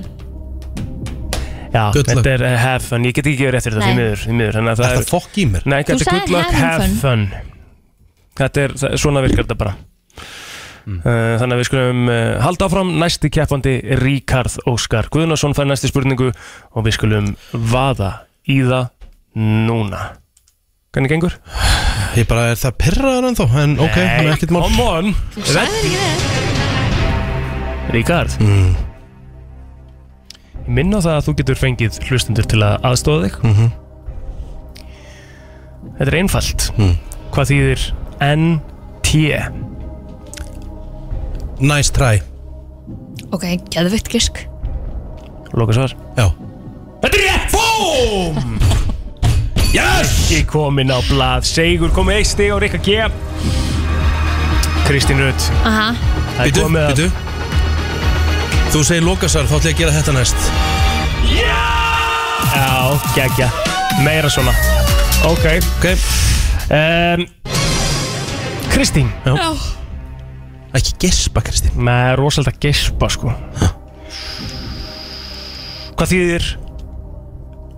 Speaker 3: Já,
Speaker 1: Good
Speaker 3: þetta
Speaker 1: luck.
Speaker 3: er uh, have fun, ég get ekki gefið réttir þetta því
Speaker 4: Nei.
Speaker 3: miður, því miður Þannig að það
Speaker 1: Er þetta fokk í mér?
Speaker 3: Nei,
Speaker 4: Þú
Speaker 3: þetta er good
Speaker 4: sagðir
Speaker 3: luck,
Speaker 4: having
Speaker 3: have fun Þetta er, það, svona virkar þetta bara mm. Þannig að við skulum uh, halda áfram næsti keppandi Ríkard Óskar Guðnason fær næsti spurningu og við skulum vaða í það núna Hvernig gengur?
Speaker 1: Ég bara er það pyrraður ennþá En ok, hann er ekkert mál
Speaker 3: come on
Speaker 4: Sæður ekki við
Speaker 3: Ríkard
Speaker 1: mm.
Speaker 3: Ég minna á það að þú getur fengið hlustundur til að aðstóða þig
Speaker 1: Mhm.
Speaker 3: Þetta er einfalt
Speaker 1: Mm.
Speaker 3: Hvað þýðir NT?
Speaker 1: Nice try
Speaker 4: Ok, geðvitt gisk
Speaker 3: Loka svar
Speaker 1: Já
Speaker 3: Þetta er rétt! Búm! Yes! Ekki komin á blað Sigur komið eitt stig á Rikka G Kristín Rutt
Speaker 4: Aha,
Speaker 3: Það er
Speaker 1: Býtu,
Speaker 3: komið að-
Speaker 1: býtu Þú segir lokasar, þá ætla ég að gera þetta næst
Speaker 3: Já, geggja Meira svona Ok
Speaker 1: Ok,
Speaker 3: um, Kristín
Speaker 1: Já. ekki gespa Kristín
Speaker 3: Með rosalega gespa sko Hvað þýðir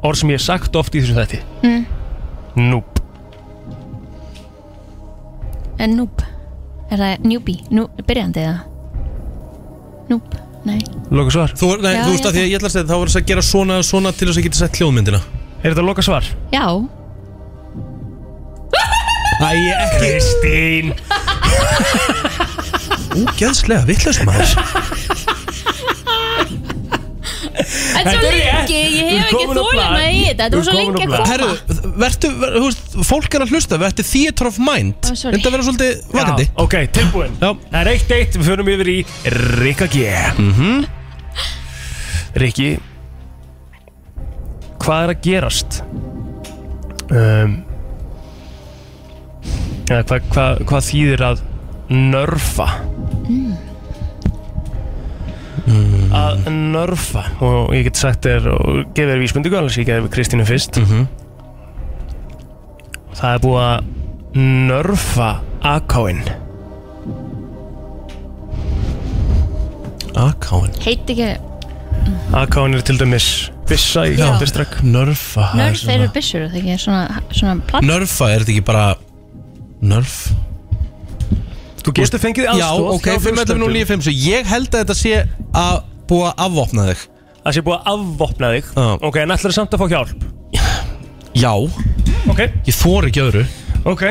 Speaker 3: Orð sem ég hef sagt oft í þessu þætti
Speaker 4: Mm.
Speaker 3: Núb
Speaker 4: en noob Er það newbie, nú, byrjandi eða? Noob, nei
Speaker 3: Loka svar
Speaker 1: Þú, nei,
Speaker 4: Já,
Speaker 1: þú veist
Speaker 4: ég
Speaker 1: að því að ég ætla að segja þá verður þess að gera svona og svona til þess að geta sett hljóðmyndina
Speaker 3: Er þetta loka svar?
Speaker 4: Já,
Speaker 1: Æ, ekki
Speaker 3: Kristín
Speaker 1: Úgeðslega, vittlaus maður
Speaker 4: en svo lengi,
Speaker 3: Þú ert
Speaker 4: ég hef ekki
Speaker 3: komin á blað.
Speaker 4: þólinna í þetta
Speaker 3: Þú ert komin á
Speaker 4: Þetta var svo lengi
Speaker 3: blað.
Speaker 4: að koma
Speaker 1: Herru, vertu, ver, þú veist, fólk er að hlusta Vertu theater of mind
Speaker 4: Ó, sorry.
Speaker 1: Þetta verður svolítið vakandi
Speaker 3: Já, Ok, tilbúin
Speaker 1: Já.
Speaker 3: Það er eitt eitt, við förum yfir í Rikka G mm
Speaker 1: Mhm.
Speaker 3: Rikki Hvað er að gerast? Um, eða, hvað, hvað, hvað þýðir að nörfa?
Speaker 1: Mm.
Speaker 3: Að nörfa Og ég get sagt þér og gefið þér vísmyndingu Alveg sem ég gefið Kristínu fyrst
Speaker 1: Mhm.
Speaker 3: Það er búið að nörfa akáinn
Speaker 1: Akáin
Speaker 4: Heit ekki,
Speaker 3: AK-un er til dæmis Bissa í
Speaker 1: Já.
Speaker 3: Counter-Strike
Speaker 1: Nörfa
Speaker 3: Ah,
Speaker 1: það er
Speaker 4: nörf
Speaker 1: svona-
Speaker 4: eru byssur er Það ekki, svona, svona platt
Speaker 1: Nörfa, er þetta ekki bara Nörf
Speaker 3: Þú getur fengið
Speaker 4: sko.
Speaker 1: Já,
Speaker 3: aðstóð
Speaker 1: ok, 5.11.09.5 Ég held að þetta sé að búa að afvopna þig
Speaker 3: Það sé búið að afvopna þig Ok, en ætlar samt að fá hjálp
Speaker 1: Já
Speaker 3: Ok
Speaker 1: Ég þor ekki öðru
Speaker 3: Ok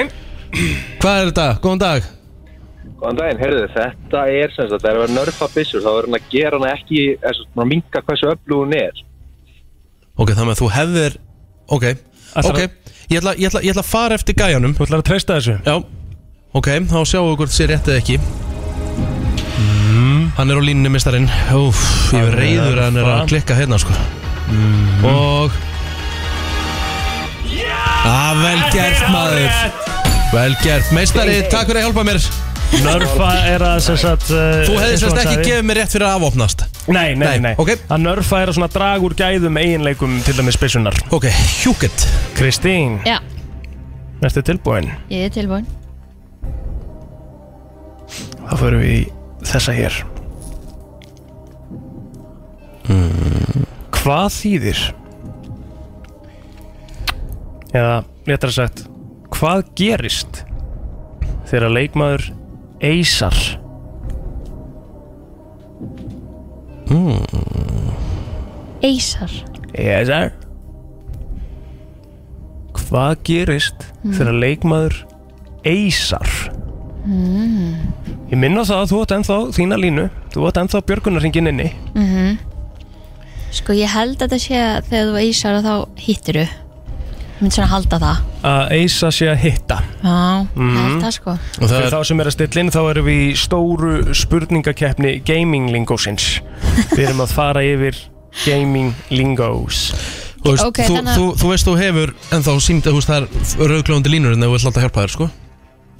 Speaker 1: Hvað er þetta? Góðan dag
Speaker 11: Góðan daginn, heyrðu, þetta er sem sagt, það er að vera nörfa byssur, þá er hann að gera hann ekki, er svo svona að minka hversu öflug hún er.
Speaker 1: Ok, þannig að þú hefðir Ok, ok Ég ætla, ég, ætla, ég ætla að fara eftir gæjanum Þú
Speaker 3: ætlar að treysta þessu?
Speaker 1: Já, ok, þá sjáum við hvort sé rétt eða ekki mm. Hann er á línunni mistarinn Úf, ég
Speaker 3: Hann er
Speaker 1: er reyður að hann er að
Speaker 3: það.
Speaker 1: klikka hérna sko mm. Og ah, Vel gert maður Vel gert, meistari, takk fyrir að hjálpa mér
Speaker 3: Nörfa er að sem sagt uh,
Speaker 1: Þú hefði
Speaker 3: eins og
Speaker 1: sérst
Speaker 3: hann
Speaker 1: ekki
Speaker 3: sagði.
Speaker 1: gefið mér rétt fyrir að afopnast
Speaker 3: Nei, nei, nei,
Speaker 1: Ok,
Speaker 3: Að nörfa er að svona draga úr gæðum eiginleikum til dæmis byssunar
Speaker 1: Ok, hjúkett
Speaker 3: Kristín,
Speaker 4: Já,
Speaker 3: ertu tilbúin?
Speaker 4: ég er tilbúin
Speaker 3: Þá förum við í þessa hér Hvað þýðir? Eða, léttara sagt Hvað gerist þegar leikmaður eysar?
Speaker 1: mm.
Speaker 4: Eysar
Speaker 3: Eysar Hvað gerist
Speaker 4: Mm.
Speaker 3: þegar leikmaður eysar?
Speaker 4: mm.
Speaker 3: Ég minna það að þú átt ennþá þína línu Þú átt ennþá björgunarringin inni
Speaker 4: mhm. Sko ég held að þetta sé að þegar þú eysar að þá hittiru Ég myndi svona halda það
Speaker 3: Að eysa sé að hitta
Speaker 4: Já,
Speaker 3: Mhm.
Speaker 4: ég held það sko
Speaker 1: Og það
Speaker 3: Fyrir
Speaker 1: er-
Speaker 3: þá sem er að stilla inn þá erum við í stóru spurningakeppni Gaming Lingosins Við erum að fara yfir Gaming Lingos
Speaker 1: Þú veist,
Speaker 4: Ok,
Speaker 1: þú,
Speaker 4: þannig að-
Speaker 1: þú, þú veist, þú hefur ennþá símt að þú veist, það er rauðglöfandi línur en þú vilt alltaf hjálpa þér, sko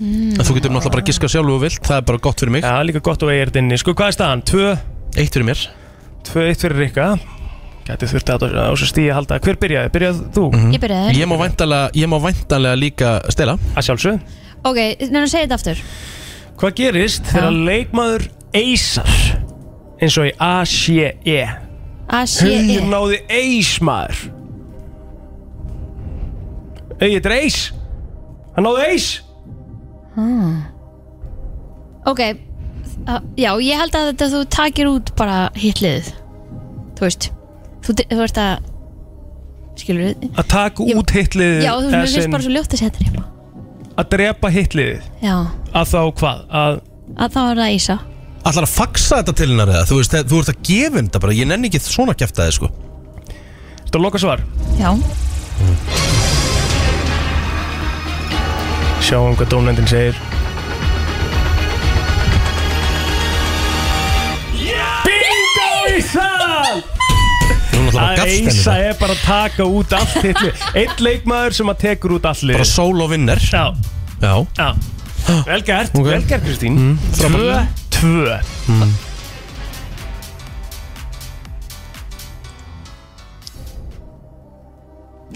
Speaker 3: Hmm.
Speaker 1: En þú getur náttúrulega bara að giska sjálf og vilt, það er bara gott fyrir mig
Speaker 3: Já, líka gott og eigert inni Sko, hvað er staðan? 2
Speaker 1: 1 fyrir mér
Speaker 3: 2 1 fyrir Rikka Gæti þurfti að á þessu stíði halda Hver byrjaði? Byrjaði þú?
Speaker 1: Mhm.
Speaker 4: Ég byrjaði.
Speaker 1: Ég má væntanlega, ég má væntanlega líka stela
Speaker 3: Að sjálfsög
Speaker 4: Ok, nefnum að segja þetta aftur
Speaker 3: Hvað gerist þegar leikmaður eysar eins og í A-C-E
Speaker 1: E.
Speaker 4: A-C-E.
Speaker 3: Hún náði eys maður Ei, þetta er eys Hann náði eys
Speaker 4: hmm. Ok þa- Já, ég held að þetta þú takir út bara hitlið Þú veist Þú, þú ert að Skilur við
Speaker 3: Að taka út hitliðið
Speaker 4: Já, þú mér finnst bara svo ljótt að setja þetta
Speaker 3: Að drepa hitliðið
Speaker 4: Já,
Speaker 3: Að þá hvað? Að
Speaker 4: að þá er það Ísa
Speaker 1: Allar að faxa þetta til hennar eða, þú veist, það- þú ert að gefa henni þetta bara Ég nenni ekki svona kjæftaði, sko
Speaker 3: Þetta loka svar
Speaker 4: Já
Speaker 3: Sjáum hvað dómnefndin segir Bingo í það!
Speaker 1: Hún náttúrulega bara
Speaker 3: Að
Speaker 1: gafst henni
Speaker 3: eisa
Speaker 1: þetta.
Speaker 3: er bara að taka út allt hitlið Einn leikmaður sem að tekur út allt liðið
Speaker 1: Bara sól og vinner
Speaker 3: Já,
Speaker 1: Já
Speaker 3: já Vel gert,
Speaker 1: Ok.
Speaker 3: vel gert Kristín
Speaker 1: Mm,
Speaker 3: Tvö,
Speaker 1: frábært.
Speaker 3: tvö
Speaker 1: mm.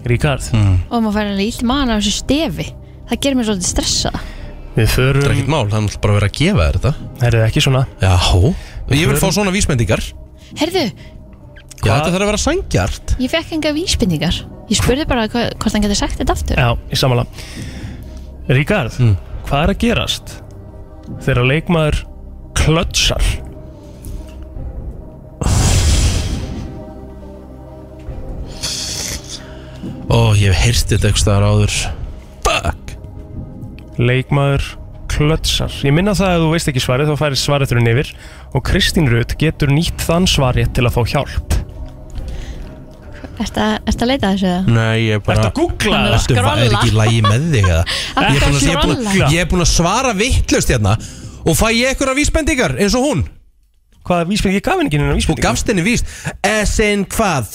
Speaker 3: Ríkard
Speaker 1: Mm.
Speaker 4: Og maður fær alveg illt mann af þessu stefi Það gerir mér svolítið stressa
Speaker 3: Við förum
Speaker 1: Það er ekkert mál, það er náttúrulega bara að vera að gefa þér þetta
Speaker 3: Það er ekki svona
Speaker 1: Já Ég vil fá
Speaker 3: förum-
Speaker 1: svona vísmendingar
Speaker 4: Herðu,
Speaker 1: Já, þetta þarf að vera sangjart
Speaker 4: ég fekk enga vísbendingar Ég spurði bara hva, hvort hann getur sagt þetta aftur
Speaker 3: Já, í samanlega Ríkard,
Speaker 1: Mm.
Speaker 3: hvað er að gerast þegar leikmaður klötsar?
Speaker 1: Ó, ég hef heyrst þetta eitthvað staðar áður Fuck
Speaker 3: Leikmaður klötsar Ég minna það að þú veist ekki svarið þá færir svariðurinn yfir og Kristín Rut getur nýtt þann svarið til að fá hjálp
Speaker 4: Ertu að, ertu að leita að þessu eða?
Speaker 1: Nei, ég bara
Speaker 3: Ertu að googla
Speaker 4: Hann er að
Speaker 1: Ertu-
Speaker 4: skrolla.
Speaker 1: Er ekki í lagi með þig eða?
Speaker 4: Ertu
Speaker 1: Ég er búin að- ég
Speaker 4: að
Speaker 1: er búin
Speaker 4: skrolla?
Speaker 1: að- Ég er búin að svara vittlust hérna Og fæ ég ykkur að vísbendingar eins og hún
Speaker 3: Hvaða vísbendingar? Ég gaf henni ekki henni vísbendingar
Speaker 1: Þú gafst henni víst Esin hvað?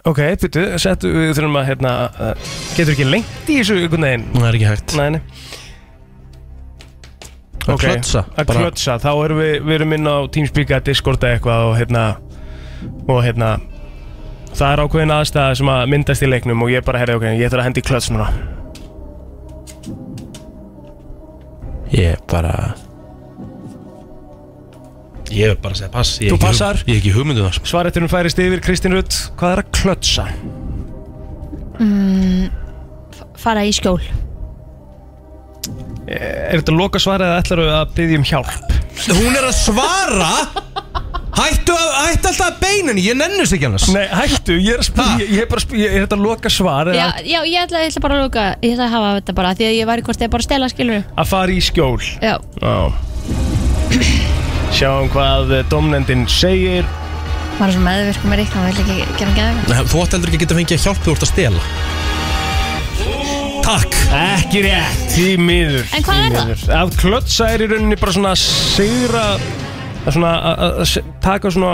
Speaker 3: Ok, byrju, settu, við þurfum að hérna, uh, getur ekki lengt í þessu einhvern veginn
Speaker 1: Það er ekki hægt
Speaker 3: Nei, nei
Speaker 1: Að
Speaker 3: Ok,
Speaker 1: klötsa,
Speaker 3: Að
Speaker 1: bara-
Speaker 3: klötsa, þá erum við, við erum inn á Teamspeak að discorda eitthvað og hérna og hérna það er ákveðin aðstæða sem að myndast í leiknum og ég bara herði ok, ég þarf að hendi klöts núna
Speaker 1: Ég er bara Ég er bara að segja pass Ég hef ekki hug-
Speaker 3: Þú passar?
Speaker 1: Ég er ekki um hugmyndu þar
Speaker 3: Svaretunum færist yfir, Kristín Rutt, hvað er að klötsa?
Speaker 4: Mm, f- fara í skjól
Speaker 3: Er þetta loka svarið eða ætlar við að byggja um hjálp?
Speaker 1: Hún er að svara Hættu, að- hættu alltaf að beina henni, ég nennu sig ekki annars
Speaker 3: Nei, hættu, ég er að spyrja, ég, ég er bara að spyrja, er þetta að loka svar
Speaker 4: Já,
Speaker 3: eða
Speaker 4: já, ég ætla, ég ætla bara að luka Ég ætla að hafa þetta bara Því að ég væri hvort ég bara að stela skilur
Speaker 3: að fara í skjól?
Speaker 4: Já,
Speaker 3: Já. Sjáum hvað eh, domnefndin segir.
Speaker 4: maður er svo meðvirkum með ríkna Maður vil ekki gera geðum
Speaker 1: Nei, Þú átt heldur ekki að geta fengið að hjálpa þú ert að stela Takk.
Speaker 3: Ekki rétt. Því miður.
Speaker 4: En hvað
Speaker 3: því
Speaker 4: er það?
Speaker 3: miður. Að klötsa er í rauninni bara svona að sigra, að svona að- að að se- taka svona,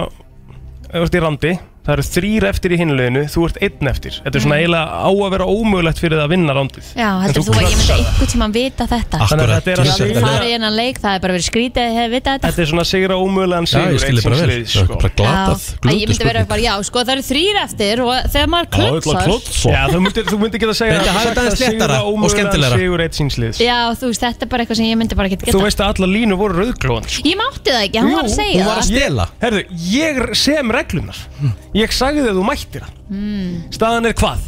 Speaker 3: ef þú ert í randi, það eru þrýr eftir í hinleginu, þú ert einn eftir. Þetta er svona
Speaker 4: Mm.
Speaker 3: eiginlega á að vera ómögulegt fyrir það að vinna randið.
Speaker 4: Já, heldur þú, að ég myndi einhvern tímann vita þetta
Speaker 1: Ah,
Speaker 3: Þannig að þetta er að
Speaker 4: Ég myndi
Speaker 3: sigra,
Speaker 4: fara í hennan leik Það er bara verið skrítið að ég hef vitað þetta
Speaker 3: þetta er svona að sigra ómögulegan
Speaker 1: Já,
Speaker 3: sigur.
Speaker 1: ég skil þig bara
Speaker 3: eitt síns
Speaker 1: vel.
Speaker 3: liðs,
Speaker 1: Það er
Speaker 3: sko.
Speaker 1: bara glatað,
Speaker 4: Já, að Ég myndi vera bara, já, sko, það eru þrýr eftir Og þegar maður klötsar
Speaker 3: Já, þú myndir, þú myndir geta að segja
Speaker 1: Reyndu að hafa þetta aðeins léttara og skemmtilegra.
Speaker 3: Sigur eitt sínsliðs
Speaker 4: Já, þú veist, þetta er bara eitthvað sem ég myndi bara ekki
Speaker 3: Þú
Speaker 4: geta
Speaker 3: veist að alla línu voru rauðglóðan sko.
Speaker 4: Ég mátti það ekki, hann var að segja það
Speaker 1: stela
Speaker 3: Herðu, ég sem reglunar Ég sagði þið að þú mættir það
Speaker 4: Mm.
Speaker 3: Staðan er hvað?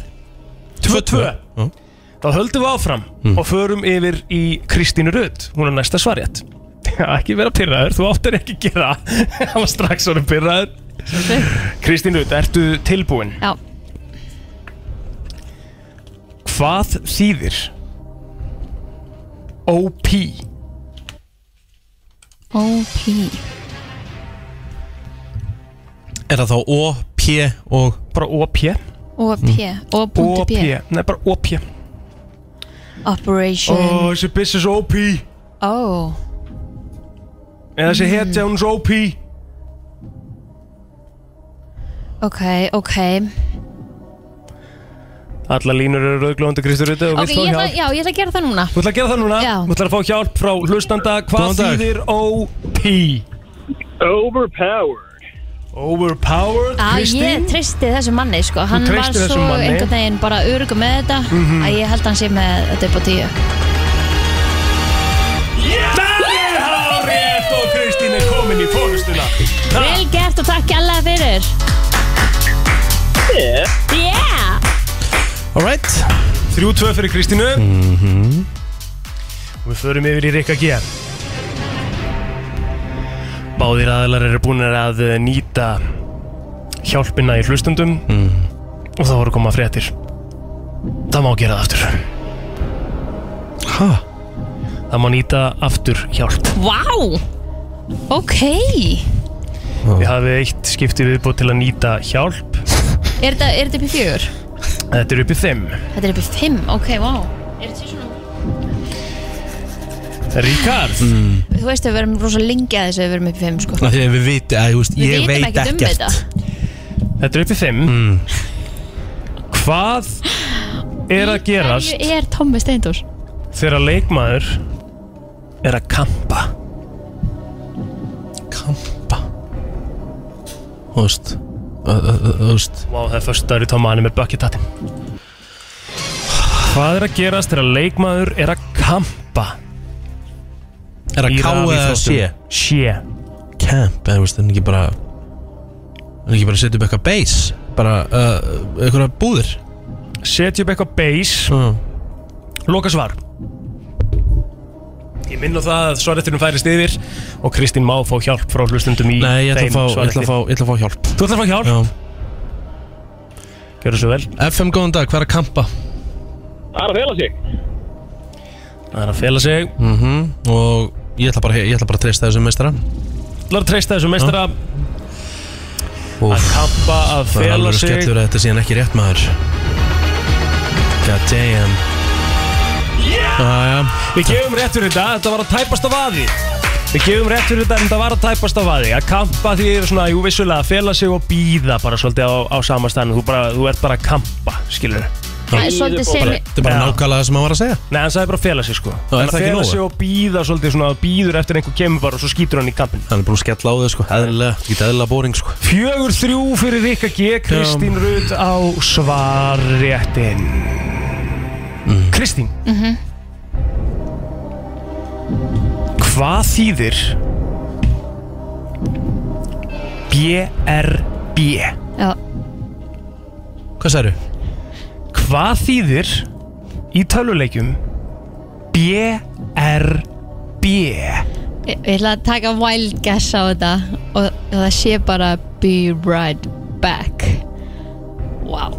Speaker 3: 2-2 Þá höldum við áfram og förum yfir í Kristínu Rödd Hún er næsta svarjætt Ekki vera pyrraður, þú áttir ekki að gera það. Hann var strax orðin pyrraður Kristín Rödd, ertu tilbúin?
Speaker 4: Já.
Speaker 3: Hvað þýðir OP?
Speaker 4: OP
Speaker 1: Er það þá O, P og
Speaker 3: Bara OP
Speaker 4: OP
Speaker 3: Mm. OP,
Speaker 4: O.P.
Speaker 3: nei bara OP Ó,
Speaker 4: Operation Oh,
Speaker 3: þessi business OP
Speaker 4: Ó,
Speaker 3: Eða þessi hetja hún er svo OP
Speaker 4: ok, ok
Speaker 3: Alla línur eru rauðglóðandi Kristur Rödd og
Speaker 4: Ok,
Speaker 3: vilt fá
Speaker 4: ég ætla,
Speaker 3: hjálp
Speaker 4: já, ég ætla að gera það núna
Speaker 3: Þú ætla að gera það núna
Speaker 4: Já.
Speaker 3: Þú ætla að fá hjálp frá hlustanda
Speaker 1: Góðan
Speaker 3: Hvað
Speaker 1: dag.
Speaker 3: þýðir OP? Overpowered Overpowered,
Speaker 4: Að Ah, ég
Speaker 3: Kristín?
Speaker 4: tristi þessu manni, sko Hann var
Speaker 3: treystir
Speaker 4: svo
Speaker 3: þessum manni.
Speaker 4: einhvern veginn bara örugum með þetta
Speaker 3: Mhm.
Speaker 4: Að ég held að hann sé með þetta upp á tíu
Speaker 3: Það er hárið og Kristín er komin í fórustuna
Speaker 4: Vel gert og takk alla fyrir Yeah
Speaker 1: Alright
Speaker 3: 3-2 fyrir Kristínu
Speaker 1: Mhm.
Speaker 3: Við förum yfir í Rikka G Báðir aðlar eru búin að eh, nýta hjálpina í hlustundum og það voru koma fréttir Það má gera það aftur Hæ? Það má nýta aftur hjálp
Speaker 4: Vá, ok
Speaker 3: Við hafið eitt skipti viðbúið til að nýta hjálp
Speaker 4: Er þetta er þetta upp í fjögur?
Speaker 3: Þetta er upp í þeim
Speaker 4: Þetta er upp í fimm, ok, vá Er þetta svona
Speaker 3: Ríkard
Speaker 4: Þú veist að við verum rosa lengi að þessu að við verum upp í fimm, sko
Speaker 1: Þegar við viti, að, þú veist,
Speaker 4: Við
Speaker 1: ég
Speaker 4: vitum
Speaker 1: veit
Speaker 4: ekkert um
Speaker 1: ekkert
Speaker 4: þetta.
Speaker 3: Þetta er upp í þeim
Speaker 1: Mm.
Speaker 3: Hvað er að gerast
Speaker 4: Ég er Tommi Steindors
Speaker 3: þegar leikmaður er að kampa
Speaker 1: Þú veist uh, uh, uh, Þú veist
Speaker 3: Vá, það er fyrst dagur í Tomma, hann er með bökkjatatin Hvað er að gerast þegar leikmaður er að kampa
Speaker 1: Er að
Speaker 3: Í
Speaker 1: ká eða E?
Speaker 3: rafíþróttum?
Speaker 1: sé
Speaker 3: Sé
Speaker 1: Camp, eða þú veist, en ekki bara En ekki bara setja upp eitthvað base Bara, uh, eitthvað búðir
Speaker 3: Setja upp eitthvað base Loka svar Ég minn á það að svarettunum færist yfir og Kristín má fá hjálp frá hlustundum í
Speaker 1: Nei, ég ætla að
Speaker 3: þeim
Speaker 1: fá- ég ætla
Speaker 3: svarretti.
Speaker 1: að fá- ég ætla að fá hjálp
Speaker 3: Þú ætla að fá hjálp?
Speaker 1: Já
Speaker 3: Gjörðu svo vel
Speaker 1: FM, góðan dag, hvað er að kampa?
Speaker 8: Það er að fela sig
Speaker 3: Það er að fela sig
Speaker 1: mm Og ég ætla bara, ég ætla bara að treysta þessum meistara
Speaker 3: Þú ætla Hmm? að treysta þessu meistara að kampa, að
Speaker 1: Ah, Það er
Speaker 3: fela
Speaker 1: alveg
Speaker 3: sig
Speaker 1: skellur að þetta sé hann ekki rétt maður God damn yeah!
Speaker 3: Við gefum rétt fyrir þetta, þetta var að tæpast á vaði Við gefum rétt fyrir þetta, en þetta var að tæpast á vaði Að kampa því er svona, jú vissulega, að fela sig og býða bara svolítið á, á sama stann þú, bara, þú ert bara að kampa, skilur
Speaker 4: Það er svolítið sem- Þetta
Speaker 1: er bara nákvæmlega það sem hann var að segja
Speaker 3: Nei, hann sagði bara að fela sig sko
Speaker 1: er
Speaker 3: En
Speaker 1: það
Speaker 3: að
Speaker 1: ekki
Speaker 3: fela
Speaker 1: nógu?
Speaker 3: sig og býða svolítið svona, býður eftir einhver kemur bara og svo skýtur hann í kampin
Speaker 1: Hann er búin að skella á þau sko, eðlilega, ekki eðlilega bóring sko
Speaker 3: Fjögur þrjú fyrir Rikka G, Kristín Rut á svarréttin Kristín,
Speaker 4: Mhm.
Speaker 3: hvað þýðir BRB
Speaker 4: Já.
Speaker 1: Hvað særu?
Speaker 3: Hvað þýðir í töluleikjum BRB
Speaker 4: Ég ég ætla að taka wild guess á þetta og og það sé bara be right back Wow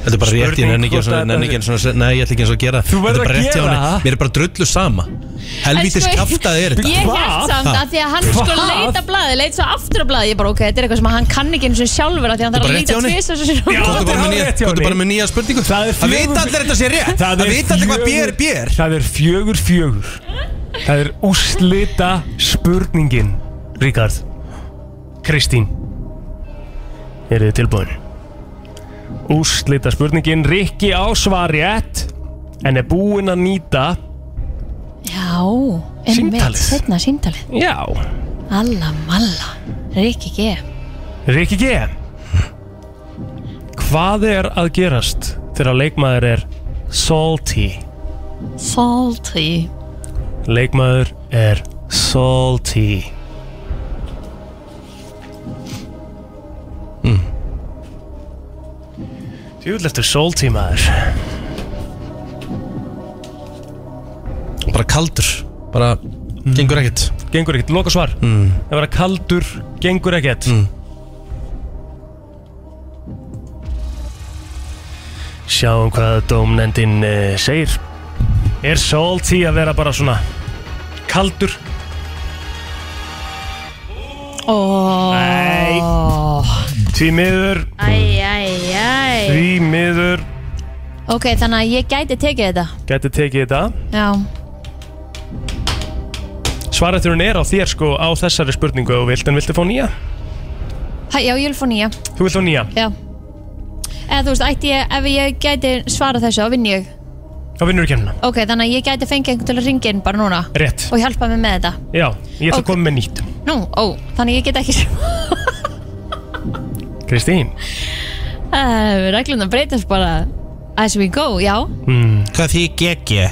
Speaker 1: Þetta er bara rétt, ég nenni ekki eins og- nenni ekki eins og Nei, ég ætla ekki eins og að gera Þú
Speaker 3: verður að gera það.
Speaker 1: Mér er bara drullu sama Helvítis
Speaker 4: En sko,
Speaker 1: kjaftaði er þetta
Speaker 4: Ég held samt að því að hann sko
Speaker 1: Hvað?
Speaker 4: leita blaði, leit svo aftur á blaði Ég bara ok, þetta er eitthvað sem hann kann ekki eins og sjálfur af Því að hann
Speaker 1: Þetta er bara
Speaker 4: þarf að
Speaker 1: rétt hjá
Speaker 4: líta
Speaker 1: henni.
Speaker 4: tvisa svo sem
Speaker 1: Komdu bara með nýja- komdu bara með nýja spurningu Það
Speaker 3: Það
Speaker 1: vita allir að þetta sé rétt Það vita allir hvað BR BR
Speaker 3: bér Það er fjögur fjögur Það er úslita spurningin Ríkard Kristín Er þið tilbúin? Úslita spurningin Rikki á svar rétt En er búinn að nýta
Speaker 4: Já, einmitt,
Speaker 3: Símtalið.
Speaker 4: setna síntalið
Speaker 3: Já
Speaker 4: Alla malla, Rikki G
Speaker 3: Rikki G Hvað er að gerast þegar leikmaður er salty?
Speaker 4: Salty
Speaker 3: Leikmaður er salty mm. Djúvill eftir salty maður
Speaker 1: Bara kaldur Bara gengur ekkert
Speaker 3: Gengur ekkert, loka svar mm. Það vera kaldur, gengur ekkert mm. Sjáum hvað dómnendin uh, segir Er salty að vera bara svona kaldur?
Speaker 4: oh.
Speaker 3: Nei Því miður,
Speaker 4: Æj, æj, æj
Speaker 3: því miður
Speaker 4: Ok, þannig að ég gæti tekið þetta
Speaker 3: Gæti tekið þetta
Speaker 4: Já,
Speaker 3: Svarætturinn er á þér sko á þessari spurningu og vilt en viltu fá nýja?
Speaker 4: Hæ, já, ég vil fá nýja
Speaker 3: Þú vilt fá nýja?
Speaker 4: Já Eða þú veist, ætti ég, ef ég gæti svara þessu, þá vinn ég
Speaker 3: Þá vinnur þú kemna.
Speaker 4: Ok, þannig að ég gæti fengið einhvern til að ringja inn bara núna
Speaker 3: Rétt.
Speaker 4: Og hjálpa mig með þetta
Speaker 3: Já, ég ætla að koma með nýtt.
Speaker 4: Nú, ó, þannig að ég get ekki
Speaker 3: Kristín.
Speaker 4: uh, Regluna breytast bara As we go, já
Speaker 3: Mm.
Speaker 1: Hvað því geggi?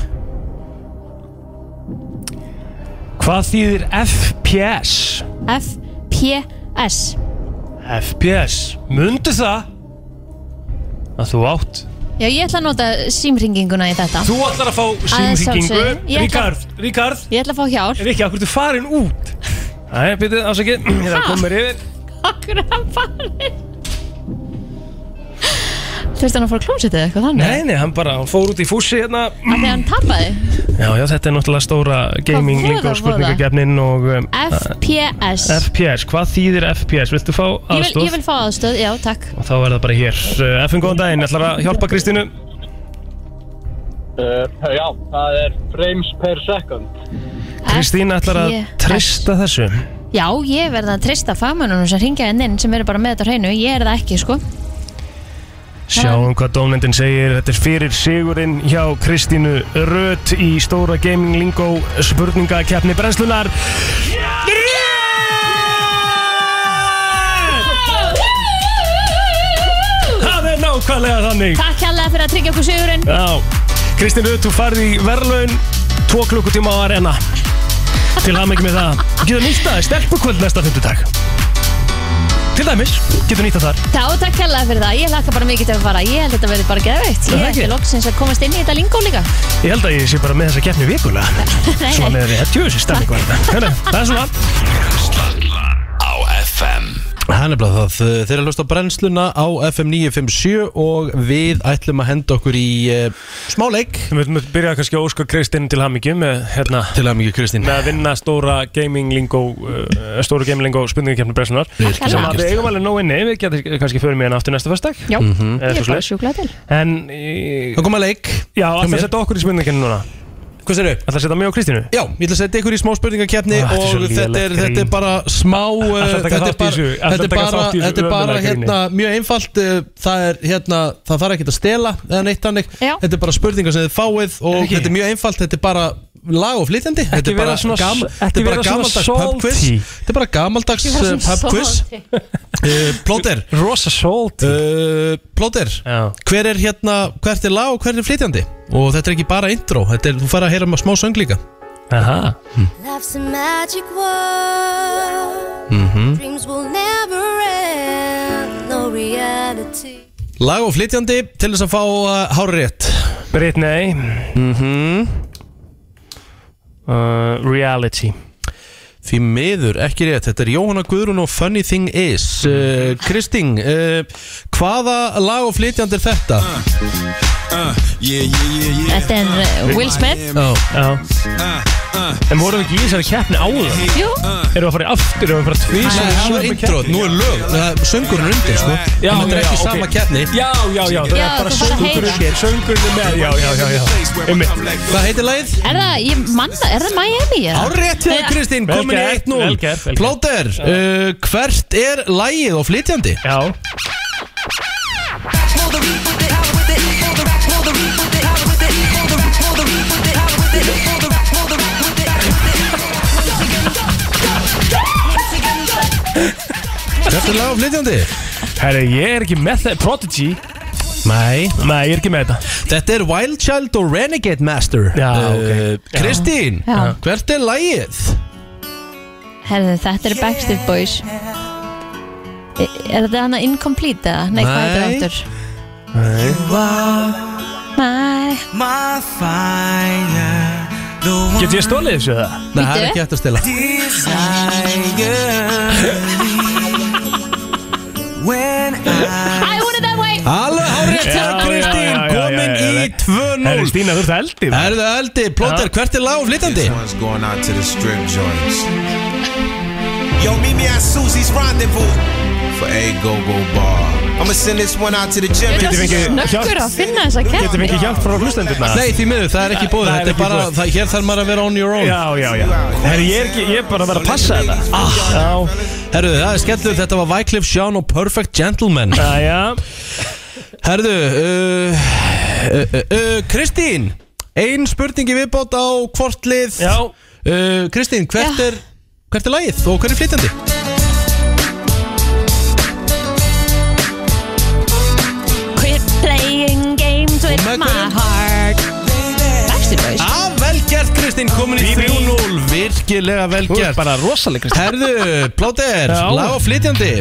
Speaker 3: Hvað þýðir FPS?
Speaker 4: F-P-S
Speaker 3: FPS. Mundu það að þú átt.
Speaker 4: Já, ég ætla að nota símringinguna í þetta
Speaker 3: Þú ætlar að fá
Speaker 4: Að
Speaker 3: símringingu.
Speaker 4: sjálfsögðu. Ég ætla-
Speaker 3: Ríkard, Ríkard.
Speaker 4: Ég ætla að fá hjálp
Speaker 3: Rikki, okkur þú farin út? Æ, byrju, ásakið. Ég ætla að koma mér yfir.
Speaker 4: Akkur að fara Þurfti hann að fara að klósita eða eitthvað þannig?
Speaker 3: Nei, nei, hann bara hann fór út í fússi hérna.
Speaker 4: Af því að hann tapaði
Speaker 3: Já, já, þetta er náttúrulega stóra gaming
Speaker 4: voða,
Speaker 3: lingo
Speaker 4: voða?
Speaker 3: spurningagefnin og... um,
Speaker 4: FPS
Speaker 3: FPS, hvað þýðir FPS? Viltu fá
Speaker 4: Ég vil,
Speaker 3: aðstof?
Speaker 4: ég vil fá aðstöð, já, takk
Speaker 3: Og þá er það bara hér. Uh, FN, góðan daginn, ætlar að hjálpa Kristínu?
Speaker 12: Uh, já, það er frames per second.
Speaker 3: Kristín ætlar að
Speaker 4: FPS.
Speaker 3: treysta þessu.
Speaker 4: Já, ég verða að treysta fagmönnunum sem ringja henn inn sem eru bara með þetta á hreinu, ég er það ekki, sko
Speaker 3: Sjáum hvað dómnendin segir. Þetta er fyrir sigurinn hjá Kristínu Röt í stóra Gaming Lingo spurningakeppni brennslunar. Það er nákvæmlega þannig.
Speaker 4: Takk hérlega fyrir að tryggja okkur sigurinn
Speaker 3: Já, Kristín Rut, þú farði í verðlaun tvo klukkutíma á arena til hafði ekki með það getur nýtt það, stelpukvöld næsta fymtudag til dæmis, getur nýtt það þar
Speaker 4: Þá, takk hérlega fyrir það, ég hlakka bara mikið til að fara Ég held að þetta verði bara geðveikt
Speaker 3: Er það
Speaker 4: Ég held
Speaker 3: ekki?
Speaker 4: að loksins að komast inn í þetta lingó líka
Speaker 3: ég held að ég sé bara með þessa keppni vikulega
Speaker 4: Nei,
Speaker 3: svona
Speaker 4: nei.
Speaker 3: með því að tjóðis í stemning var þetta Hérna, það er svona
Speaker 1: Á FM Það er nefnilega það, uh, þeir eru að hlusta á brennsluna á FM 957 og við ætlum að henda okkur í uh, smáleik
Speaker 3: Við viljum byrja kannski að óska Kristinn til hamingju með hérna
Speaker 1: Til hamingju Kristinn
Speaker 3: Með að vinna stóra gaming lingo uh, Stóra gaming lingo spurningakefni brennslunar
Speaker 1: Virkilega
Speaker 3: Sem að
Speaker 1: vel
Speaker 3: við
Speaker 1: gert.
Speaker 3: eigum alveg nóg inni Við getum kannski fyrir mig en aftur næsta fyrstag
Speaker 4: Já,
Speaker 1: Mhm.
Speaker 4: ég er bara sjúklað til
Speaker 3: En
Speaker 1: Það kom að leik
Speaker 3: Já,
Speaker 1: Hjá
Speaker 3: ætla að
Speaker 1: mér.
Speaker 3: setja okkur í spurningakefni núna
Speaker 1: Hvað serðu?
Speaker 3: Ætla að setja mig og Kristínu
Speaker 1: Já, ég ætla að setja ykkur í smá spurningakefni
Speaker 3: Ah, þetta er svo
Speaker 1: og þetta er,
Speaker 3: lélegt
Speaker 1: þetta er
Speaker 3: grín.
Speaker 1: bara smá uh,
Speaker 3: Ætlar að taka
Speaker 1: þetta er
Speaker 3: þátt í
Speaker 1: bara,
Speaker 3: þessu? Ætlar
Speaker 1: þetta er
Speaker 3: að taka
Speaker 1: bara,
Speaker 3: þátt í þessu
Speaker 1: þetta er bara
Speaker 3: ömurlega gríni?
Speaker 1: hérna, mjög einfalt uh, það er hérna, það þarf ekki að stela eða neitt hannig, þetta er bara spurningar sem þið fáið og
Speaker 3: Ekki.
Speaker 1: þetta er mjög einfalt, þetta er bara lag og flytjandi, þetta er
Speaker 3: vera
Speaker 1: bara,
Speaker 3: svona-
Speaker 1: gam,
Speaker 3: ekki
Speaker 1: þetta er
Speaker 3: vera
Speaker 1: bara
Speaker 3: svona
Speaker 1: gamaldags pub quiz
Speaker 3: salty.
Speaker 1: þetta er bara gamaldags
Speaker 3: Ekki vera
Speaker 1: uh,
Speaker 3: svona
Speaker 1: pub quiz
Speaker 3: salty.
Speaker 1: Uh, Plóter
Speaker 3: Rosa salt
Speaker 1: uh, Plóter Hver er hérna, hvert er lag og hvert er flytjandi Og þetta er ekki bara intro þetta er, Þú fær að heyra með smá söng líka
Speaker 3: Aha
Speaker 13: Life's a magic world.
Speaker 3: Mhm.
Speaker 13: Dreams will never end. No reality.
Speaker 1: Lag og flytjandi til þess að fá uh, hári rétt
Speaker 3: Britt, nei
Speaker 1: mm -hmm.
Speaker 3: uh, Reality
Speaker 1: Því miður, ekki rétt, þetta er Jóhanna Guðrún og Funny Thing Is uh, Kristín, uh, hvaða lag og flytjandi er þetta?
Speaker 3: Uh,
Speaker 4: Þetta er uh, Will Smith
Speaker 1: Já.
Speaker 3: En vorum við ekki í þessari keppni áður?
Speaker 4: Jú.
Speaker 3: Erum við að fara í aftur, erum við að fara tvís
Speaker 1: Nei, það var intro, nú er lög, það- söngurinn er undir sko
Speaker 3: Já,
Speaker 1: En þetta er
Speaker 3: já,
Speaker 1: ekki
Speaker 3: ok.
Speaker 1: sama keppni
Speaker 3: Já, já, já, það
Speaker 4: Já,
Speaker 3: er bara
Speaker 4: þú bara
Speaker 3: söngurinn
Speaker 4: heyra.
Speaker 3: er, söngurinn er með, já, já, já, já Einmitt.
Speaker 1: Hvað heitir lagið?
Speaker 4: Er það, ég manna, er það Miami? eða?
Speaker 1: Árétt hjá þér,
Speaker 4: Nei,
Speaker 1: Kristín,
Speaker 3: Vel
Speaker 1: komin í
Speaker 3: gert, vel
Speaker 1: 1-0
Speaker 3: gert, vel gert.
Speaker 1: Plóter, uh, hvert er lagið og flytjandi?
Speaker 3: Já
Speaker 1: Hvert er lag og flytjandi?
Speaker 3: Herri, ég er ekki með það, Prodigy
Speaker 1: Nei
Speaker 3: Nei, ég er ekki með þetta
Speaker 1: Þetta er Wild Child og Renegade Master
Speaker 3: Já,
Speaker 1: Eh,
Speaker 3: ok. Já.
Speaker 1: Kristín,
Speaker 4: Já.
Speaker 1: hvert er lagið?
Speaker 4: Herðu, þetta er Backstreet Boys Er, er þetta hana incomplete eða? Nei, hvað heitir það
Speaker 1: Nei.
Speaker 4: aftur?
Speaker 1: Nei
Speaker 4: My
Speaker 3: Get ég stólið þessu það?
Speaker 1: Nei, það er ekki hægt að stela
Speaker 4: I want it that way
Speaker 1: Alveg hárétt hjá
Speaker 3: Já, já,
Speaker 1: Kristín,
Speaker 3: já, já,
Speaker 1: komin
Speaker 3: já, já,
Speaker 1: í
Speaker 3: já.
Speaker 1: 2-0
Speaker 3: Herri, Stína, þú ert eldið
Speaker 1: Það eru það eldi, Plóter, hvert er lag og flytjandi?
Speaker 14: This one's going out to the strip joints. Yo, meet me at Susie's Rendezvous for a go-go bar. I'ma send this one out to the gym.
Speaker 4: Þetta er fengið snöggur að finna þessa
Speaker 3: Getum
Speaker 4: kemni
Speaker 3: ekki hjálp frá hlustendurna?
Speaker 1: Nei, því miður, það er ekki búið Þetta er
Speaker 3: Það er ekki í
Speaker 1: bara,
Speaker 3: boði.
Speaker 1: það, hér þarf maður að vera on your own
Speaker 3: Já, já, já Herri, ég er ekki, ég er bara að vera að passa þetta Ah, já,
Speaker 1: Herðu, það er skellur, þetta var Wyclef Sean og Perfect Gentleman
Speaker 3: já, já
Speaker 1: Herðu, uh, uh, uh, uh, Kristín Ein spurningi viðbót á hvort lið
Speaker 3: Já,
Speaker 1: Uh, Kristín, hvert er, hvert er lagið og hver er flytjandi?
Speaker 4: Quit playing games with
Speaker 1: Og með
Speaker 4: my
Speaker 1: hverjum?
Speaker 4: heart Backstreet Boys
Speaker 1: Ah, vel gert Kristín, komin í
Speaker 3: Bíbí.
Speaker 1: 3-0 Virkilega vel
Speaker 3: þú
Speaker 1: gert
Speaker 3: ert bara rosaleg, Kristi
Speaker 1: Herðu, Plóter,
Speaker 3: Já.
Speaker 1: lag og flytjandi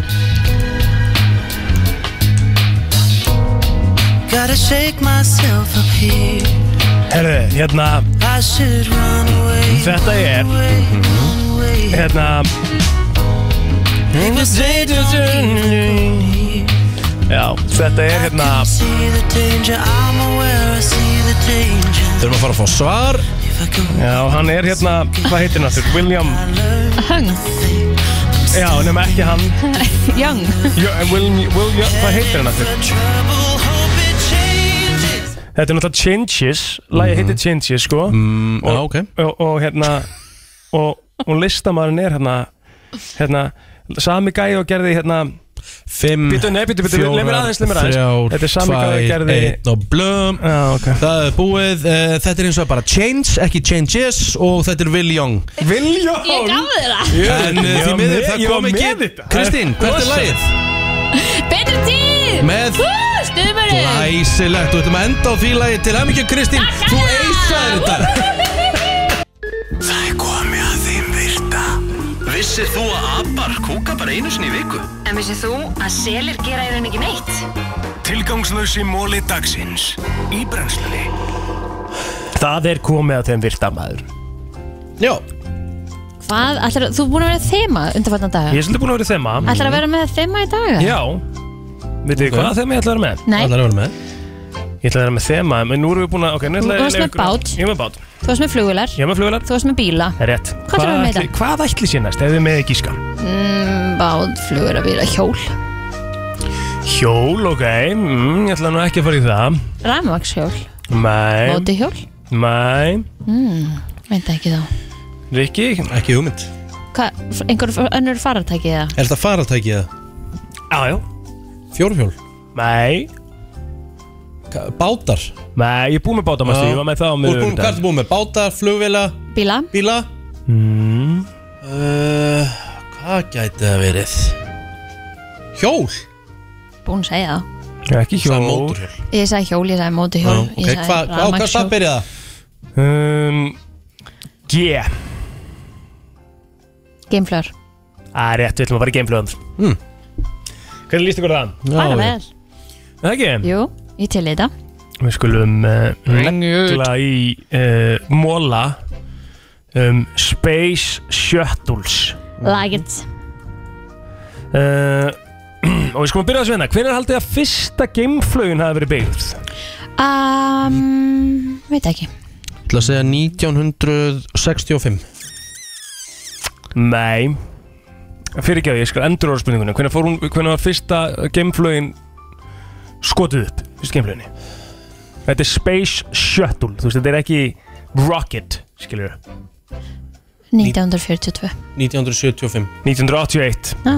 Speaker 15: Gotta shake myself up here.
Speaker 3: Herri, hérna,
Speaker 15: I should run away.
Speaker 3: Þetta er- hérna Já, þetta er hérna
Speaker 15: See the danger, I'm aware I see the danger.
Speaker 1: Þurfum að fara að fá svar
Speaker 3: Já, hann er hérna, hvað heitir hann aftur? William,
Speaker 4: Hung,
Speaker 3: já, nema ekki hann
Speaker 4: Young
Speaker 3: Jö- eh, William, William, hvað heitir hann aftur?
Speaker 15: Trouble, hope it changes.
Speaker 3: Þetta er náttúrulega Changes, lagi heitir Changes, sko
Speaker 1: mm, Já, ok
Speaker 3: og, og hérna, og, og listamæðurinn er hérna, hérna, sami gæði og gerði hérna
Speaker 1: Fimm,
Speaker 3: Bíddu, nei, bíddu, bíddu, leið mér aðeins, leið mér aðeins. Þetta er sami hvað ég gerði-
Speaker 1: einn og blöm
Speaker 3: Já, ok
Speaker 1: Það er búið, uh, þetta er eins og bara change, ekki changes og þetta er Will Young
Speaker 3: William
Speaker 4: Ég gaf þér það
Speaker 1: En uh, því miður, það kom ekki Kristín, hvert er lagið?
Speaker 4: Betri tíð
Speaker 1: Með
Speaker 4: Stumurinn
Speaker 1: Læsilegt, þú ætlum að enda á því lagið til hemmingja Kristín Þú eisaðir þetta
Speaker 2: Það er komið að þeim virta Vissir þú að abar kúka bara einu sinni í viku?
Speaker 16: En vissið þú að selir gera í raun ekki neitt?
Speaker 2: Tilgangslösi móli dagsins Í brennslunni
Speaker 3: Það er komið að þeim virta maður
Speaker 1: Já,
Speaker 4: Hvað, ætlar, þú er búin að vera þema undanfarnan daga
Speaker 3: Ég er svolítið búin að vera í þema
Speaker 4: Ætlar að vera með þema í dag?
Speaker 3: Já Vitið þið
Speaker 1: Ok.
Speaker 3: hvað þema ég ætla að vera með?
Speaker 4: Nei,
Speaker 1: það er að vera með
Speaker 3: Ég ætla að vera með þema En nú erum við búin að okay, nú ætla
Speaker 4: Þú
Speaker 3: ég
Speaker 4: varst
Speaker 3: að leyfa
Speaker 4: með
Speaker 3: ykkur að-
Speaker 4: bát.
Speaker 3: Ég er með bát
Speaker 4: þú varst með flugvilar
Speaker 3: Ég er með flugvelar
Speaker 4: Þú varst með bíla
Speaker 3: Það er rétt
Speaker 4: Hvað ætlarðu að vera með í
Speaker 3: ætli-
Speaker 4: dag?
Speaker 3: Hvað ætli sé næst? Ef við með ekki skan
Speaker 4: mm, Bát, flugvilar, bíla, hjól
Speaker 3: Hjól, ok mm, Ég ætla nú ekki að fara í það
Speaker 4: Ramaxhjól,
Speaker 3: Mæ
Speaker 4: mótihjól
Speaker 3: Mæ
Speaker 4: mm, Veit ekki þá
Speaker 3: Rikki
Speaker 1: Ekki hugmynd
Speaker 4: Hvað, einhver önnur farartæki eða?
Speaker 1: Er þetta faraltækið það?
Speaker 3: Jájá
Speaker 1: Fjórhjól?
Speaker 3: Mæ
Speaker 1: Ka- Bátar?
Speaker 3: Mæ, ég er búin með báta mástu Ég var með
Speaker 1: Þú
Speaker 3: það á
Speaker 1: ert
Speaker 3: miðvikudag.
Speaker 1: búin- Hvað ertu búin með? Bátar, flugvila,
Speaker 4: Bíla?
Speaker 1: bíla?
Speaker 3: Mm,
Speaker 1: Uh, hvað gæti það verið? Hjól?
Speaker 4: Búin að segja það
Speaker 3: Ekki hjól
Speaker 1: Það er mótorhjól
Speaker 4: Ég sagði hjól, ég
Speaker 1: Já,
Speaker 4: sagði mótihjól
Speaker 1: ok,
Speaker 4: Ég sagði
Speaker 1: Hva, hva, á hvað
Speaker 4: rafmagnshjól.
Speaker 1: stað byrja það?
Speaker 3: um, G
Speaker 4: Gameflöður
Speaker 3: Það er rétt, við ætlum að fara í gameflöðum
Speaker 1: Mm.
Speaker 3: Hvernig líst ykkur á það?
Speaker 4: Bara vel
Speaker 3: Er Það ekki?
Speaker 4: Jú, ég til í þetta
Speaker 3: Við skulum uh,
Speaker 1: Ring it.
Speaker 3: negla í uh, móla eh, um Space Shuttles
Speaker 4: Like it
Speaker 3: uh, Og við skulum að byrja að sveina Hvenær haldið að fyrsta geimflögin hafi verið byggð?
Speaker 4: um, Veit ekki
Speaker 1: ætla að segja 1965
Speaker 3: Nei Fyrir ekki að ég skal endur ára spurninguna Hvenær, fór hún, hvenær var fyrsta geimflögin skotið upp? Fyrsta geimflöginni Þetta er Space Shuttle Þú veist, þetta er ekki Rocket, skilur
Speaker 4: 1942
Speaker 1: 1975
Speaker 3: 1981
Speaker 4: Já.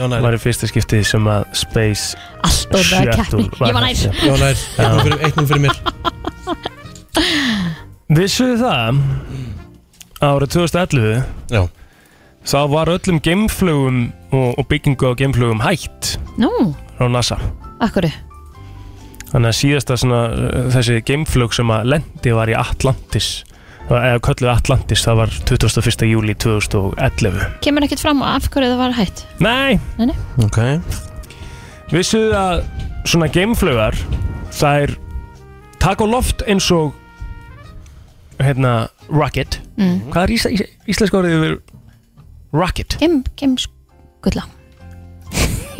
Speaker 3: Það var í fyrsta skiptið sem að Space
Speaker 4: Allt of það
Speaker 3: Shuttle
Speaker 4: keppni. Ég var nær. Ég var nær.
Speaker 1: Eitt núll fyrir- eitt núll fyrir mér
Speaker 3: Vissuðu það Árið 2011
Speaker 1: Já
Speaker 3: Þá var öllum geimflugum og, og byggingu á geimflugum hætt
Speaker 4: Nú,
Speaker 3: frá NASA
Speaker 4: akkurru
Speaker 3: Þannig að síðasta svona, uh, þessi geimflug sem að lendi var í Atlantis eh, eða kölluð Atlantis, það var 21. júli 2011
Speaker 4: Kemur ekkert fram af hverju það var hætt
Speaker 3: Nei,
Speaker 4: Nei, nei.
Speaker 1: Ok
Speaker 3: Vissuðu að svona geimflugar þær taka á loft eins og hérna rocket
Speaker 4: Mm.
Speaker 3: Hvað er ísla, ís- íslenska orðið yfir rocket?
Speaker 4: Gem, gemskulla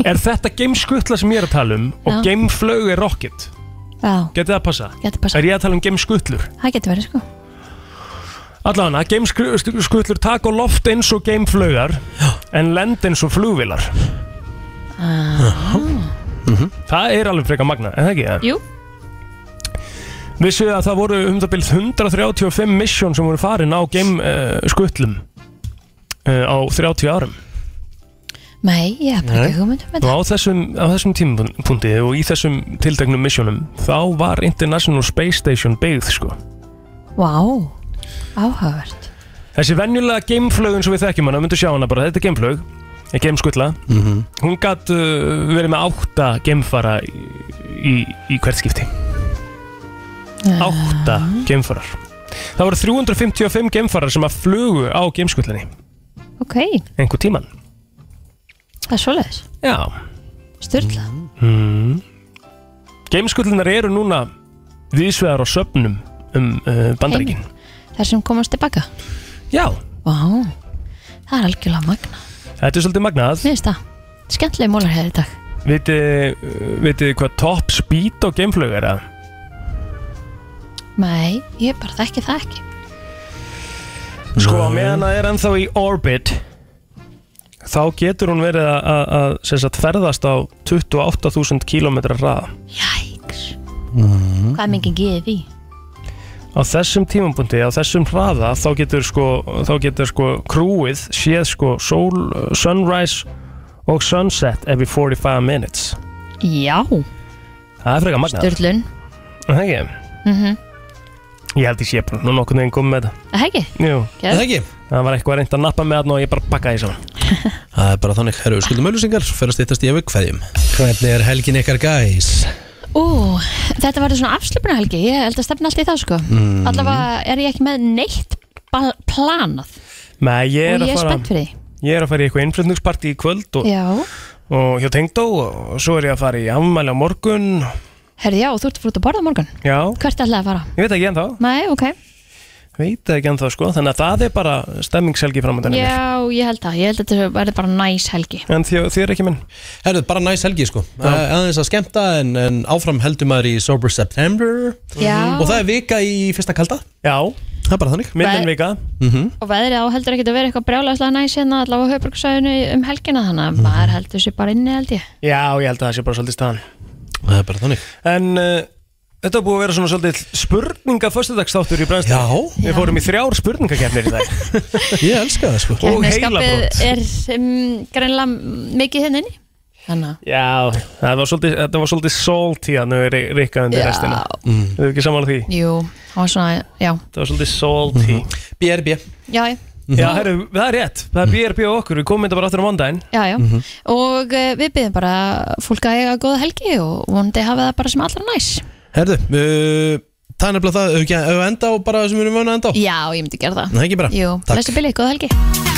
Speaker 3: Er þetta geimskutla sem ég er að tala um og
Speaker 4: Já.
Speaker 3: geimflug er rocket?
Speaker 4: Já,
Speaker 3: Getið það að passa?
Speaker 4: Gæti passa.
Speaker 3: Er ég að tala um geimskutlur?
Speaker 4: það getur verið sko
Speaker 3: Allan að geimskutlur taka á loft eins og geimflaugar en lenda eins og flugvilar
Speaker 4: ah.
Speaker 3: Það er alveg frekar magna, en það ekki? eða?
Speaker 4: Jú,
Speaker 3: Vissuð þið að það voru um það byrð 135 misjón sem voru farin á geimskutlum uh, á 30 árum
Speaker 4: nei, ég hef bara
Speaker 3: Nei.
Speaker 4: ekki hugmynd
Speaker 3: Og
Speaker 4: um þetta
Speaker 3: á þessum, á þessum tímapunkti og í þessum tildæknum misjónum þá var International Space Station byggð sko
Speaker 4: Vá, áhugavert
Speaker 3: Þessi venjulega geimflögun sem við þekkjum hana, myndu sjá hana bara, þetta er geimflög, er geimskulla,
Speaker 1: Mhm.
Speaker 3: hún gatt uh, verið með átta geimfara í, í, í hvert skipti. Átta geimfarar. Það voru 355 geimfarar sem að flugu á geimskullinni,
Speaker 4: Ok,
Speaker 3: einhver tíman.
Speaker 4: það er svoleiðis
Speaker 3: Já.
Speaker 4: Sturla
Speaker 3: Mm. Geimskullinar eru núna viðsvegar á söpnum um uh, bandaríkin.
Speaker 4: Þar sem komast tilbaka
Speaker 3: Já.
Speaker 4: Vá, það er algjörlega magna
Speaker 3: Þetta er svolítið magnað.
Speaker 4: Mér finnst það Skemmtileg mólarhæði í dag
Speaker 3: Vitið vitið hvað top speed á geimflög er að?
Speaker 4: Nei, ég bara þekki það ekki
Speaker 3: Sko, á meðan það er ennþá í orbit Þá getur hún verið að- að að, sem sagt, ferðast á 28.000 km raða Mm.
Speaker 4: Hvað er mikið gefið því?
Speaker 3: Á þessum tímabundi, á þessum raða þá getur sko, þá getur sko krúið séð sko sól, sunrise og sunset every 45 minutes
Speaker 4: Já,
Speaker 3: Það er frekar magnað
Speaker 4: Sturlun
Speaker 3: Er Það ekki,
Speaker 4: mm -hmm.
Speaker 3: ég held ég sé bara nú nokkuð veginn komið með þetta
Speaker 4: Það ekki?
Speaker 3: Jú,
Speaker 4: Er það
Speaker 1: ekki?
Speaker 3: Það var eitthvað reynd að nappa með þarna og ég bara pakkaði saman
Speaker 1: Það er bara þannig, herru, við skuldum auðlýsingar Fyrir að stýttast í ef við hverjum Hvernig er helgin ykkar gæs?
Speaker 4: Ú, þetta verður svona afslöpunarhelgi Ég held að stefna allt í það sko
Speaker 1: Mm.
Speaker 4: Allavega er ég ekki með neitt ba- planað
Speaker 3: Nei, ég er
Speaker 4: Og
Speaker 3: að
Speaker 4: ég er
Speaker 3: fara
Speaker 4: spennt fyrir því.
Speaker 3: Ég er að fara í eitthvað innflutningsparti í kvöld og,
Speaker 4: Já,
Speaker 3: og hjá Tengdó og svo er ég að fara í afmæli á morgun
Speaker 4: herði já, þú ert að fara út að borða á morgun
Speaker 3: Já,
Speaker 4: Hvert ætlaði að fara?
Speaker 3: ég veit ekki ennþá
Speaker 4: Nei, ok
Speaker 3: Veit það ekki ennþá sko, þannig að það er bara stemmingshelgi framöndan yeah.
Speaker 4: Já, ég held það, ég held að þetta verður bara næs helgi
Speaker 3: En þið, þið er ekki minn
Speaker 1: Herru, bara næs helgi sko Eh, Aðeins að skemmta en, en áfram heldur maður í Sober September
Speaker 4: Já.
Speaker 1: Og það er vika í fyrsta kalda
Speaker 3: Já
Speaker 1: Það er bara þannig
Speaker 4: Minni en
Speaker 3: vika
Speaker 1: mm -hmm.
Speaker 4: Og veðrið á heldur ekki að vera eitthvað brjálagslega næs hérna allavega á höfbruksvæðinu um helgina þannig að maður heldur sér bara inni held ég
Speaker 3: Já, ég held að það sé bara svolítið staðan
Speaker 1: Það er bara þannig
Speaker 3: En uh, þetta er búið að vera svona svolítið spurninga föstudagsþáttur í brennslu Já Við fórum í þrjár spurningakefnir í dag
Speaker 1: Ég elska það sko
Speaker 3: Og
Speaker 4: Keppnisskapið
Speaker 3: heilabrot
Speaker 4: er um, greinlega mikið hérna inni Þannig að
Speaker 3: Já, það var svolítið, þetta var svolítið salty að nú er Rikka undir
Speaker 4: Já.
Speaker 3: restina mm. Þau ekki saman á því?
Speaker 4: Jú, það var svona, já
Speaker 3: Það var svolítið salty
Speaker 1: BRB
Speaker 4: Já, já,
Speaker 3: Mhm. Já, heru, það er rétt, það er BRB og okkur, við komum þetta bara aftur á mondaginn
Speaker 4: já, já. Og uh, við byrjum bara fólk að eiga góða helgi og vonandi hafa það bara sem allra næs
Speaker 1: Herru, uh, það er nefnilega það Ef við ekki- ef við enda á bara það sem við erum vöna að enda á
Speaker 4: Já, ég myndi gera það
Speaker 1: Nei, ekki bara.
Speaker 4: Jú,
Speaker 1: Takk.
Speaker 4: lestu bilið, góða helgi